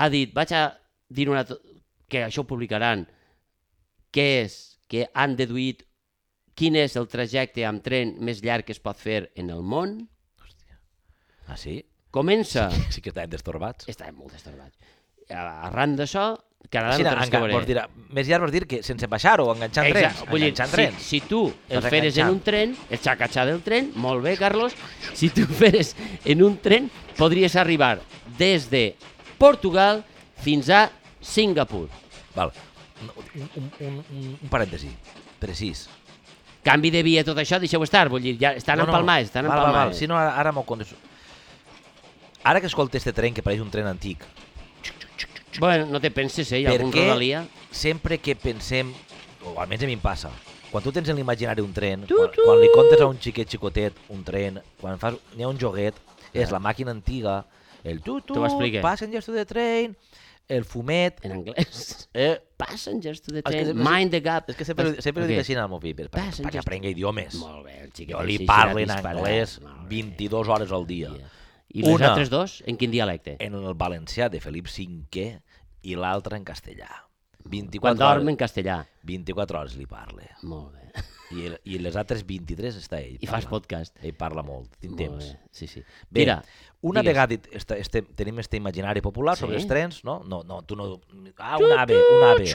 [SPEAKER 2] ha dit, vaig a dir una... to- que això ho publicaran, que és que han deduït quin és el trajecte amb tren més llarg que es pot fer en el món.
[SPEAKER 1] Ah, sí?
[SPEAKER 2] Comença...
[SPEAKER 1] Sí que estàvem destorbats.
[SPEAKER 2] Estàvem molt disturbats. Arran d'això, Canadà
[SPEAKER 1] Sí,
[SPEAKER 2] no té res
[SPEAKER 1] enga,
[SPEAKER 2] que
[SPEAKER 1] vols
[SPEAKER 2] veure.
[SPEAKER 1] dir, més llarg vols dir que sense baixar o enganxant trens.
[SPEAKER 2] vull dir,
[SPEAKER 1] enganxant
[SPEAKER 2] si,
[SPEAKER 1] trens.
[SPEAKER 2] si tu el
[SPEAKER 1] Vas
[SPEAKER 2] feres en
[SPEAKER 1] enganxant.
[SPEAKER 2] un tren, el xacatxà del tren, molt bé, Carlos, si tu feres en un tren, podries arribar des de Portugal fins a Singapur.
[SPEAKER 1] Val. Un, un, un, un, un parèntesi. Precís.
[SPEAKER 2] Canvi de via, tot això, deixeu estar, vull dir, ja estan empalmats, estan
[SPEAKER 1] val, val, val.
[SPEAKER 2] empalmats.
[SPEAKER 1] Si no, ara, ara m'ho contes. Ara que escolta este tren, que pareix un tren antic,
[SPEAKER 2] Bueno, no te penses, eh, hi ha
[SPEAKER 1] per
[SPEAKER 2] algun
[SPEAKER 1] què
[SPEAKER 2] rodalia.
[SPEAKER 1] sempre que pensem, o almenys a mi em passa, quan tu tens en l'imaginari un tren,
[SPEAKER 2] Tu,
[SPEAKER 1] quan,
[SPEAKER 2] tu.
[SPEAKER 1] quan li contes a un xiquet xicotet un tren, quan fas, n'hi ha un joguet, és la màquina antiga, el tu-tu,
[SPEAKER 2] T'ho explique.
[SPEAKER 1] passenger to the train, el fumet...
[SPEAKER 2] En anglès.
[SPEAKER 1] Eh,
[SPEAKER 2] Passengers to the
[SPEAKER 1] que
[SPEAKER 2] train,
[SPEAKER 1] sempre-
[SPEAKER 2] mind the gap.
[SPEAKER 1] és que sempre, sempre okay.
[SPEAKER 2] Ok.
[SPEAKER 1] dic així al meu fill, per, per,
[SPEAKER 2] Passenger-
[SPEAKER 1] perquè aprengui idiomes.
[SPEAKER 2] Molt bé, el xiquet.
[SPEAKER 1] Jo li
[SPEAKER 2] així serà
[SPEAKER 1] parlo en
[SPEAKER 2] disparat.
[SPEAKER 1] anglès
[SPEAKER 2] Molt bé.
[SPEAKER 1] 22 hores al dia.
[SPEAKER 2] I les
[SPEAKER 1] Una. Eh,
[SPEAKER 2] altres dos, en quin dialecte?
[SPEAKER 1] En el valencià de Felip V i l'altre en castellà. 24
[SPEAKER 2] Quan dorm
[SPEAKER 1] hores,
[SPEAKER 2] en castellà.
[SPEAKER 1] 24 hores li parle.
[SPEAKER 2] Molt bé.
[SPEAKER 1] I, el- I les altres 23 està ell.
[SPEAKER 2] I fas
[SPEAKER 1] parlant.
[SPEAKER 2] podcast.
[SPEAKER 1] Ell parla molt, tinc
[SPEAKER 2] Molt
[SPEAKER 1] temps.
[SPEAKER 2] bé. Sí, sí.
[SPEAKER 1] Bé,
[SPEAKER 2] Mira,
[SPEAKER 1] una
[SPEAKER 2] digues.
[SPEAKER 1] vegada este, este, tenim este imaginari popular
[SPEAKER 2] Sí.
[SPEAKER 1] sobre els trens, no? No, no, tu no... Ah, un ave, un ave.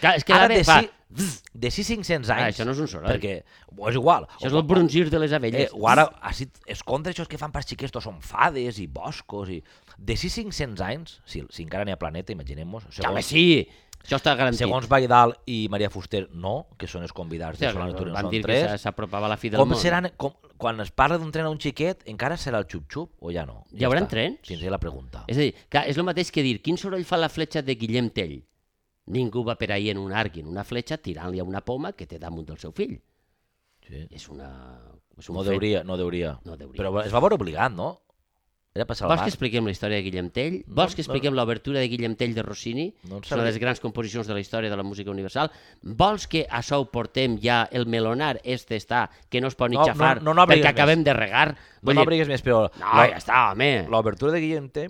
[SPEAKER 2] Clar, és que
[SPEAKER 1] Ara
[SPEAKER 2] ara
[SPEAKER 1] de,
[SPEAKER 2] ve, fa...
[SPEAKER 1] si, de 6-500 anys...
[SPEAKER 2] Ah, això no és un soroll.
[SPEAKER 1] Perquè, o és igual.
[SPEAKER 2] Això és el brunzir de les
[SPEAKER 1] Eh,
[SPEAKER 2] abelles.
[SPEAKER 1] o ara, així, es contra això que fan per xiquestos, són fades i boscos i... De 6-500 anys, si, si encara n'hi ha planeta, imaginem-nos,
[SPEAKER 2] Home,
[SPEAKER 1] segons,
[SPEAKER 2] sí! Això està garantit.
[SPEAKER 1] segons Baidal i Maria Fuster, no, que són els convidats de
[SPEAKER 2] Hòstia,
[SPEAKER 1] Solana Turin,
[SPEAKER 2] van
[SPEAKER 1] són
[SPEAKER 2] dir que s'ha-
[SPEAKER 1] tres.
[SPEAKER 2] s'apropava la fi del
[SPEAKER 1] Com
[SPEAKER 2] món.
[SPEAKER 1] seran, com, quan es parla d'un tren a un xiquet, encara serà el xup-xup o ja no?
[SPEAKER 2] Hi haurà
[SPEAKER 1] està.
[SPEAKER 2] trens?
[SPEAKER 1] Fins ahí la pregunta.
[SPEAKER 2] És a dir, clar, és el mateix que dir quin soroll fa la fletxa de Guillem Tell. Ningú va per ahir en un arc i en una fletxa tirant-li a una poma que té damunt del seu fill.
[SPEAKER 1] Sí.
[SPEAKER 2] És una... És un
[SPEAKER 1] No
[SPEAKER 2] fet.
[SPEAKER 1] deuria, no deuria.
[SPEAKER 2] No deuria.
[SPEAKER 1] Però es va veure obligat, no? Era per salvar.
[SPEAKER 2] Vols que expliquem la història de Guillem Tell? Vols que
[SPEAKER 1] no.
[SPEAKER 2] expliquem l'obertura de Guillem Tell de Rossini?
[SPEAKER 1] No en
[SPEAKER 2] És una
[SPEAKER 1] sabia.
[SPEAKER 2] de les grans composicions de la història de la música universal. Vols que a això ho portem ja el melonar este està, que no es pot ni
[SPEAKER 1] No, no,
[SPEAKER 2] xafar
[SPEAKER 1] no n'obrigues
[SPEAKER 2] perquè acabem de regar?
[SPEAKER 1] No
[SPEAKER 2] Vull dir,
[SPEAKER 1] m'abrigues més, però
[SPEAKER 2] no, ja
[SPEAKER 1] la-
[SPEAKER 2] està, home.
[SPEAKER 1] l'obertura de Guillem T...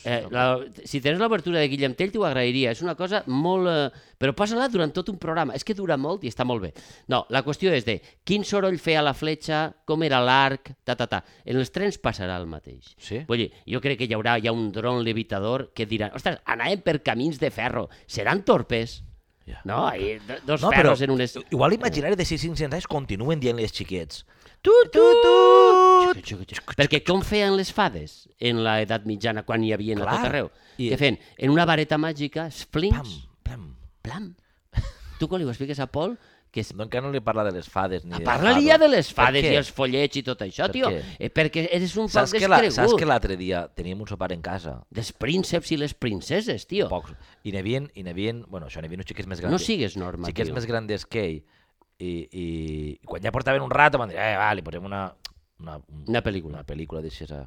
[SPEAKER 2] Eh, la, si tens l'obertura de Guillem Tell t'ho agrairia, és una cosa molt... Eh, però posa-la durant tot un programa, és que dura molt i està molt bé. No, la qüestió és de quin soroll feia la fletxa, com era l'arc, ta, ta, ta. En els trens passarà el mateix.
[SPEAKER 1] Sí?
[SPEAKER 2] Vull dir, jo crec que hi haurà ja un dron levitador que dirà, ostres, anàvem per camins de ferro, seran torpes?
[SPEAKER 1] Ja.
[SPEAKER 2] No, i do- dos no, ferros en unes...
[SPEAKER 1] Igual l'imaginari de 600 anys continuen dient les xiquets.
[SPEAKER 2] Tu,
[SPEAKER 1] Tu, tu!
[SPEAKER 2] Perquè com feien les fades en l'edat mitjana, quan hi havia a
[SPEAKER 1] Clar.
[SPEAKER 2] tot arreu?
[SPEAKER 1] I-
[SPEAKER 2] I... Què feien? En una vareta màgica, splints,
[SPEAKER 1] Pam, pam.
[SPEAKER 2] plam. Tu quan li ho expliques a Pol, que es...
[SPEAKER 1] No, encara no li parla de les fades ni de...
[SPEAKER 2] Parla-li ja de les fades
[SPEAKER 1] Per què?
[SPEAKER 2] i els follets i tot això,
[SPEAKER 1] Per
[SPEAKER 2] tio.
[SPEAKER 1] què?
[SPEAKER 2] Eh, perquè eres un poc
[SPEAKER 1] Saps que, la,
[SPEAKER 2] descregut.
[SPEAKER 1] saps que l'altre dia teníem un sopar en casa?
[SPEAKER 2] Dels prínceps i les princeses, tio.
[SPEAKER 1] Pocs. I n'hi havia, i n'hi havia, bueno, això, n'hi havia uns xiquets més grans.
[SPEAKER 2] No sigues norma,
[SPEAKER 1] xiquets
[SPEAKER 2] tio.
[SPEAKER 1] més granders que ell. I, i, i quan ja portaven un rato van dir, eh, va, li posem una, una, un-
[SPEAKER 2] Una pel·lícula.
[SPEAKER 1] una pel·lícula d'aixesa.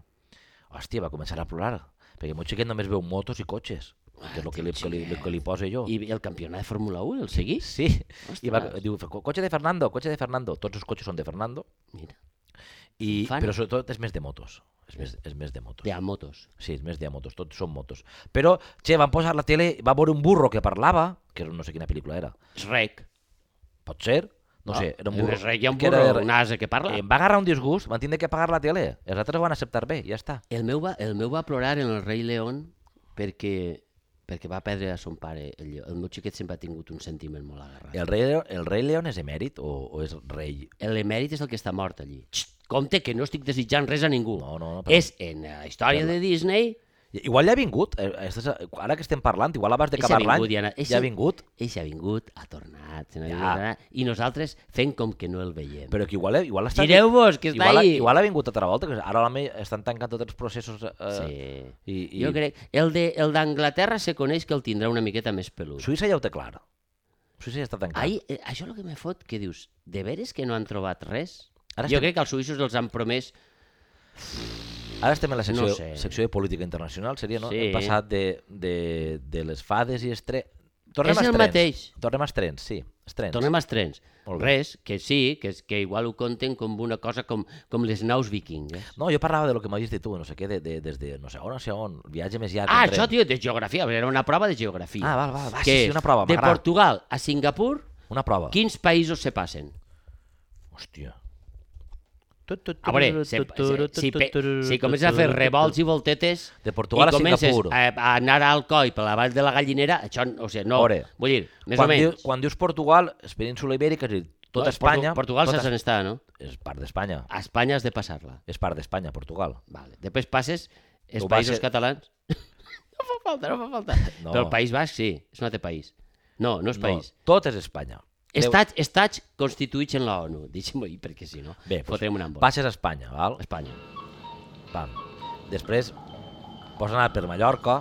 [SPEAKER 1] Hòstia, va començar a plorar, perquè el meu xiquet només veu motos i cotxes, que és el que li, que li, que li posa jo.
[SPEAKER 2] I el campionat de Fórmula 1, el seguís?
[SPEAKER 1] Sí, i va,
[SPEAKER 2] Ostres.
[SPEAKER 1] diu, "Co- cotxe de Fernando, cotxe de Fernando, tots els cotxes són de Fernando,
[SPEAKER 2] Mira,
[SPEAKER 1] i,
[SPEAKER 2] Infant.
[SPEAKER 1] però sobretot és més de motos, és més, és més de motos.
[SPEAKER 2] de a motos.
[SPEAKER 1] Sí, és més de motos, tots són motos. Però, che, van posar la tele, va veure un burro que parlava, que no sé quina pel·lícula era,
[SPEAKER 2] Shrek.
[SPEAKER 1] pot ser, no, sé, era un burro.
[SPEAKER 2] Shrek Ah, hi ha un
[SPEAKER 1] que era
[SPEAKER 2] burro,
[SPEAKER 1] de-
[SPEAKER 2] un ase que parla.
[SPEAKER 1] Eh, Em va agarrar un disgust, van tindre que pagar la tele. Els altres ho van acceptar bé, ja està.
[SPEAKER 2] El meu va, el meu va plorar en el rei León perquè, perquè va perdre a son pare. El, lleó. el meu xiquet sempre ha tingut un sentiment molt agarrat.
[SPEAKER 1] El rei, el rei León és emèrit o, o és rei?
[SPEAKER 2] L'emèrit és el que està mort allí. Xt, compte que no estic desitjant res a ningú.
[SPEAKER 1] No, no, no, però-
[SPEAKER 2] Però... És en la història de Disney...
[SPEAKER 1] I- Igual ja ha vingut, eh, estàs, ara que estem parlant, igual abans de
[SPEAKER 2] Eixe
[SPEAKER 1] acabar l'any,
[SPEAKER 2] vingut, ja n'ha- eixe-
[SPEAKER 1] ja ha vingut,
[SPEAKER 2] Ell ha vingut, ha tornat, se n'ha
[SPEAKER 1] Ja.
[SPEAKER 2] vingut, i nosaltres fent com que no el veiem.
[SPEAKER 1] però que igual, igual està...
[SPEAKER 2] Gireu-vos, que està
[SPEAKER 1] igual,
[SPEAKER 2] ahí!
[SPEAKER 1] igual ha vingut altra volta, que ara l'home estan tancant tots els processos... Eh,
[SPEAKER 2] Sí.
[SPEAKER 1] I, i
[SPEAKER 2] Jo crec... El de- el d'Anglaterra se coneix que el tindrà una miqueta més pelut.
[SPEAKER 1] Suïssa ja ho té clar. Suïssa ja està tancat.
[SPEAKER 2] Ahir, eh, això és el que me fot, que dius, de veres que no han trobat res?
[SPEAKER 1] Ara
[SPEAKER 2] Ara jo
[SPEAKER 1] estem-
[SPEAKER 2] crec que els suïssos els han promès...
[SPEAKER 1] Ara estem en la secció,
[SPEAKER 2] No sé.
[SPEAKER 1] secció de política internacional, seria, no?
[SPEAKER 2] Sí.
[SPEAKER 1] Hem passat de, de, de les fades i els trens... Tornem
[SPEAKER 2] És
[SPEAKER 1] als
[SPEAKER 2] el
[SPEAKER 1] trens.
[SPEAKER 2] mateix.
[SPEAKER 1] Tornem als trens, sí. Els trens.
[SPEAKER 2] Tornem als trens.
[SPEAKER 1] Molt bé.
[SPEAKER 2] Res, que sí, que, és, que igual ho conten com una cosa com, com les naus vikingues.
[SPEAKER 1] No, jo parlava de lo que m'havies dit tu, no sé què, de, de, des de no sé on, no sé on, el viatge més llarg.
[SPEAKER 2] Ah,
[SPEAKER 1] en tren.
[SPEAKER 2] això, tio, de geografia, era una prova de geografia.
[SPEAKER 1] doncs Ah, val, val, va,
[SPEAKER 2] Que
[SPEAKER 1] sí, sí, una prova,
[SPEAKER 2] De
[SPEAKER 1] m'agrada.
[SPEAKER 2] Portugal a Singapur,
[SPEAKER 1] Una prova.
[SPEAKER 2] quins països se passen?
[SPEAKER 1] Hòstia.
[SPEAKER 2] A veure, Ah, se, se, si, pe, si comences a fer revolts i voltetes
[SPEAKER 1] De Portugal a
[SPEAKER 2] i comences
[SPEAKER 1] Singapur.
[SPEAKER 2] A, a anar a Alcoi per la vall de la Gallinera, això, o sigui, no,
[SPEAKER 1] A veure,
[SPEAKER 2] vull dir, més
[SPEAKER 1] quan,
[SPEAKER 2] o menys.
[SPEAKER 1] dius, quan dius Portugal, és península ibèrica, és a dir, tota
[SPEAKER 2] No,
[SPEAKER 1] Espanya...
[SPEAKER 2] Portu- Portugal
[SPEAKER 1] tota,
[SPEAKER 2] saps on està, no?
[SPEAKER 1] És part d'Espanya.
[SPEAKER 2] A Espanya has de passar-la.
[SPEAKER 1] És part d'Espanya, Portugal.
[SPEAKER 2] Vale. Després passes els
[SPEAKER 1] Ho va
[SPEAKER 2] països
[SPEAKER 1] ser-
[SPEAKER 2] catalans. no fa falta, no fa falta.
[SPEAKER 1] No.
[SPEAKER 2] No. Però el País Basc sí, és un altre país. No, no és
[SPEAKER 1] No,
[SPEAKER 2] país.
[SPEAKER 1] tot és Espanya. Deu-
[SPEAKER 2] Estats, estats constituïts en la ONU, deixem-ho dir, perquè si no,
[SPEAKER 1] Bé, doncs,
[SPEAKER 2] fotrem un embol.
[SPEAKER 1] passes a Espanya, val?
[SPEAKER 2] Espanya.
[SPEAKER 1] Pam. Després pots anar per Mallorca,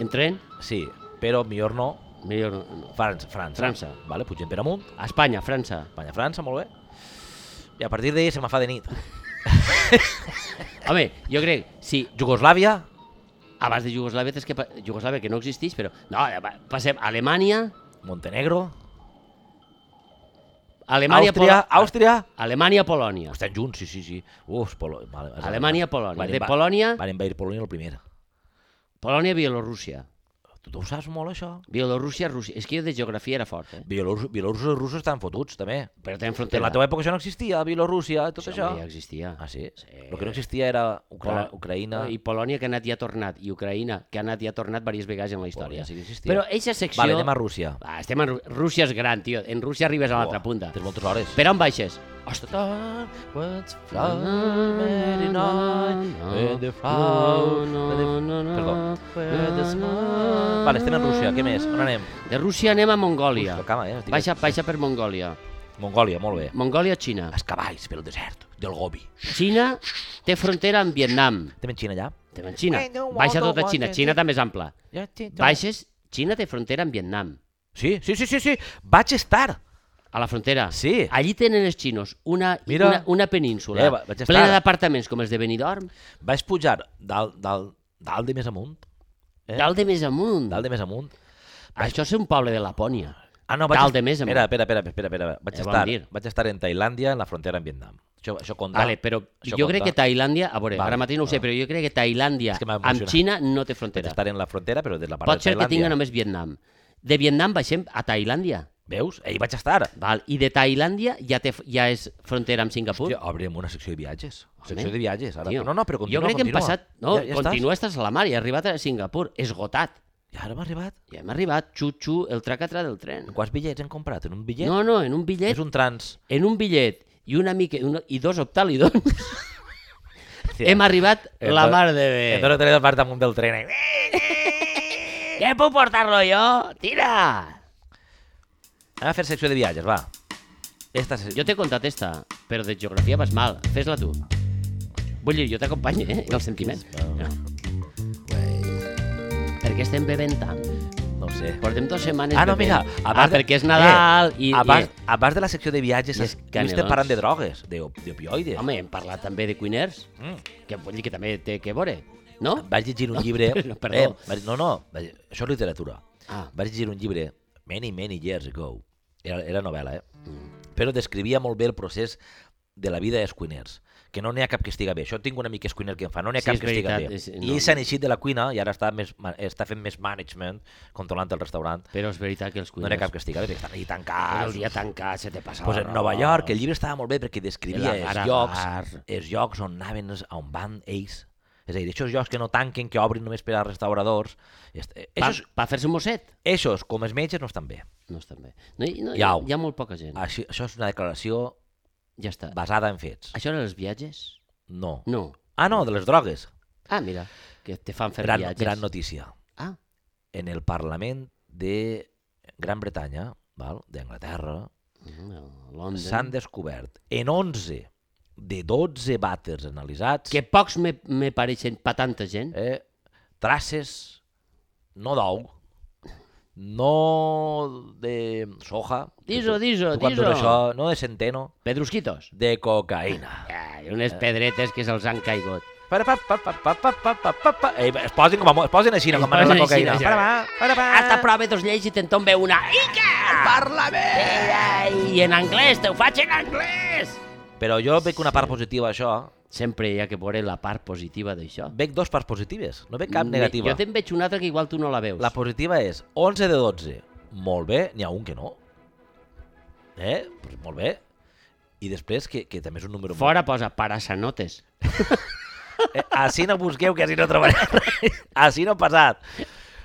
[SPEAKER 2] En tren,
[SPEAKER 1] sí, però millor no,
[SPEAKER 2] millor no. no.
[SPEAKER 1] França. França.
[SPEAKER 2] França.
[SPEAKER 1] Vale, pugem per amunt,
[SPEAKER 2] A Espanya, França.
[SPEAKER 1] Espanya, França, molt bé. I a partir d'ahir se me fa de nit.
[SPEAKER 2] Home, jo crec, sí,
[SPEAKER 1] Jugoslàvia,
[SPEAKER 2] abans de Iugoslàvia, és que pa- Iugoslàvia que no existeix, però no, va- passem a Alemanya,
[SPEAKER 1] Montenegro,
[SPEAKER 2] Alemanya,
[SPEAKER 1] Àustria, Àustria...
[SPEAKER 2] Alemanya, Polònia.
[SPEAKER 1] Ah. Estan junts, sí, sí, sí. Uf, Polo... vale, és Alemanya.
[SPEAKER 2] Alemanya, Polònia.
[SPEAKER 1] Van
[SPEAKER 2] De
[SPEAKER 1] inva-
[SPEAKER 2] Polònia-
[SPEAKER 1] Van invadir Polònia el primer.
[SPEAKER 2] Polònia, Bielorússia.
[SPEAKER 1] Tu, tu ho saps molt, això?
[SPEAKER 2] Bielorússia, Rússia... És que jo de geografia era fort, eh?
[SPEAKER 1] Bielorus, bielorussos i russos estan fotuts, també.
[SPEAKER 2] Però tenen
[SPEAKER 1] En
[SPEAKER 2] frontera.
[SPEAKER 1] la teva època això no existia, Bielorússia, tot
[SPEAKER 2] Home,
[SPEAKER 1] això.
[SPEAKER 2] Ja existia.
[SPEAKER 1] Ah, sí?
[SPEAKER 2] Sí.
[SPEAKER 1] El que no existia era Ucra Ucraïna...
[SPEAKER 2] I Polònia, que ha anat i ha tornat. I Ucraïna, que ha anat i ha tornat diverses vegades en la
[SPEAKER 1] Polònia
[SPEAKER 2] història.
[SPEAKER 1] sí que existia.
[SPEAKER 2] Però eixa secció...
[SPEAKER 1] Vale, anem a Rússia.
[SPEAKER 2] Va, estem en Rú- Rússia és gran, tio. En Rússia arribes a l'altra
[SPEAKER 1] Buah,
[SPEAKER 2] punta.
[SPEAKER 1] Tens moltes hores.
[SPEAKER 2] Per on baixes?
[SPEAKER 1] Ostres, what's Friday night, and the flower- Perdó. Where the smile- Vale, estem en Rússia, què més? On anem?
[SPEAKER 2] De Rússia anem a Mongòlia.
[SPEAKER 1] Ui, cama, eh? Estic-
[SPEAKER 2] Baixa, baixa per Mongòlia.
[SPEAKER 1] Mongòlia, molt bé.
[SPEAKER 2] Mongòlia, Xina.
[SPEAKER 1] Els cavalls pel desert del Gobi.
[SPEAKER 2] Xina té frontera amb Vietnam.
[SPEAKER 1] Estem en Xina allà?
[SPEAKER 2] També en Xina. Baixa tot a Xina. Xina també és ampla. Baixes, Xina té frontera amb Vietnam.
[SPEAKER 1] Sí, sí, sí, sí, sí. Vaig estar.
[SPEAKER 2] A la frontera.
[SPEAKER 1] Sí.
[SPEAKER 2] Allí tenen els xinos una,
[SPEAKER 1] Mira.
[SPEAKER 2] una, una península
[SPEAKER 1] Eh, va- vaig estar.
[SPEAKER 2] plena d'apartaments com els de Benidorm.
[SPEAKER 1] Vaig pujar dalt, dalt, dalt de més amunt. Eh?
[SPEAKER 2] Dalt de més amunt.
[SPEAKER 1] Dalt de més amunt.
[SPEAKER 2] Això és un poble de Lapònia.
[SPEAKER 1] Ah, no, vaig...
[SPEAKER 2] Dalt de més amunt.
[SPEAKER 1] Espera, espera, espera, espera, espera. Vaig,
[SPEAKER 2] Eh, vam
[SPEAKER 1] estar,
[SPEAKER 2] dir.
[SPEAKER 1] vaig estar en Tailàndia, en la frontera amb Vietnam. Això, això compta.
[SPEAKER 2] Vale, però
[SPEAKER 1] Això
[SPEAKER 2] jo crec
[SPEAKER 1] compta.
[SPEAKER 2] que Tailàndia, a veure,
[SPEAKER 1] Vale,
[SPEAKER 2] ara mateix no ho sé,
[SPEAKER 1] vale.
[SPEAKER 2] però jo crec que Tailàndia
[SPEAKER 1] És que m'ha
[SPEAKER 2] amb
[SPEAKER 1] emocionat.
[SPEAKER 2] Xina no té
[SPEAKER 1] Vaig
[SPEAKER 2] frontera.
[SPEAKER 1] estar en la frontera, però des de la part de
[SPEAKER 2] Pot ser que
[SPEAKER 1] Tailàndia.
[SPEAKER 2] tinga només Vietnam. De Vietnam baixem a Tailàndia.
[SPEAKER 1] Veus? Ahir vaig estar.
[SPEAKER 2] Val, i de Tailàndia ja, té, ja és frontera amb Singapur.
[SPEAKER 1] Hòstia, obrim una secció de viatges.
[SPEAKER 2] Home.
[SPEAKER 1] Secció de viatges. Ara.
[SPEAKER 2] Tio,
[SPEAKER 1] No, no, però continua,
[SPEAKER 2] jo crec
[SPEAKER 1] continua.
[SPEAKER 2] que hem passat... No,
[SPEAKER 1] ja, ja
[SPEAKER 2] continua, estàs a la mar i ha arribat a Singapur, esgotat.
[SPEAKER 1] Estàs? I ara m'ha arribat.
[SPEAKER 2] Ja hem arribat, xu-xu, el tracatra del tren.
[SPEAKER 1] Quants bitllets hem comprat? En un bitllet?
[SPEAKER 2] No, eh? no, en un bitllet,
[SPEAKER 1] És un trans.
[SPEAKER 2] en un bitllet i una mica, una, i dos optalidons, hem arribat
[SPEAKER 1] Hem
[SPEAKER 2] la
[SPEAKER 1] de-
[SPEAKER 2] mar de bé.
[SPEAKER 1] Eh, no tenia el part damunt del tren. Eh?
[SPEAKER 2] Què puc portar-lo jo? Tira!
[SPEAKER 1] Anem a fer secció de viatges, va. Esta secció...
[SPEAKER 2] Jo t'he contat esta, però de geografia vas mal. Fes-la tu. Vull dir, jo t'acompanyo, eh, en el sentiment. Per què estem bevent tant?
[SPEAKER 1] No ho sé.
[SPEAKER 2] Portem dues setmanes
[SPEAKER 1] Ah, no,
[SPEAKER 2] bevent.
[SPEAKER 1] mira,
[SPEAKER 2] Ah, perquè és Nadal i...
[SPEAKER 1] Eh, abans, i, abans de la secció de viatges
[SPEAKER 2] i els
[SPEAKER 1] es, no estem
[SPEAKER 2] canelons.
[SPEAKER 1] parlant de drogues, d'opioides.
[SPEAKER 2] I... Home, hem parlat també de cuiners,
[SPEAKER 1] Mm.
[SPEAKER 2] que vull dir que també té que veure, no?
[SPEAKER 1] Vaig llegir un llibre...
[SPEAKER 2] No, perdó.
[SPEAKER 1] Eh, vaig- no, no, vaig, això és literatura.
[SPEAKER 2] Ah,
[SPEAKER 1] Vaig llegir un llibre, many, many years ago. Era, era novel·la, eh?
[SPEAKER 2] Mm.
[SPEAKER 1] Però descrivia molt bé el procés de la vida dels cuiners que no n'hi ha cap que estiga bé. Això tinc una mica cuiner que em fa, no n'hi ha
[SPEAKER 2] Sí,
[SPEAKER 1] cap
[SPEAKER 2] és
[SPEAKER 1] que estiga
[SPEAKER 2] veritat,
[SPEAKER 1] bé.
[SPEAKER 2] és-
[SPEAKER 1] I
[SPEAKER 2] no.
[SPEAKER 1] ell s'ha eixit de la cuina i ara està, més, ma- està fent més management, controlant el restaurant.
[SPEAKER 2] però és veritat que els
[SPEAKER 1] No n'hi ha
[SPEAKER 2] cuiners...
[SPEAKER 1] cap que estiga bé, perquè estan allí
[SPEAKER 2] Tot
[SPEAKER 1] tancats.
[SPEAKER 2] Ah, el dia tancat, se te passa
[SPEAKER 1] pues
[SPEAKER 2] la
[SPEAKER 1] en
[SPEAKER 2] roba.
[SPEAKER 1] Nova York, el llibre estava molt bé perquè descrivia
[SPEAKER 2] El agar,
[SPEAKER 1] els llocs,
[SPEAKER 2] agar.
[SPEAKER 1] els llocs on anaven, els- on van ells. És a dir, aquests llocs que no tanquen, que obrin només per a restauradors. Est- eh,
[SPEAKER 2] Pa,
[SPEAKER 1] Eixos,
[SPEAKER 2] pa fer-se un mosset?
[SPEAKER 1] eixos, com els metges, no estan bé.
[SPEAKER 2] No estan bé. No, hi- no, hi,
[SPEAKER 1] Iau. Ah.
[SPEAKER 2] hi ha molt poca gent.
[SPEAKER 1] Això, això és una declaració
[SPEAKER 2] Ja està.
[SPEAKER 1] basada en fets.
[SPEAKER 2] Això eren els viatges?
[SPEAKER 1] No.
[SPEAKER 2] No.
[SPEAKER 1] Ah, no, de les drogues.
[SPEAKER 2] Ah, mira, que te fan fer
[SPEAKER 1] Gran,
[SPEAKER 2] viatges.
[SPEAKER 1] gran notícia.
[SPEAKER 2] Ah,
[SPEAKER 1] En el Parlament de Gran Bretanya, val, d'Anglaterra,
[SPEAKER 2] no, Londres.
[SPEAKER 1] s'han descobert en 11 de 12 vàters analitzats
[SPEAKER 2] Que pocs me, me pareixen pa tanta gent.
[SPEAKER 1] eh, traces no d'ou, no de soja,
[SPEAKER 2] Dis-ho, dis-ho,
[SPEAKER 1] tu quan dius
[SPEAKER 2] dis-ho.
[SPEAKER 1] això, no de centeno,
[SPEAKER 2] Pedrusquitos.
[SPEAKER 1] de cocaïna.
[SPEAKER 2] Ai,
[SPEAKER 1] Eh.
[SPEAKER 2] unes pedretes que se'ls han caigut.
[SPEAKER 1] Para, pa, pa, pa, pa, pa, pa, pa, pa, pa. Ei, es posin com a, mo- es posin així, no,
[SPEAKER 2] Es
[SPEAKER 1] com ara la
[SPEAKER 2] posen així,
[SPEAKER 1] cocaïna.
[SPEAKER 2] no?
[SPEAKER 1] Para, pa, para, pa.
[SPEAKER 2] Hasta prova dos lleis i te'n tombe una. Ica!
[SPEAKER 1] Ah.
[SPEAKER 2] Parla bé! I en anglès, te ho faig en anglès!
[SPEAKER 1] Però jo veig una part positiva a això.
[SPEAKER 2] Sempre hi ha que veure la part positiva d'això.
[SPEAKER 1] Veig dos parts positives, no veig cap negativa.
[SPEAKER 2] Jo te'n veig una altra que igual tu no la veus.
[SPEAKER 1] La positiva és 11 de 12. Molt bé, n'hi ha un que no. Eh? Pues molt bé. I després, que, que també és un número...
[SPEAKER 2] Fora posa parasanotes.
[SPEAKER 1] Eh, així no busqueu, que així no trobareu res. Així no ha passat.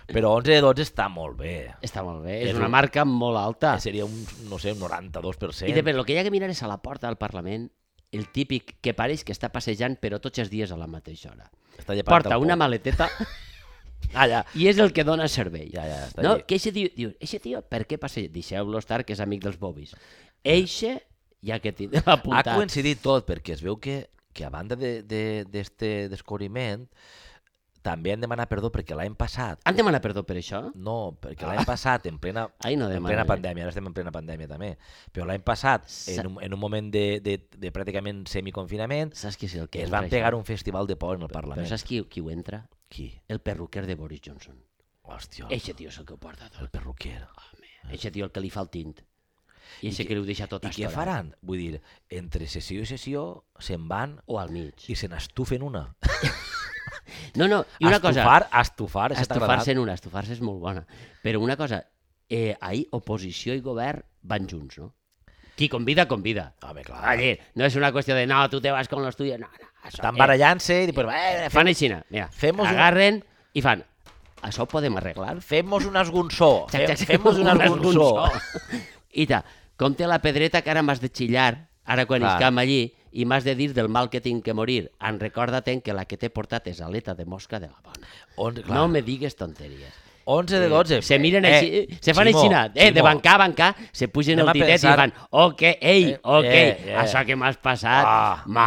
[SPEAKER 1] Però 11 de 12 està molt bé.
[SPEAKER 2] Està molt bé, és,
[SPEAKER 1] És
[SPEAKER 2] una
[SPEAKER 1] un-
[SPEAKER 2] marca molt alta.
[SPEAKER 1] Seria un, no sé, un 92%.
[SPEAKER 2] I després, el que hi ha que mirar és a la porta del Parlament, el típic que pareix que està passejant però tots els dies a la mateixa hora.
[SPEAKER 1] Està llepant
[SPEAKER 2] Porta
[SPEAKER 1] el
[SPEAKER 2] una
[SPEAKER 1] pot.
[SPEAKER 2] maleteta
[SPEAKER 1] Ah, ja.
[SPEAKER 2] i és el que dona servei.
[SPEAKER 1] Ja, ja, està
[SPEAKER 2] no,
[SPEAKER 1] allí.
[SPEAKER 2] que eixe tio, diu, eixe tio, per què passeja? Deixeu-lo estar, que és amic dels bobis. Eixe, ja que tindrà
[SPEAKER 1] Ha
[SPEAKER 2] apuntat.
[SPEAKER 1] coincidit tot, perquè es veu que, que a banda d'este de, d'este descobriment, també han demanat perdó perquè l'any passat
[SPEAKER 2] Han demanat perdó per això?
[SPEAKER 1] No, perquè l'any
[SPEAKER 2] Ah.
[SPEAKER 1] passat, en plena,
[SPEAKER 2] Ai, no
[SPEAKER 1] en
[SPEAKER 2] demana.
[SPEAKER 1] plena pandèmia, ara estem en plena pandèmia també, però l'any passat,
[SPEAKER 2] Sa-
[SPEAKER 1] en un, en un moment de, de, de pràcticament semiconfinament,
[SPEAKER 2] Saps qui és el que
[SPEAKER 1] es
[SPEAKER 2] entra,
[SPEAKER 1] van pegar
[SPEAKER 2] això?
[SPEAKER 1] un festival de por en el Parlament.
[SPEAKER 2] Però saps qui, qui ho entra?
[SPEAKER 1] Qui?
[SPEAKER 2] El perruquer de Boris Johnson.
[SPEAKER 1] Hòstia,
[SPEAKER 2] Eixe tio és el que ho porta tot.
[SPEAKER 1] el perruquer.
[SPEAKER 2] Eixe tio el que li fa el tint. I eixe que li ho deixa tot
[SPEAKER 1] I què
[SPEAKER 2] astorat.
[SPEAKER 1] faran? Vull dir, entre sessió i sessió se'n van
[SPEAKER 2] O al mig.
[SPEAKER 1] i se n'estufen una.
[SPEAKER 2] No, no, i una cosa...
[SPEAKER 1] estufar, estufar, això t'ha agradat?
[SPEAKER 2] Estufar-se en una, estufar-se és molt bona. Però una cosa, eh, ahir oposició i govern van junts, no? Qui convida, convida.
[SPEAKER 1] Home, clar.
[SPEAKER 2] Ah. Dir, no és una qüestió de no, tu te vas con los tuyos, no, no. Això,
[SPEAKER 1] Estan barallant-se i després...
[SPEAKER 2] Eh,
[SPEAKER 1] Eh,
[SPEAKER 2] fan a Xina, mira,
[SPEAKER 1] Fem-nos un-
[SPEAKER 2] agarren i fan, això ho podem arreglar.
[SPEAKER 1] Fem-nos un esgonçó.
[SPEAKER 2] Xac, xac, xac,
[SPEAKER 1] Fem-nos un esgonçó.
[SPEAKER 2] I ta, com té la pedreta que ara m'has de xillar, ara quan
[SPEAKER 1] Clar.
[SPEAKER 2] escam allí, i m'has de dir del mal que tinc que morir. En recorda-te'n que la que t'he portat és aleta de mosca de la bona.
[SPEAKER 1] On, clar,
[SPEAKER 2] No me digues tonteries.
[SPEAKER 1] 11 de 12.
[SPEAKER 2] Se miren
[SPEAKER 1] Eh,
[SPEAKER 2] així, se fan
[SPEAKER 1] Ximo,
[SPEAKER 2] així, eh, de
[SPEAKER 1] Ximo.
[SPEAKER 2] bancar a bancar, se pugen
[SPEAKER 1] Anem
[SPEAKER 2] el
[SPEAKER 1] a
[SPEAKER 2] titet
[SPEAKER 1] pensar-
[SPEAKER 2] i fan, ok, ei,
[SPEAKER 1] Eh,
[SPEAKER 2] ok,
[SPEAKER 1] eh, eh.
[SPEAKER 2] això que m'has passat,
[SPEAKER 1] Ah,
[SPEAKER 2] ma,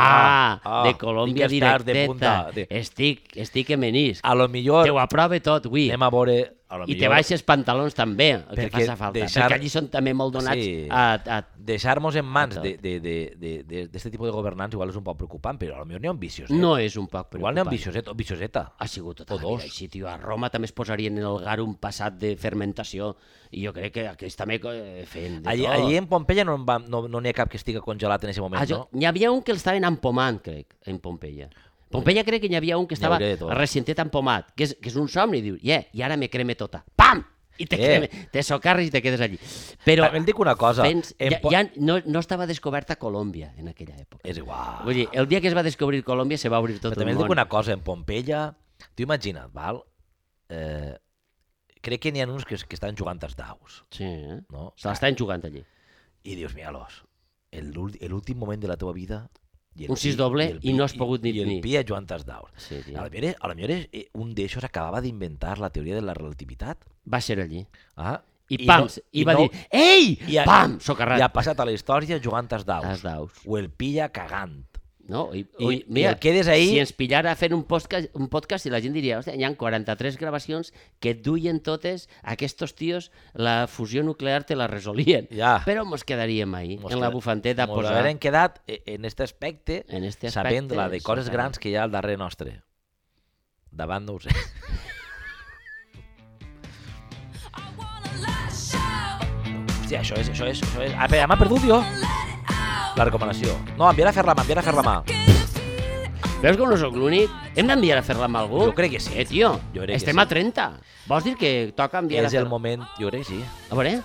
[SPEAKER 1] ah, ah,
[SPEAKER 2] de Colòmbia
[SPEAKER 1] dic que estàs de
[SPEAKER 2] directeta,
[SPEAKER 1] punta, dic.
[SPEAKER 2] estic, estic que menisc,
[SPEAKER 1] A lo millor...
[SPEAKER 2] te ho aprove tot, avui,
[SPEAKER 1] Anem a veure... A lo
[SPEAKER 2] i te
[SPEAKER 1] millor-
[SPEAKER 2] baixes pantalons també, el que
[SPEAKER 1] Perquè
[SPEAKER 2] faci falta,
[SPEAKER 1] deixar-
[SPEAKER 2] perquè allí són també molt donats
[SPEAKER 1] Sí.
[SPEAKER 2] a, a...
[SPEAKER 1] deixar-nos en mans
[SPEAKER 2] Tot.
[SPEAKER 1] d'aquest de, de, de, de, d'aquest tipus de governants igual és un poc preocupant, però potser n'hi ha un vicioset.
[SPEAKER 2] No és un poc
[SPEAKER 1] igual n'hi ha
[SPEAKER 2] preocupant.
[SPEAKER 1] un vicioset o vicioseta.
[SPEAKER 2] ha sigut tota
[SPEAKER 1] O
[SPEAKER 2] la vida
[SPEAKER 1] dos.
[SPEAKER 2] així, tio. A Roma també es posarien en el gar un passat de fermentació i jo crec que aquests també eh, feien de
[SPEAKER 1] Allí,
[SPEAKER 2] tot.
[SPEAKER 1] allí en Pompeia no en va- no no n'hi ha cap que estiga congelat en aquest moment,
[SPEAKER 2] Ah, jo,
[SPEAKER 1] no?
[SPEAKER 2] N'hi havia un que l'estaven empomant, crec, en Pompeia. Pompeia crec que n'hi havia un que
[SPEAKER 1] N'hi hauria
[SPEAKER 2] estava
[SPEAKER 1] de tot.
[SPEAKER 2] ressentit empomat, que és, que és un somni, diu, yeah, i ara me creme tota. Pam! I te,
[SPEAKER 1] Eh.
[SPEAKER 2] creme, te socarres i te quedes allí. Però
[SPEAKER 1] També et dic una cosa,
[SPEAKER 2] Fens,
[SPEAKER 1] em
[SPEAKER 2] ja,
[SPEAKER 1] po-
[SPEAKER 2] ja no, no estava descoberta Colòmbia en aquella època.
[SPEAKER 1] És igual.
[SPEAKER 2] Vull dir, el dia que es va descobrir Colòmbia se va obrir tot
[SPEAKER 1] Però també
[SPEAKER 2] el
[SPEAKER 1] et
[SPEAKER 2] món.
[SPEAKER 1] dic una cosa, en Pompeia, tu imagina't, val? Eh, crec que n'hi ha uns que, es- que estan jugant als daus,
[SPEAKER 2] Sí, eh?
[SPEAKER 1] no?
[SPEAKER 2] Se l'estan jugant allí.
[SPEAKER 1] I dius, mira-los, el l'úl- l'últim moment de la teva vida... I
[SPEAKER 2] Un
[SPEAKER 1] pi-
[SPEAKER 2] sis doble
[SPEAKER 1] el
[SPEAKER 2] i
[SPEAKER 1] pi-
[SPEAKER 2] no has pogut ni
[SPEAKER 1] I el
[SPEAKER 2] tenir.
[SPEAKER 1] pia jugant als daus.
[SPEAKER 2] Sí, tio.
[SPEAKER 1] A lo millor, a lo millor és, eh, un d'aixòs acabava d'inventar la teoria de la relativitat.
[SPEAKER 2] Va ser allí.
[SPEAKER 1] Ah,
[SPEAKER 2] I, pam, i, va dir, ei,
[SPEAKER 1] i ha-
[SPEAKER 2] pam,
[SPEAKER 1] I
[SPEAKER 2] socarrat.
[SPEAKER 1] ha passat a la història jugant als daus.
[SPEAKER 2] Als daus.
[SPEAKER 1] O el pilla cagant.
[SPEAKER 2] No, i,
[SPEAKER 1] I-
[SPEAKER 2] ui,
[SPEAKER 1] i
[SPEAKER 2] mira,
[SPEAKER 1] el quedes ahí-
[SPEAKER 2] si ens pillara fent un podcast, un podcast i la gent diria, hòstia, hi ha 43 gravacions que duien totes, aquests tios la fusió nuclear te la resolien.
[SPEAKER 1] Ja.
[SPEAKER 2] Però mos quedaríem ahí,
[SPEAKER 1] Mos
[SPEAKER 2] en la
[SPEAKER 1] queda-
[SPEAKER 2] bufanteta a
[SPEAKER 1] Ens
[SPEAKER 2] posar...
[SPEAKER 1] haurem quedat eh, en este aspecte,
[SPEAKER 2] En este
[SPEAKER 1] sabent
[SPEAKER 2] aspecte,
[SPEAKER 1] la de coses
[SPEAKER 2] sota-
[SPEAKER 1] grans que hi ha al darrere nostre. Davant no ho sé.
[SPEAKER 4] I wanna let it show,
[SPEAKER 1] Sí, això és, això és, això és. Ah, espera, m'ha perdut jo
[SPEAKER 4] let it out.
[SPEAKER 1] la recomanació. No, enviar a fer la mà, enviar a fer la mà.
[SPEAKER 2] Uh.
[SPEAKER 4] Get the feeling
[SPEAKER 2] Veus com no sóc l'únic? Hem d'enviar a fer-la amb algú?
[SPEAKER 1] Jo crec que sí.
[SPEAKER 2] Eh, tio,
[SPEAKER 1] Jo crec que
[SPEAKER 2] estem
[SPEAKER 1] sí.
[SPEAKER 2] a 30. Vols dir que toca enviar
[SPEAKER 1] És
[SPEAKER 2] a fer
[SPEAKER 1] el moment, jo crec que sí.
[SPEAKER 2] A veure,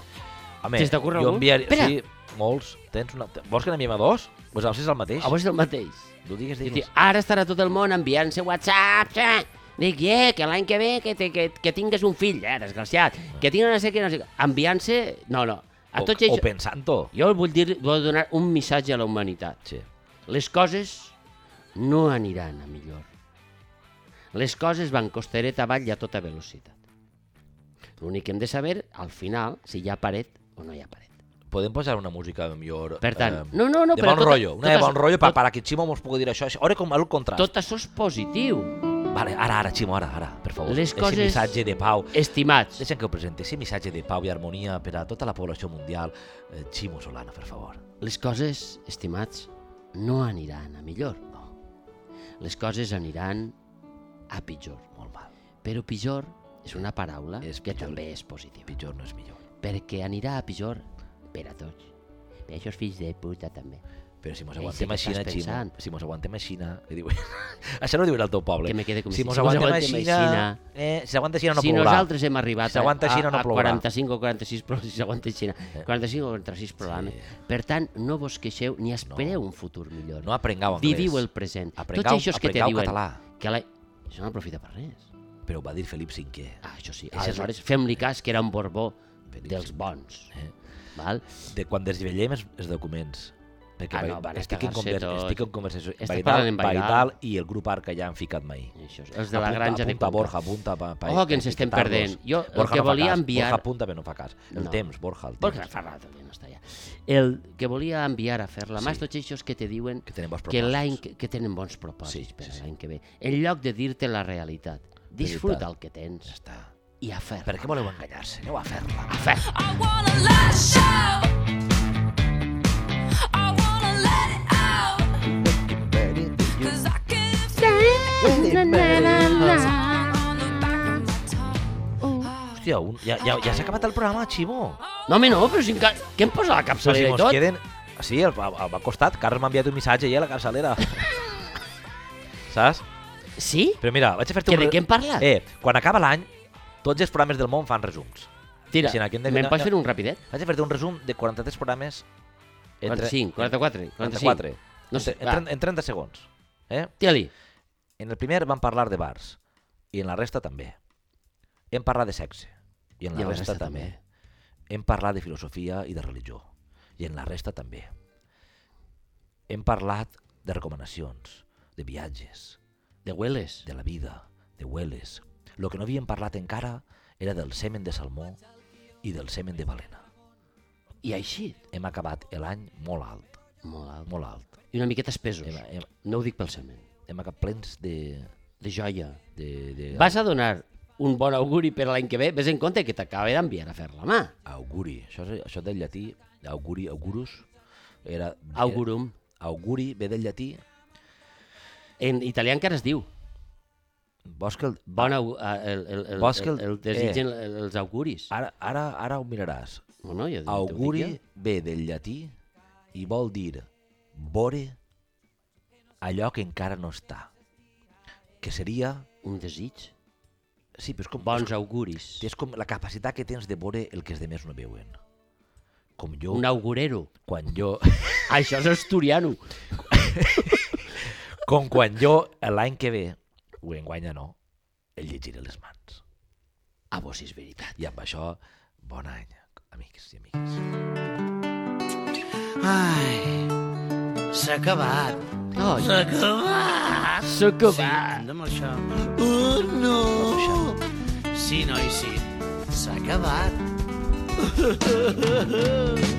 [SPEAKER 1] Home,
[SPEAKER 2] Se'ns t'ocorre
[SPEAKER 1] jo
[SPEAKER 2] algú?
[SPEAKER 1] enviar...
[SPEAKER 2] Espera.
[SPEAKER 1] Sí, molts. Tens una... Vols que n'enviem a dos? Pues a és el mateix.
[SPEAKER 2] a vos és el mateix.
[SPEAKER 1] Tu digues,
[SPEAKER 2] Diu,
[SPEAKER 1] digues.
[SPEAKER 2] ara estarà tot el món enviant-se whatsapps, eh? Dic, eh, que l'any que ve que, te, que, que tingues un fill, eh, desgraciat, que tingues no sé què, no sé què. Enviant-se... No, no. A
[SPEAKER 1] O,
[SPEAKER 2] tots
[SPEAKER 1] o
[SPEAKER 2] ells...
[SPEAKER 1] pensant-ho.
[SPEAKER 2] Jo vull, dir, vull donar un missatge a la humanitat.
[SPEAKER 1] Sí.
[SPEAKER 2] Les coses no aniran a millor. Les coses van costereta avall i a tota velocitat. L'únic que hem de saber, al final, si hi ha paret o no hi ha paret.
[SPEAKER 1] Podem posar una música millor... eh,
[SPEAKER 2] Per tant, no, no, no,
[SPEAKER 1] de
[SPEAKER 2] però
[SPEAKER 1] bon
[SPEAKER 2] tot-
[SPEAKER 1] rotllo. Una
[SPEAKER 2] tot
[SPEAKER 1] de bon
[SPEAKER 2] això-
[SPEAKER 1] rotllo per,
[SPEAKER 2] tot-
[SPEAKER 1] per a que Ximo mos pugui dir això. Ara com el contrast.
[SPEAKER 2] Tot això és positiu,
[SPEAKER 1] Vale, ara, ara, Ximo, ara, ara, per favor.
[SPEAKER 2] Les coses-
[SPEAKER 1] Ese missatge de pau.
[SPEAKER 2] estimats.
[SPEAKER 1] Deixa'm que ho presenti. Ese missatge de pau i harmonia per a tota la població mundial. Eh, Ximo Solana, per favor.
[SPEAKER 2] Les coses, estimats, no aniran a millor. No. Les coses aniran a pitjor.
[SPEAKER 1] Molt mal.
[SPEAKER 2] Però pitjor és una paraula
[SPEAKER 1] És
[SPEAKER 2] que
[SPEAKER 1] pitjor.
[SPEAKER 2] també és positiva.
[SPEAKER 1] Pitjor no és millor.
[SPEAKER 2] Perquè anirà a pitjor per a tots. Per a aquests fills de puta també.
[SPEAKER 1] Però si mos
[SPEAKER 2] Ei,
[SPEAKER 1] aguantem
[SPEAKER 2] sé què
[SPEAKER 1] així,
[SPEAKER 2] estàs
[SPEAKER 1] Ximo,
[SPEAKER 2] pensant.
[SPEAKER 1] si mos aguantem així, que diu... això no ho diu el teu poble.
[SPEAKER 2] Que me quede com
[SPEAKER 1] si
[SPEAKER 2] si-
[SPEAKER 1] mos
[SPEAKER 2] si mos
[SPEAKER 1] aguantem
[SPEAKER 2] aguantem
[SPEAKER 1] així,
[SPEAKER 2] aixina,
[SPEAKER 1] eh, si s'aguanta així no
[SPEAKER 2] si
[SPEAKER 1] plourà.
[SPEAKER 2] nosaltres hem arribat
[SPEAKER 1] Si s'aguanta
[SPEAKER 2] a,
[SPEAKER 1] Xina, no
[SPEAKER 2] a, a
[SPEAKER 1] plourà. Eh.
[SPEAKER 2] 45 o 46 programes, si s'aguanta Xina, 45 o 46 programes. Per tant, no vos queixeu ni espereu un futur millor.
[SPEAKER 1] No aprengueu anglès.
[SPEAKER 2] Viviu el present.
[SPEAKER 1] Aprengau-
[SPEAKER 2] Tots això que te
[SPEAKER 1] aprengau
[SPEAKER 2] diuen...
[SPEAKER 1] català.
[SPEAKER 2] Que la... Això no aprofita per res.
[SPEAKER 1] Però ho va dir Felip V.
[SPEAKER 2] Ah, això sí.
[SPEAKER 1] és el-
[SPEAKER 2] Aleshores, fem-li cas que era un Borbó dels bons.
[SPEAKER 1] Eh.
[SPEAKER 2] Val?
[SPEAKER 1] de quan desvetllem els, els documents. Perquè
[SPEAKER 2] Ah,
[SPEAKER 1] vai-
[SPEAKER 2] no, van
[SPEAKER 1] estic, en
[SPEAKER 2] cagar-se
[SPEAKER 1] conver,
[SPEAKER 2] tot.
[SPEAKER 1] estic en conversació.
[SPEAKER 2] Estàs
[SPEAKER 1] Vaidal,
[SPEAKER 2] parlant en Vaidal.
[SPEAKER 1] Vaidal i el grup Arca ja han ficat mai.
[SPEAKER 2] Això és, els de la
[SPEAKER 1] Apunta-
[SPEAKER 2] granja de
[SPEAKER 1] apunta,
[SPEAKER 2] Conca.
[SPEAKER 1] Borja, apunta. Pa, pa,
[SPEAKER 2] Oh, que
[SPEAKER 1] per
[SPEAKER 2] ens estem
[SPEAKER 1] etiquetar-los.
[SPEAKER 2] perdent. Jo el
[SPEAKER 1] Borja
[SPEAKER 2] que
[SPEAKER 1] no fa
[SPEAKER 2] volia
[SPEAKER 1] cas.
[SPEAKER 2] enviar-
[SPEAKER 1] Borja apunta, però no fa cas. El
[SPEAKER 2] No.
[SPEAKER 1] temps, Borja, el temps.
[SPEAKER 2] Borja Ferrat també no està allà. El que volia enviar a fer la mà,
[SPEAKER 1] Sí.
[SPEAKER 2] sí. tots això que te diuen
[SPEAKER 1] Que tenen bons
[SPEAKER 2] que,
[SPEAKER 1] propòsits.
[SPEAKER 2] l'any que, que tenen bons propòsits
[SPEAKER 1] Sí,
[SPEAKER 2] sí, per
[SPEAKER 1] sí, sí.
[SPEAKER 2] a l'any que ve. En lloc de dir-te la realitat, disfruta el que
[SPEAKER 1] Ja
[SPEAKER 2] tens
[SPEAKER 1] està.
[SPEAKER 2] i a fer.
[SPEAKER 1] Per què voleu enganyar-se? Aneu a fer-la.
[SPEAKER 2] A fer.
[SPEAKER 4] I wanna let it show. I wanna let it out. 'Cause I can feel it on the back of my tongue. Ah,
[SPEAKER 1] Hòstia, un, ja, ja, ja s'ha acabat el programa, Ximo.
[SPEAKER 2] No, home, no, però si encara... Què em posa
[SPEAKER 1] Però
[SPEAKER 2] la
[SPEAKER 1] si
[SPEAKER 2] capçalera i
[SPEAKER 1] mos
[SPEAKER 2] tot?
[SPEAKER 1] queden... Ah, Sí, al, al, al costat. Carles m'ha enviat un missatge ja a la capçalera. Saps?
[SPEAKER 2] Sí?
[SPEAKER 1] Però mira, vaig a fer-te
[SPEAKER 2] Que
[SPEAKER 1] un...
[SPEAKER 2] de
[SPEAKER 1] re-
[SPEAKER 2] què hem parlat?
[SPEAKER 1] Eh, quan acaba l'any, tots els programes del món fan resums.
[SPEAKER 2] Tira,
[SPEAKER 1] Si en aquest-
[SPEAKER 2] me'n
[SPEAKER 1] no,
[SPEAKER 2] pots
[SPEAKER 1] no.
[SPEAKER 2] fer un rapidet?
[SPEAKER 1] Vaig a fer-te un resum de 43 programes...
[SPEAKER 2] 45, 44,
[SPEAKER 1] 44.
[SPEAKER 2] 45. No sé,
[SPEAKER 1] en,
[SPEAKER 2] va.
[SPEAKER 1] en, en 30 segons. Eh?
[SPEAKER 2] Tira-li.
[SPEAKER 1] En el primer vam parlar de bars, i en la resta també. Hem parlat de sexe, i en la,
[SPEAKER 2] I en
[SPEAKER 1] resta, també. Hem parlat de filosofia i de religió, i en la resta també. Hem parlat de recomanacions, de viatges,
[SPEAKER 2] De Hueles.
[SPEAKER 1] de la vida, de hueles. Lo que no havíem parlat encara era del semen de salmó i del semen de balena.
[SPEAKER 2] I així.
[SPEAKER 1] Hem acabat l'any molt alt,
[SPEAKER 2] Molt alt.
[SPEAKER 1] molt alt.
[SPEAKER 2] I una miqueta espesos.
[SPEAKER 1] Hem, hem,
[SPEAKER 2] No ho dic pel semen.
[SPEAKER 1] hem acabat plens de...
[SPEAKER 2] De joia.
[SPEAKER 1] de, de
[SPEAKER 2] Vas a donar un bon auguri per a l'any que ve, vés en compte que t'acaba d'enviar a fer la mà.
[SPEAKER 1] Auguri, això, és, això del llatí, auguri, augurus, era...
[SPEAKER 2] Augurum.
[SPEAKER 1] Auguri ve del llatí,
[SPEAKER 2] En italià encara es diu.
[SPEAKER 1] vols que el...
[SPEAKER 2] Bon au, a- el, el, el,
[SPEAKER 1] Vols que
[SPEAKER 2] el,
[SPEAKER 1] el-
[SPEAKER 2] el desitgen eh. els auguris.
[SPEAKER 1] Ara, ara, ara ho miraràs.
[SPEAKER 2] No, no, jo, t'ho dic jo.
[SPEAKER 1] Auguri ve del llatí i vol dir vore allò que encara no està. Que seria...
[SPEAKER 2] Un desig.
[SPEAKER 1] Sí, però és com,
[SPEAKER 2] Bons auguris.
[SPEAKER 1] és com la capacitat que tens de veure el que els demés no veuen. Com jo,
[SPEAKER 2] Un augurero.
[SPEAKER 1] quan jo...
[SPEAKER 2] Això és asturiano.
[SPEAKER 1] Com quan jo, l'any que ve, o enguany ja no, el llegiré a les mans.
[SPEAKER 2] Ah, vos és veritat.
[SPEAKER 1] I amb això, bon any, amics i amigues.
[SPEAKER 5] Ai, s'ha acabat.
[SPEAKER 2] Oh,
[SPEAKER 5] S'ha acabat.
[SPEAKER 2] S'ha
[SPEAKER 5] Sí,
[SPEAKER 2] acabat.
[SPEAKER 5] anem amb això. Oh, no. Sí, noi, sí. S'ha acabat.